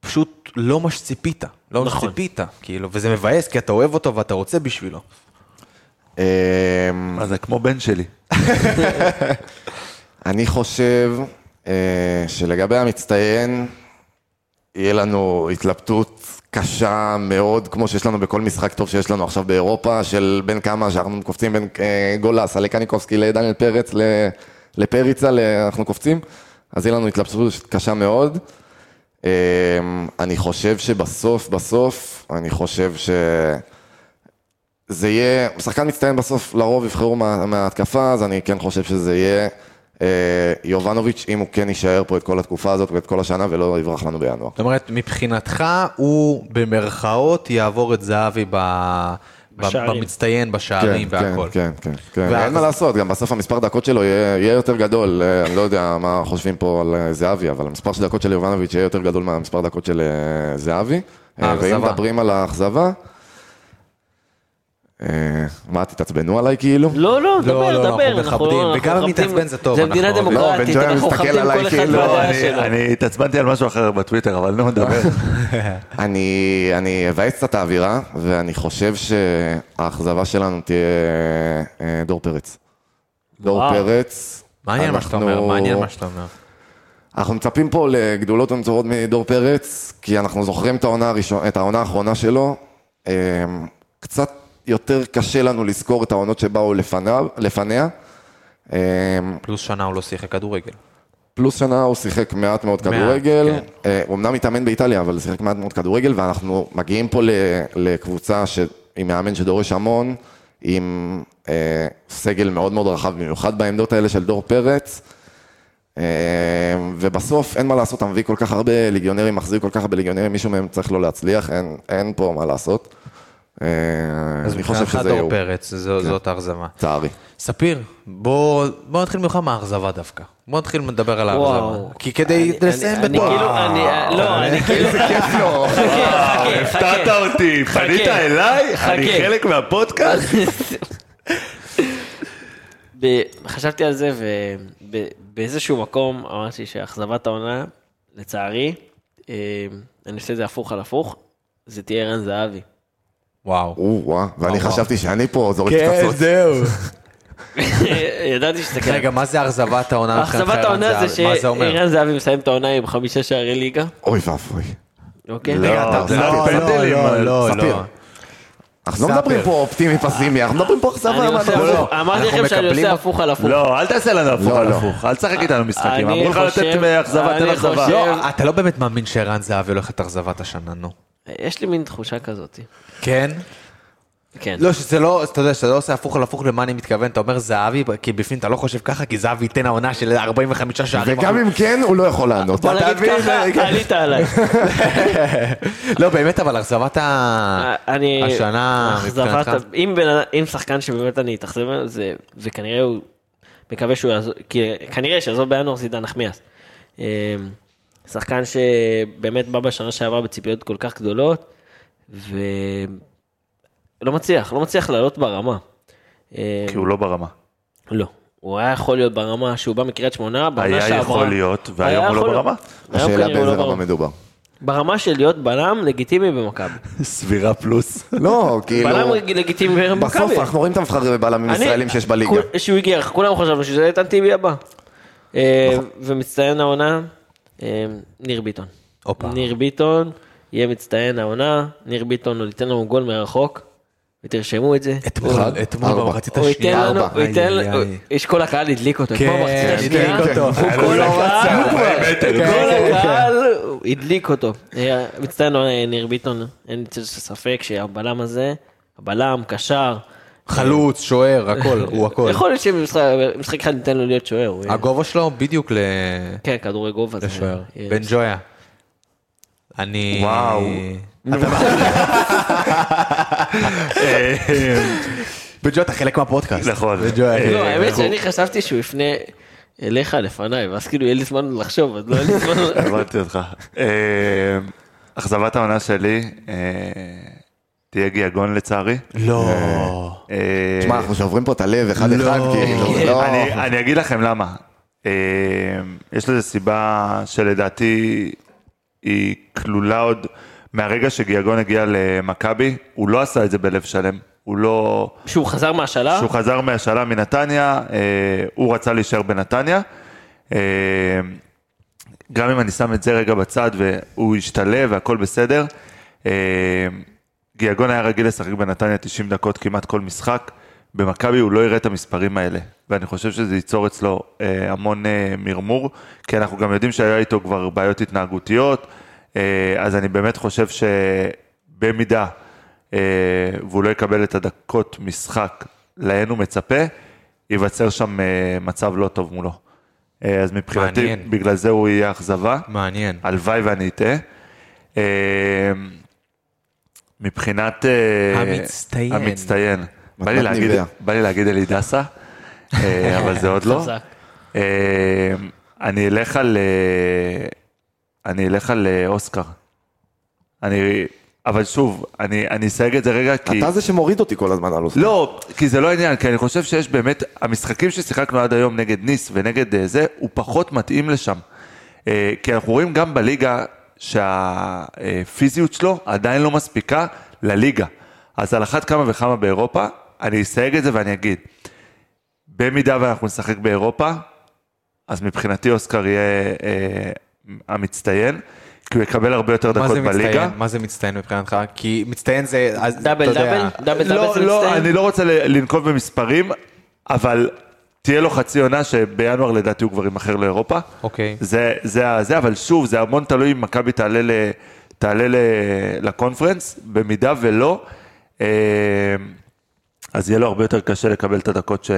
[SPEAKER 1] פשוט לא מה שציפית. לא מה
[SPEAKER 7] נכון.
[SPEAKER 1] שציפית, כאילו, וזה מבאס, כי אתה אוהב אותו ואתה רוצה בשבילו.
[SPEAKER 5] אמ,
[SPEAKER 8] מה, זה כמו בן שלי.
[SPEAKER 5] אני חושב אה, שלגבי המצטיין, יהיה לנו התלבטות קשה מאוד, כמו שיש לנו בכל משחק טוב שיש לנו עכשיו באירופה, של בין כמה שאנחנו קופצים בין אה, גולס, עלי קניקובסקי לדניאל פרץ, ל- לפריצה, ל- אנחנו קופצים, אז יהיה לנו התלבטות קשה מאוד. אה, אני חושב שבסוף, בסוף, אני חושב ש... זה יהיה, שחקן מצטיין בסוף לרוב יבחרו מה, מההתקפה, אז אני כן חושב שזה יהיה אה, יובנוביץ', אם הוא כן יישאר פה את כל התקופה הזאת ואת כל השנה ולא יברח לנו בינואר.
[SPEAKER 1] זאת אומרת, מבחינתך הוא במרכאות יעבור את זהבי ב... ב-
[SPEAKER 7] בשערים.
[SPEAKER 1] במצטיין, בשערים
[SPEAKER 5] כן,
[SPEAKER 1] והכל.
[SPEAKER 5] כן, כן, כן.
[SPEAKER 1] ואז-
[SPEAKER 5] אין מה לעשות, גם בסוף המספר דקות שלו יהיה, יהיה יותר גדול, אה, אני לא יודע מה חושבים פה על אה, זהבי, אבל המספר של דקות של יובנוביץ' יהיה יותר גדול מהמספר דקות של אה, זהבי. אה, ואם
[SPEAKER 1] האכזבה.
[SPEAKER 5] מדברים על האכזבה, אה, מה, תתעצבנו עליי כאילו?
[SPEAKER 7] לא, לא,
[SPEAKER 1] לא,
[SPEAKER 7] דבר,
[SPEAKER 1] אנחנו
[SPEAKER 7] דבר. אנחנו
[SPEAKER 1] מכבדים.
[SPEAKER 7] אנחנו
[SPEAKER 1] וגם אם
[SPEAKER 7] מכבדים-
[SPEAKER 1] נתעצבן זה טוב,
[SPEAKER 7] זה
[SPEAKER 1] אנחנו-
[SPEAKER 7] מדינה
[SPEAKER 1] לא, בן
[SPEAKER 7] דמוקרטית,
[SPEAKER 5] ג'ויה
[SPEAKER 7] אנחנו
[SPEAKER 5] מסתכל
[SPEAKER 7] מכבדים
[SPEAKER 5] עליי
[SPEAKER 7] כל אחד
[SPEAKER 5] כאילו,
[SPEAKER 7] בדעה
[SPEAKER 8] אני-
[SPEAKER 7] שלו.
[SPEAKER 8] אני התעצבנתי על משהו אחר בטוויטר, אבל לא נו, דבר.
[SPEAKER 5] אני, אני אבאס קצת את האווירה, ואני חושב שהאכזבה שלנו תהיה אה, דור פרץ. דור
[SPEAKER 7] וואו.
[SPEAKER 5] פרץ.
[SPEAKER 1] מעניין מה שאתה אומר,
[SPEAKER 5] אנחנו-
[SPEAKER 1] מעניין מה שאתה אומר.
[SPEAKER 5] אנחנו מצפים פה לגדולות ונצורות מדור פרץ, כי אנחנו זוכרים את העונה, הראשון, את העונה האחרונה שלו. אה, קצת יותר קשה לנו לזכור את העונות שבאו לפניו, לפניה. אמ,
[SPEAKER 1] פלוס שנה הוא לא שיחק כדורגל.
[SPEAKER 5] פלוס שנה הוא שיחק מעט מאוד כדורגל,
[SPEAKER 1] כן.
[SPEAKER 5] אה, הוא אמנם התאמן באיטליה, אבל שיחק מעט מאוד כדורגל, ואנחנו מגיעים פה ל- לקבוצה ש- עם מאמן שדורש המון, עם אה, סגל מאוד מאוד רחב, במיוחד בעמדות האלה של דור פרץ, אה, ובסוף אין מה לעשות, אתה מביא כל כך הרבה ליגיונרים, מחזיק כל כך הרבה ליגיונרים, מישהו מהם צריך לא להצליח, אין, אין פה מה לעשות. אה,
[SPEAKER 1] אז
[SPEAKER 5] אני חושב
[SPEAKER 1] מבחינתך
[SPEAKER 5] שזה כן.
[SPEAKER 1] דור
[SPEAKER 5] יהיו,
[SPEAKER 1] פרץ, זו- זאת האכזבה.
[SPEAKER 5] לצערי.
[SPEAKER 1] ספיר, בוא בוא נתחיל ממך מהאכזבה דווקא. בוא נתחיל לדבר על האכזבה. כי כדי
[SPEAKER 7] אני-
[SPEAKER 1] לסיים
[SPEAKER 7] אני- אני כאילו, אני- לא, אני כאילו,
[SPEAKER 5] כיף לו.
[SPEAKER 7] חכה, חכה,
[SPEAKER 8] הפתעת
[SPEAKER 7] חכה.
[SPEAKER 8] אותי, פנית אליי,
[SPEAKER 7] חכה.
[SPEAKER 8] אני חלק מהפודקאסט.
[SPEAKER 7] ב- חשבתי על זה, ובאיזשהו מקום אמרתי שאכזבת העונה, לצערי, אה, אני עושה את זה הפוך על הפוך, זה תהיה ערן זהבי.
[SPEAKER 1] וואו.
[SPEAKER 5] או-אה, ואני חשבתי שאני פה זורק
[SPEAKER 1] כן,
[SPEAKER 5] פצצות.
[SPEAKER 1] זהו.
[SPEAKER 7] ידעתי שזה כן.
[SPEAKER 1] כן. רגע,
[SPEAKER 7] ככה.
[SPEAKER 1] מה זה אכזבת העונה?
[SPEAKER 7] אכזבת העונה זה
[SPEAKER 1] מה זה אומר?
[SPEAKER 7] שערן זהבי מסיים את העונה עם חמישה שערי ליגה,
[SPEAKER 5] אוי ואבוי.
[SPEAKER 1] כן,
[SPEAKER 7] אוקיי?
[SPEAKER 8] לא,
[SPEAKER 5] אתה-
[SPEAKER 8] זה
[SPEAKER 5] לא,
[SPEAKER 8] לא פנדלים.
[SPEAKER 1] לא,
[SPEAKER 8] אבל-
[SPEAKER 1] לא,
[SPEAKER 5] ספיר.
[SPEAKER 1] לא.
[SPEAKER 5] אנחנו לא
[SPEAKER 1] ספר.
[SPEAKER 5] מדברים פה אופטימי פסימי, אנחנו מדברים פה אכזבה.
[SPEAKER 7] אני
[SPEAKER 5] מה
[SPEAKER 7] עושה
[SPEAKER 5] אתה
[SPEAKER 1] לא,
[SPEAKER 5] רוצה?
[SPEAKER 7] הפוך- אמרתי
[SPEAKER 1] אנחנו
[SPEAKER 7] לכם שאני
[SPEAKER 1] מקבלים
[SPEAKER 7] עושה
[SPEAKER 1] אותו.
[SPEAKER 7] הפוך על הפוך.
[SPEAKER 8] לא, אל תעשה לנו הפוך
[SPEAKER 5] לא,
[SPEAKER 8] על
[SPEAKER 5] לא.
[SPEAKER 8] הפוך, אל תשחק איתנו משחקים.
[SPEAKER 7] אני
[SPEAKER 8] אמרו לך
[SPEAKER 7] חושב-
[SPEAKER 8] לתת אכזבה, תן
[SPEAKER 7] אני
[SPEAKER 8] אכזבה.
[SPEAKER 7] חושב-
[SPEAKER 1] לא, אתה לא באמת מאמין שערן זהבי הולך את אכזבת השנה, נו.
[SPEAKER 7] יש לי מין תחושה כזאת.
[SPEAKER 1] כן?
[SPEAKER 7] כן.
[SPEAKER 1] לא, שזה לא, אתה יודע, שאתה לא עושה הפוך על הפוך למה אני מתכוון, אתה אומר זהבי, כי בפנים אתה לא חושב ככה, כי זהבי ייתן העונה של 45 שערים.
[SPEAKER 5] וגם אם כן, הוא לא יכול לענות.
[SPEAKER 7] בוא
[SPEAKER 5] אתה
[SPEAKER 7] נגיד
[SPEAKER 5] מבין?
[SPEAKER 7] ככה, עלית עליי.
[SPEAKER 1] לא, באמת, אבל אכזבת
[SPEAKER 7] אה,
[SPEAKER 8] אה,
[SPEAKER 1] ה-
[SPEAKER 7] אני...
[SPEAKER 1] השנה,
[SPEAKER 7] אכזבת-
[SPEAKER 1] מבחינתך,
[SPEAKER 7] אם בן אדם- אם שחקן שבאמת אני אתאכזב ממנו, זה- זה כנראה הוא... מקווה שהוא יעזוב, כי- כנראה שיעזוב בינואר זה עידן נחמיאס. אמ, שחקן שבאמת בא בשנה שעברה בציפיות כל כך גדולות, ולא מצליח, לא מצליח לעלות ברמה. אמ,
[SPEAKER 8] כי הוא לא ברמה.
[SPEAKER 7] לא. הוא היה יכול להיות ברמה שהוא בא מקריית שמונה, בעונה שעברה.
[SPEAKER 8] היה יכול להיות, והיום
[SPEAKER 7] היה
[SPEAKER 8] הוא לא
[SPEAKER 7] יכול להיות.
[SPEAKER 8] ברמה.
[SPEAKER 7] היום
[SPEAKER 5] השאלה
[SPEAKER 7] כנראה הוא
[SPEAKER 5] באיזה
[SPEAKER 7] לא
[SPEAKER 5] רמה
[SPEAKER 7] ברמה.
[SPEAKER 5] מדובר.
[SPEAKER 7] ברמה של להיות בלם לגיטימי במכבי.
[SPEAKER 8] סבירה פלוס.
[SPEAKER 5] לא, כאילו,
[SPEAKER 7] בלם לגיטימי במכבי.
[SPEAKER 5] בסוף אנחנו רואים את המבחרים בלמים
[SPEAKER 7] אני-
[SPEAKER 5] ישראלים שיש בליגה.
[SPEAKER 7] כול- שהוא הגיע, כולנו חשבנו שזה איתן טיבי הבא. אה,
[SPEAKER 1] נכון.
[SPEAKER 7] ומצטיין העונה, אה, ניר ביטון.
[SPEAKER 1] הופה.
[SPEAKER 7] ניר ביטון יהיה מצטיין העונה, ניר ביטון עוד ייתן לנו גול מרחוק, ותרשמו את זה.
[SPEAKER 1] אתמול, אתמול
[SPEAKER 5] ארבע.
[SPEAKER 1] במחצית
[SPEAKER 7] הוא ייתן
[SPEAKER 1] השנייה,
[SPEAKER 7] לנו,
[SPEAKER 5] ארבע.
[SPEAKER 7] הוא ייתן,
[SPEAKER 1] איי,
[SPEAKER 7] הוא-
[SPEAKER 1] איי.
[SPEAKER 7] יש כל הקהל הדליק אותו, כמו
[SPEAKER 1] כן,
[SPEAKER 7] המחצית השנייה.
[SPEAKER 1] הדליק אותו.
[SPEAKER 7] הוא כל הקהל,
[SPEAKER 8] אוקיי.
[SPEAKER 7] כל הקהל הדליק אותו. אה, מצטיין אה, ניר ביטון, אין לי צל של ספק שהבלם הזה, הבלם, קשר,
[SPEAKER 1] חלוץ, שוער, הכל, הוא הכל.
[SPEAKER 7] יכול להיות שבמשחק אחד ניתן לו להיות שוער. הוא יהיה-
[SPEAKER 1] הגובה שלו בדיוק ל...
[SPEAKER 7] כן, כדורי גובה. זה-
[SPEAKER 1] לשוער.
[SPEAKER 7] אה,
[SPEAKER 1] בן ג'ויה. אני...
[SPEAKER 8] וואו.
[SPEAKER 1] בן ג'ויה אתה חלק מהפודקאסט.
[SPEAKER 8] נכון.
[SPEAKER 1] בן ג'ויה.
[SPEAKER 7] לא,
[SPEAKER 1] אה,
[SPEAKER 7] האמת שאני חשבתי שהוא יפנה אליך לפניי, ואז כאילו יהיה לי זמן לחשוב, אז לא היה לי זמן.
[SPEAKER 8] הבנתי אותך. אה, אכזבת העונה שלי אה, תהיה גיאגון לצערי.
[SPEAKER 1] לא.
[SPEAKER 8] אה,
[SPEAKER 5] תשמע, אנחנו שוברים פה את הלב אחד אחד,
[SPEAKER 1] לא.
[SPEAKER 5] כאילו, לא.
[SPEAKER 8] אני, אני אגיד לכם למה. אה, יש לזה סיבה שלדעתי היא כלולה עוד מהרגע שגיאגון הגיע למכבי, הוא לא עשה את זה בלב שלם. הוא לא...
[SPEAKER 7] שהוא חזר מהשאלה,
[SPEAKER 8] שהוא חזר מהשאלה מנתניה, אה, הוא רצה להישאר בנתניה. אה, גם אם אני שם את זה רגע בצד והוא השתלב והכל בסדר, אה, גיאגון היה רגיל לשחק בנתניה 90 דקות כמעט כל משחק. במכבי הוא לא יראה את המספרים האלה, ואני חושב שזה ייצור אצלו אה, המון אה, מרמור, כי אנחנו גם יודעים שהיה איתו כבר בעיות התנהגותיות, אה, אז אני באמת חושב שבמידה אה, והוא לא יקבל את הדקות משחק להן הוא מצפה, ייווצר שם אה, מצב לא טוב מולו. אה, אז מבחינתי,
[SPEAKER 1] מעניין.
[SPEAKER 8] בגלל זה הוא יהיה אכזבה.
[SPEAKER 1] מעניין.
[SPEAKER 8] הלוואי ואני אטעה. אה, מבחינת... אה,
[SPEAKER 1] המצטיין.
[SPEAKER 8] המצטיין. בא לי
[SPEAKER 5] מתנת
[SPEAKER 8] להגיד-
[SPEAKER 5] ניביה.
[SPEAKER 8] בא לי להגיד אלי דסה, אה, אבל זה עוד לא.
[SPEAKER 7] חזק.
[SPEAKER 8] אה, אני אלך על... אה, אני אלך על אה, אוסקר. אני... אבל שוב, אני אני אסייג את זה רגע, כי...
[SPEAKER 5] אתה זה שמוריד אותי כל הזמן על אוסקר.
[SPEAKER 8] לא, כי זה לא העניין, כי אני חושב שיש באמת, המשחקים ששיחקנו עד היום נגד ניס ונגד אה, זה, הוא פחות מתאים לשם. אה, כי אנחנו רואים גם בליגה שהפיזיות שלו עדיין לא מספיקה לליגה. אז על אחת כמה וכמה באירופה, אני אסייג את זה ואני אגיד, במידה ואנחנו נשחק באירופה, אז מבחינתי אוסקר יהיה אה, המצטיין, כי הוא יקבל הרבה יותר
[SPEAKER 1] מה
[SPEAKER 8] דקות
[SPEAKER 1] זה
[SPEAKER 8] בליגה.
[SPEAKER 1] מצטיין? מה זה מצטיין מבחינתך? כי מצטיין זה... אז
[SPEAKER 7] דאבל,
[SPEAKER 1] אתה יודע-
[SPEAKER 7] דאבל, דאבל, דאבל
[SPEAKER 8] לא,
[SPEAKER 7] זה
[SPEAKER 8] לא,
[SPEAKER 7] מצטיין.
[SPEAKER 8] אני לא רוצה ל- לנקוב במספרים, אבל תהיה לו חצי עונה שבינואר לדעתי הוא כבר יימכר לאירופה.
[SPEAKER 1] אוקיי.
[SPEAKER 8] זה, זה, ה- זה, אבל שוב, זה המון תלוי אם מכבי תעלה, ל, תעלה ל, לקונפרנס, במידה ולא, אה, אז יהיה לו הרבה יותר קשה לקבל את הדקות ש,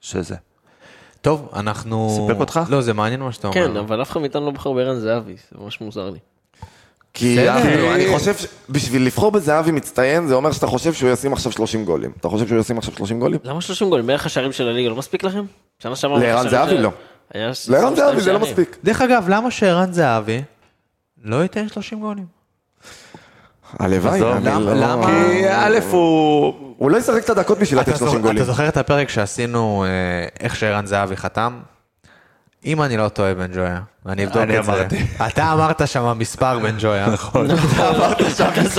[SPEAKER 8] שזה.
[SPEAKER 1] טוב, אנחנו...
[SPEAKER 8] סיפק אותך?
[SPEAKER 1] לא, זה מעניין מה שאתה אומר.
[SPEAKER 7] כן, אבל אף אחד מאיתנו לא בחר בערן זהבי, זה ממש מוזר לי.
[SPEAKER 5] כי
[SPEAKER 1] בסדר.
[SPEAKER 5] כי אני
[SPEAKER 1] כי-
[SPEAKER 5] חושב, ש- בשביל לבחור בזהבי מצטיין, זה אומר שאתה חושב שהוא ישים עכשיו 30 גולים. אתה חושב שהוא ישים עכשיו 30 גולים?
[SPEAKER 7] למה 30 גולים? בערך השערים של הליגה לא מספיק לכם? שנה שעברה...
[SPEAKER 5] לערן
[SPEAKER 7] השערים
[SPEAKER 5] זהבי
[SPEAKER 7] של-
[SPEAKER 5] לא.
[SPEAKER 7] היה
[SPEAKER 5] לערן
[SPEAKER 7] 22
[SPEAKER 5] זהבי זה לא
[SPEAKER 7] שערים.
[SPEAKER 5] מספיק.
[SPEAKER 1] דרך אגב, למה שערן זהבי לא ייתן 30 גולים?
[SPEAKER 5] הלוואי.
[SPEAKER 8] עזוב,
[SPEAKER 5] אני
[SPEAKER 1] למה-
[SPEAKER 5] לא-
[SPEAKER 1] למה-
[SPEAKER 8] כי א' הוא...
[SPEAKER 5] הוא לא ישחק את הדקות בשביל
[SPEAKER 1] אתה
[SPEAKER 5] לתת 30
[SPEAKER 1] זוכר-
[SPEAKER 5] גולים.
[SPEAKER 1] אתה זוכר את הפרק שעשינו, אה, איך שערן זהבי חתם? אם אני לא טועה, בן ג'ויה, אני אבדוק
[SPEAKER 8] אני
[SPEAKER 1] את זה.
[SPEAKER 8] אמרתי.
[SPEAKER 1] אתה אמרת שם מספר, בן ג'ויה. נכון.
[SPEAKER 7] אתה זרקת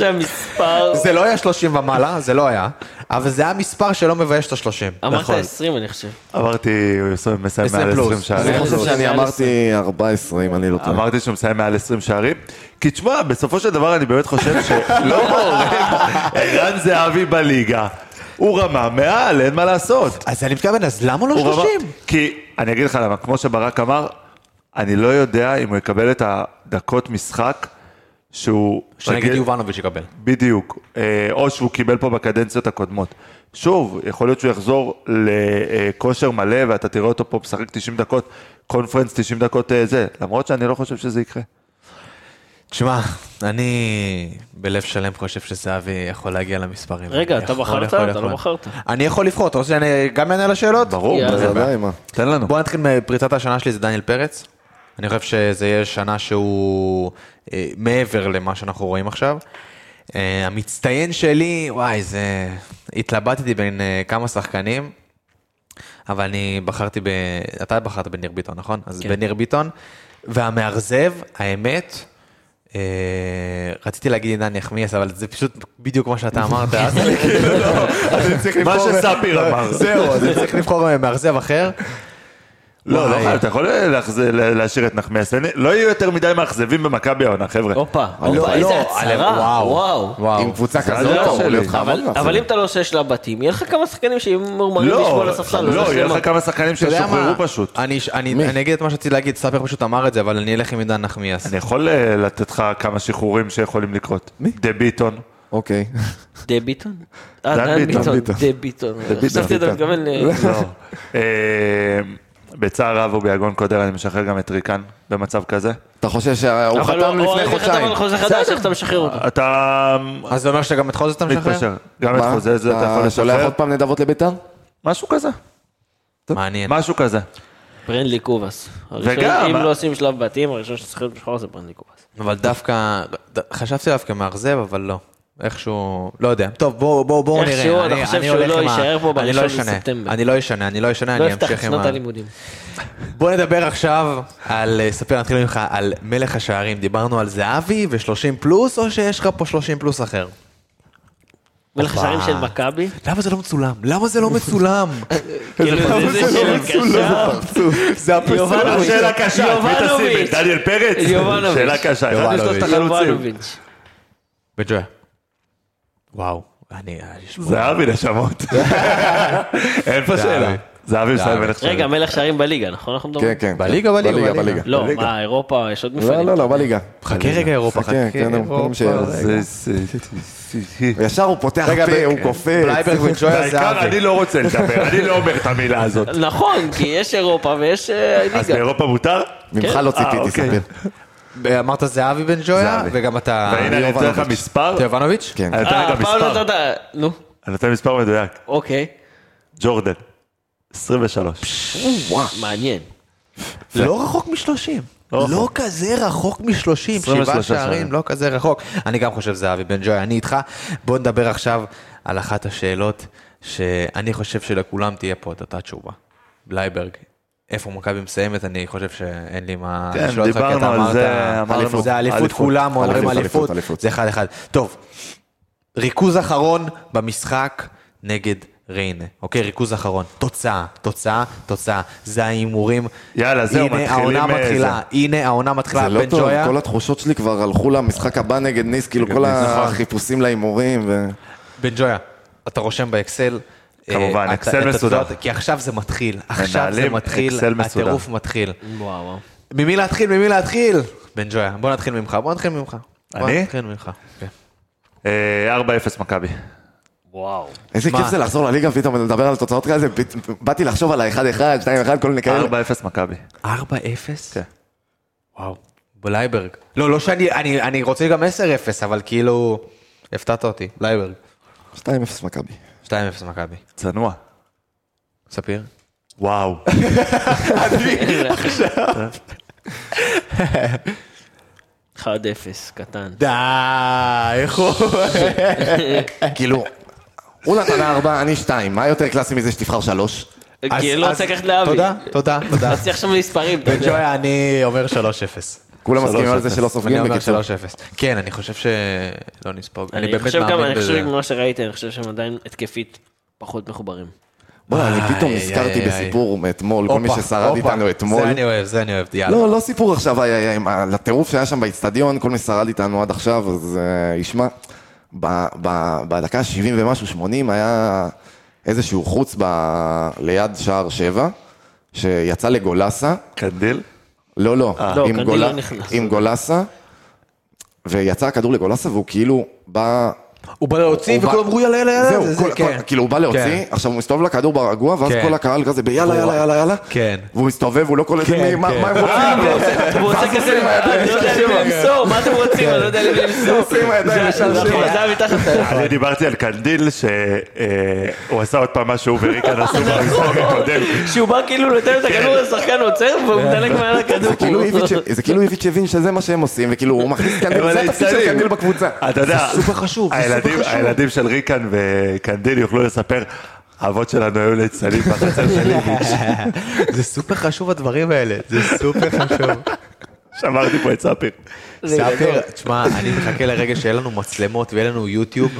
[SPEAKER 7] שם מספר...
[SPEAKER 1] זה לא היה 30 ומעלה, זה לא היה, אבל זה היה מספר שלא מבייש את ה-30.
[SPEAKER 7] אמרת
[SPEAKER 8] נכון.
[SPEAKER 7] 20 אני חושב.
[SPEAKER 8] אמרתי, הוא מסיים מסיים
[SPEAKER 1] עשרים
[SPEAKER 8] מעל
[SPEAKER 1] פלוס.
[SPEAKER 8] 20
[SPEAKER 5] אני
[SPEAKER 8] שערים.
[SPEAKER 5] חושב
[SPEAKER 7] זה
[SPEAKER 5] שאני
[SPEAKER 7] היה
[SPEAKER 5] אמרתי 14, אם אני לא טועה.
[SPEAKER 8] אמרתי שהוא מסיים מעל 20 שערים. כי תשמע, בסופו של דבר אני באמת חושב שלא, ערן זהבי בליגה. הוא רמה מעל, אין מה לעשות.
[SPEAKER 1] אז אני מתכוון, אז למה לא
[SPEAKER 8] הוא רמה-
[SPEAKER 1] 30?
[SPEAKER 8] כי, אני אגיד לך למה, כמו שברק אמר, אני לא יודע אם הוא יקבל את הדקות משחק שהוא...
[SPEAKER 1] שנגיד
[SPEAKER 8] רגיל-
[SPEAKER 1] יובנוביץ' יקבל.
[SPEAKER 8] בדיוק, אה, או שהוא קיבל פה בקדנציות הקודמות. שוב, יכול להיות שהוא יחזור לכושר מלא ואתה תראה אותו פה משחק 90 דקות, קונפרנס 90 דקות אה, זה, למרות שאני לא חושב שזה יקרה.
[SPEAKER 1] תשמע, אני בלב שלם חושב שזהבי יכול להגיע למספרים.
[SPEAKER 7] רגע, אתה
[SPEAKER 1] יכול,
[SPEAKER 7] בחרת?
[SPEAKER 1] יכול,
[SPEAKER 7] אתה
[SPEAKER 1] יכול.
[SPEAKER 7] לא בחרת.
[SPEAKER 1] אני יכול לבחור, אתה רוצה שאני גם אענה על השאלות?
[SPEAKER 8] ברור,
[SPEAKER 7] יאללה.
[SPEAKER 8] מה
[SPEAKER 5] אז
[SPEAKER 8] זה
[SPEAKER 5] עדיין, מה?
[SPEAKER 8] תן לנו.
[SPEAKER 1] בוא נתחיל מפריצת השנה שלי, זה דניאל פרץ. אני חושב שזה יהיה שנה שהוא אה, מעבר למה שאנחנו רואים עכשיו. אה, המצטיין שלי, וואי, זה... התלבטתי בין אה, כמה שחקנים, אבל אני בחרתי ב... אתה בחרת בניר ביטון, נכון? אז
[SPEAKER 7] כן.
[SPEAKER 1] בניר ביטון. והמאכזב, האמת, אה, רציתי להגיד עידן יחמיאס, אבל זה פשוט בדיוק מה שאתה אמרת. אז אני כאילו לא- אז אני צריך
[SPEAKER 8] מה
[SPEAKER 1] לבחור-
[SPEAKER 8] שספיר אמר.
[SPEAKER 1] זהו, אז אני צריך לבחור מאכזב אחר.
[SPEAKER 8] לא, לא
[SPEAKER 1] וואי.
[SPEAKER 8] חייב, אתה יכול להחזיר- להשאיר את נחמיאס, אין- לא יהיו יותר מדי מאכזבים במכבי העונה, חבר'ה.
[SPEAKER 7] הופה,
[SPEAKER 5] לא,
[SPEAKER 7] הופה, איזה
[SPEAKER 1] לא,
[SPEAKER 7] הצהרה,
[SPEAKER 1] וואו.
[SPEAKER 7] וואו.
[SPEAKER 5] עם קבוצה כזאת,
[SPEAKER 8] הדעה
[SPEAKER 5] אמור
[SPEAKER 8] שלי.
[SPEAKER 5] להיות לך המון
[SPEAKER 7] אבל- אבל
[SPEAKER 5] מאכזבים.
[SPEAKER 7] אם אתה לא עושה שלב בתים, יהיה לך כמה שחקנים שיהיו מורמרים לשמור על
[SPEAKER 8] לא,
[SPEAKER 7] הספסל. וזה
[SPEAKER 8] לא, יהיה
[SPEAKER 7] שלמה.
[SPEAKER 8] לך כמה שחקנים
[SPEAKER 1] אתה יודע מה?
[SPEAKER 8] ששוחררו פשוט.
[SPEAKER 1] אני, אני, אני אגיד את מה שרציתי להגיד, ספיר פשוט אמר את זה, אבל אני אלך עם עידן נחמיאס.
[SPEAKER 8] אני יכול אה, לתת לך כמה שחרורים שיכולים לקרות. דה ביטון.
[SPEAKER 5] אוקיי.
[SPEAKER 7] דה ביטון? אה,
[SPEAKER 8] דן
[SPEAKER 7] דן
[SPEAKER 8] ביטון.
[SPEAKER 7] ביטון, דה ביטון. חשבתי אתה מתכוון ל...
[SPEAKER 8] לא. אה, בצער רב וביגון קודר אני משחרר גם את ריקן במצב כזה.
[SPEAKER 5] אתה חושב שהוא
[SPEAKER 7] אבל
[SPEAKER 5] חתם
[SPEAKER 7] לא, או,
[SPEAKER 5] לפני
[SPEAKER 7] איך אתה
[SPEAKER 5] חודשיים?
[SPEAKER 7] אבל חוזה חדש, איך אתה משחרר אותו?
[SPEAKER 8] אתה
[SPEAKER 1] אז זה אומר שאתה גם את חוזז אתה משחרר?
[SPEAKER 8] מתפשר. גם את
[SPEAKER 5] מה?
[SPEAKER 8] חוזה זה אתה יכול
[SPEAKER 5] שולח
[SPEAKER 8] לשחרר.
[SPEAKER 5] עוד פעם נדבות לביתר?
[SPEAKER 8] משהו כזה.
[SPEAKER 1] מעניין.
[SPEAKER 8] משהו כזה.
[SPEAKER 7] ברנדלי קובאס. הראשון, אם
[SPEAKER 8] וגם-
[SPEAKER 7] לא עושים שלב בתים, הראשון שצריך להיות משחרר זה ברנדלי קובאס.
[SPEAKER 1] אבל דווקא, ד- חשבתי עליו כמאכזב, אבל לא. איכשהו, לא יודע. טוב, בואו בוא, בואו נראה.
[SPEAKER 7] איכשהו, אתה חושב שהוא
[SPEAKER 1] הולך
[SPEAKER 7] לא
[SPEAKER 1] עם ה-
[SPEAKER 7] יישאר פה
[SPEAKER 1] אני לא
[SPEAKER 7] בראשון
[SPEAKER 1] אשנה.
[SPEAKER 7] בספטמבר.
[SPEAKER 1] אני לא אשנה, אני לא אשנה,
[SPEAKER 7] לא
[SPEAKER 1] אני
[SPEAKER 7] יפתח את
[SPEAKER 1] אמשיך עם
[SPEAKER 7] שנות
[SPEAKER 1] ה...
[SPEAKER 7] הלימודים.
[SPEAKER 1] בואו נדבר עכשיו על, אה, ספיר, נתחיל ממך, על מלך השערים. דיברנו על זהבי ו-30 פלוס, או שיש לך פה 30 פלוס אחר?
[SPEAKER 7] מלך
[SPEAKER 1] הופה.
[SPEAKER 7] השערים של מכבי?
[SPEAKER 1] למה זה לא מצולם? למה זה לא מצולם?
[SPEAKER 7] כאילו, זה שאלה קשה.
[SPEAKER 1] זה
[SPEAKER 7] יובנוביץ'.
[SPEAKER 8] שאלה קשה, את מי תשים? את
[SPEAKER 7] יובנוביץ'.
[SPEAKER 8] דניאל פרץ?
[SPEAKER 7] יובנוביץ'.
[SPEAKER 8] שאלה קשה. אחד
[SPEAKER 7] לא,
[SPEAKER 8] משלושת החלוצים.
[SPEAKER 7] יובנוביץ'.
[SPEAKER 1] בג'ויה. וואו, אני... אה, יש פה-
[SPEAKER 8] זהבי נשמות. אין פה שאלה. זהבי מסיים מלך
[SPEAKER 7] רגע,
[SPEAKER 8] שערים.
[SPEAKER 7] מלך שערים בליגה, נכון? אנחנו מדברים?
[SPEAKER 5] כן, כן.
[SPEAKER 1] בליגה, בליגה,
[SPEAKER 5] בליגה,
[SPEAKER 1] בליגה.
[SPEAKER 5] בליגה.
[SPEAKER 7] לא, מה, אירופה, יש עוד
[SPEAKER 5] לא,
[SPEAKER 7] מפעלים.
[SPEAKER 5] לא, לא, בליגה.
[SPEAKER 1] חכה רגע אירופה,
[SPEAKER 5] חכה,
[SPEAKER 1] חכה
[SPEAKER 5] כן,
[SPEAKER 1] אירופה.
[SPEAKER 5] קודם ש-
[SPEAKER 8] זה- זה-
[SPEAKER 5] ישר הוא פותח פה, הוא קופץ.
[SPEAKER 1] בלייברג וג'ויה
[SPEAKER 8] העיקר
[SPEAKER 1] זהבי.
[SPEAKER 8] אני לא רוצה לדבר, אני לא אומר את המילה הזאת.
[SPEAKER 7] נכון, כי יש אירופה ויש אה,
[SPEAKER 8] אז
[SPEAKER 7] ליגה.
[SPEAKER 8] באירופה מותר?
[SPEAKER 5] ממך לא
[SPEAKER 8] אה,
[SPEAKER 5] ציפיתי,
[SPEAKER 8] אוקיי.
[SPEAKER 5] ספיר.
[SPEAKER 1] אמרת זהבי בן ג'ויה,
[SPEAKER 5] זהבי.
[SPEAKER 1] וגם אתה...
[SPEAKER 8] והנה אני אתן לך מספר,
[SPEAKER 1] אתה יובנוביץ'?
[SPEAKER 5] כן.
[SPEAKER 8] אני אתן
[SPEAKER 7] אה,
[SPEAKER 8] לך
[SPEAKER 7] הפעם
[SPEAKER 8] מספר,
[SPEAKER 7] נתת... נו,
[SPEAKER 8] אני נותן מספר מדויק,
[SPEAKER 7] אוקיי.
[SPEAKER 8] ג'ורדן, 23.
[SPEAKER 7] מעניין.
[SPEAKER 1] לא רחוק משלושים.
[SPEAKER 8] לא
[SPEAKER 1] לא
[SPEAKER 8] רחוק. אה.
[SPEAKER 1] כזה רחוק משלושים,
[SPEAKER 8] 23
[SPEAKER 1] שבעה שערים,
[SPEAKER 8] שערים.
[SPEAKER 1] לא כזה רחוק. אני גם חושב זהבי בן ג'וי, אני איתך. בוא נדבר עכשיו על אחת השאלות שאני חושב שלכולם תהיה פה את אותה תשובה. בלייברג, איפה מכבי מסיימת, אני חושב שאין לי מה
[SPEAKER 8] כן,
[SPEAKER 1] לשאול אותך, כי אתה
[SPEAKER 8] דיברנו על
[SPEAKER 1] אמרת,
[SPEAKER 8] זה, אמרנו.
[SPEAKER 1] אליפות. זה אליפות,
[SPEAKER 8] אליפות.
[SPEAKER 1] כולם אומרים
[SPEAKER 5] אליפות,
[SPEAKER 1] אליפות,
[SPEAKER 5] אליפות, אליפות.
[SPEAKER 1] זה אחד אחד. טוב, ריכוז אחרון במשחק נגד ריינה, אוקיי? ריכוז אחרון. תוצאה, תוצאה, תוצאה. זה ההימורים.
[SPEAKER 8] יאללה, זהו,
[SPEAKER 1] הנה
[SPEAKER 8] מתחילים,
[SPEAKER 1] העונה
[SPEAKER 8] אה,
[SPEAKER 1] מתחילה, הנה העונה מתחילה,
[SPEAKER 5] זה לא
[SPEAKER 1] אה, בן
[SPEAKER 5] טוב,
[SPEAKER 1] ג'ויה.
[SPEAKER 5] כל התחושות שלי כבר הלכו למשחק הבא נגד ניס, כאילו כל
[SPEAKER 8] ניס, נכון.
[SPEAKER 5] החיפושים להימורים. ו-
[SPEAKER 1] בן ג'ויה, אתה רושם באקסל
[SPEAKER 8] כמובן,
[SPEAKER 1] אה,
[SPEAKER 8] אקסל
[SPEAKER 1] את- את
[SPEAKER 8] מסודר.
[SPEAKER 1] התוצאות, כי עכשיו זה מתחיל, עכשיו זה
[SPEAKER 8] מנהלים
[SPEAKER 1] מתחיל,
[SPEAKER 8] אקסל מסודר.
[SPEAKER 1] הטירוף מתחיל.
[SPEAKER 7] וואו, וואו.
[SPEAKER 1] ממי להתחיל, ממי להתחיל? בן ג'ויה, בוא נתחיל ממך, בוא נתחיל ממך. בוא
[SPEAKER 8] אני?
[SPEAKER 1] נתחיל ממך. כן.
[SPEAKER 8] אה, 4-0 מכבי.
[SPEAKER 7] וואו.
[SPEAKER 5] איזה
[SPEAKER 1] מה?
[SPEAKER 5] כיף זה לחזור לליגה פתאום ולדבר על תוצאות כאלה, זה פת- באתי לחשוב על ה-1-1, 2-1, כל מיני
[SPEAKER 1] כן.
[SPEAKER 5] כאלה.
[SPEAKER 8] 4-0 מכבי.
[SPEAKER 1] 4-0?
[SPEAKER 8] כן.
[SPEAKER 1] וואו. בלייברג. לא, לא שאני, אני, אני רוצה גם 10-0, אבל כאילו, הפתעת אותי, בלייברג.
[SPEAKER 5] 2-0 מכבי.
[SPEAKER 1] 2-0 מכבי.
[SPEAKER 8] צנוע.
[SPEAKER 1] ספיר?
[SPEAKER 8] וואו.
[SPEAKER 7] אחד אפס, קטן.
[SPEAKER 1] די, איך הוא...
[SPEAKER 5] כאילו, הוא נתן 4, אני 2, מה יותר קלאסי מזה שתבחר 3?
[SPEAKER 7] כי אני לא רוצה לקחת לאבי.
[SPEAKER 1] תודה, תודה, תודה.
[SPEAKER 7] רציתי עכשיו מספרים, אתה
[SPEAKER 1] בן
[SPEAKER 7] יודע.
[SPEAKER 1] ג'ויה, אני אומר 3-0.
[SPEAKER 5] כולם מסכימים על זה שלא
[SPEAKER 1] אני
[SPEAKER 5] סופגים
[SPEAKER 1] אומר
[SPEAKER 5] בקיצור.
[SPEAKER 1] 3-0. כן, אני חושב שלא נספוג. אני
[SPEAKER 7] אני
[SPEAKER 1] באמת
[SPEAKER 7] חושב גם,
[SPEAKER 1] מאמין
[SPEAKER 7] אני חושב
[SPEAKER 1] בזה.
[SPEAKER 7] ממה שראיתי, אני חושב שהם עדיין התקפית פחות מחוברים.
[SPEAKER 5] בוא'נה, אני פתאום
[SPEAKER 1] איי,
[SPEAKER 5] נזכרתי
[SPEAKER 1] איי, איי.
[SPEAKER 5] בסיפור מאתמול, כל מי
[SPEAKER 1] הופה,
[SPEAKER 5] ששרד
[SPEAKER 1] הופה.
[SPEAKER 5] איתנו אתמול.
[SPEAKER 1] זה אני אוהב, זה אני אוהב, יאללה.
[SPEAKER 5] לא, לא סיפור עכשיו, היה, היה, עם ה- לטירוף שהיה שם באיצטדיון, כל מי ששרד איתנו עד עכשיו, אז אה, ישמע, ב- ב- בדקה 70 ומשהו, 80, היה איזשהו חוץ ב- ליד שער 7, שיצא לגולסה,
[SPEAKER 8] קנדיל?
[SPEAKER 5] לא, לא,
[SPEAKER 7] לא,
[SPEAKER 5] עם,
[SPEAKER 7] קנדיל
[SPEAKER 5] גול...
[SPEAKER 7] לא נכנס.
[SPEAKER 5] עם גולסה, ויצא הכדור לגולסה, והוא כאילו בא...
[SPEAKER 1] הוא בא להוציא
[SPEAKER 5] הוא בא-
[SPEAKER 1] וכולם אמרו יאללה יאללה יאללה.
[SPEAKER 5] זהו,
[SPEAKER 1] זה- זה-
[SPEAKER 5] כל-
[SPEAKER 1] כן.
[SPEAKER 5] כל- כאילו הוא בא להוציא,
[SPEAKER 1] כן.
[SPEAKER 5] עכשיו הוא מסתובב לכדור ברגוע, ואז
[SPEAKER 1] כן.
[SPEAKER 5] כל הקהל כזה ביאללה, יאללה, יאללה, יאללה,
[SPEAKER 1] כן.
[SPEAKER 5] והוא מסתובב, הוא לא קולט
[SPEAKER 1] כן,
[SPEAKER 5] מי- מה
[SPEAKER 1] כן.
[SPEAKER 5] מה הם רוצים.
[SPEAKER 7] הוא עושה כזה, אני לא יודע למי למסור, מה אתם רוצים? אני לא יודע למי למסור.
[SPEAKER 5] עם הידיים
[SPEAKER 7] זה-
[SPEAKER 5] ישר
[SPEAKER 7] זה-
[SPEAKER 5] שלה.
[SPEAKER 7] זה היה מתחת ל-
[SPEAKER 8] אני דיברתי על קנדיל שהוא עשה עוד פעם מה שהוא וריקן עשו במשחק הקודם.
[SPEAKER 7] שהוא בא כאילו לתת את הכדור לשחקן עוצר והוא מדלג מעל הכדור.
[SPEAKER 5] כן. זה כאילו איביץ'- זה כאילו איביץ' הבין שזה מה שהם עושים, וכאילו הוא מכניס קנדיל,
[SPEAKER 8] אבל
[SPEAKER 5] זה התפקיד של
[SPEAKER 8] היצרים.
[SPEAKER 5] קנדיל בקבוצה.
[SPEAKER 8] אתה יודע,
[SPEAKER 1] זה סופר חשוב, זה
[SPEAKER 8] הילדים-
[SPEAKER 1] סופר חשוב.
[SPEAKER 8] הילדים של ריקן וקנדיל יוכלו לספר, האבות שלנו היו ליצנים בחצר של איביץ'.
[SPEAKER 1] זה סופר חשוב הדברים האלה, זה סופר חשוב.
[SPEAKER 8] שמרתי פה את ספיר.
[SPEAKER 1] ספיר, תשמע, אני מחכה לרגע שיהיה לנו מצלמות ויהיה לנו יוטיוב,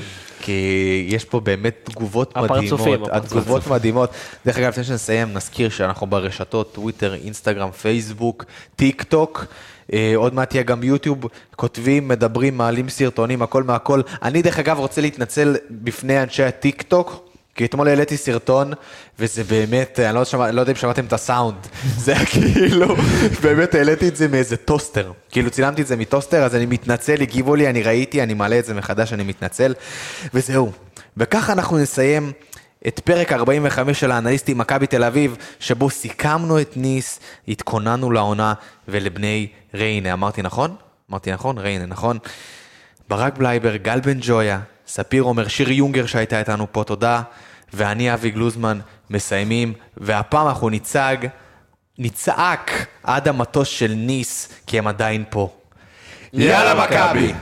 [SPEAKER 1] כי יש פה באמת תגובות
[SPEAKER 7] הפרצופים,
[SPEAKER 1] מדהימות.
[SPEAKER 7] הפרצופים.
[SPEAKER 1] התגובות מדהימות. דרך אגב, לפני שנסיים, נזכיר שאנחנו ברשתות, טוויטר, אינסטגרם, פייסבוק, טיק טוק. אה, עוד מעט יהיה גם יוטיוב, כותבים, מדברים, מעלים סרטונים, הכל מהכל. אני דרך אגב רוצה להתנצל בפני אנשי הטיק טוק, כי אתמול העליתי סרטון, וזה באמת, אני לא, שמע, לא יודע אם שמעתם את הסאונד, זה היה כאילו, באמת העליתי את זה מאיזה טוסטר. כאילו צילמתי את זה מטוסטר, אז אני מתנצל, הגיבו לי, אני ראיתי, אני מעלה את זה מחדש, אני מתנצל, וזהו. וככה אנחנו נסיים את פרק 45 של האנליסטים מכבי תל אביב, שבו סיכמנו את ניס, התכוננו לעונה ולבני ריינה. אמרתי נכון? אמרתי נכון? ריינה, נכון. ברק בלייבר, גל בן ג'ויה, ספיר עומר, שירי יונגר שהייתה איתנו פה, תודה, ואני אבי גלוזמן מסיימים, והפעם אנחנו נצעק, נצעק עד המטוס של ניס, כי הם עדיין פה. יאללה מכבי!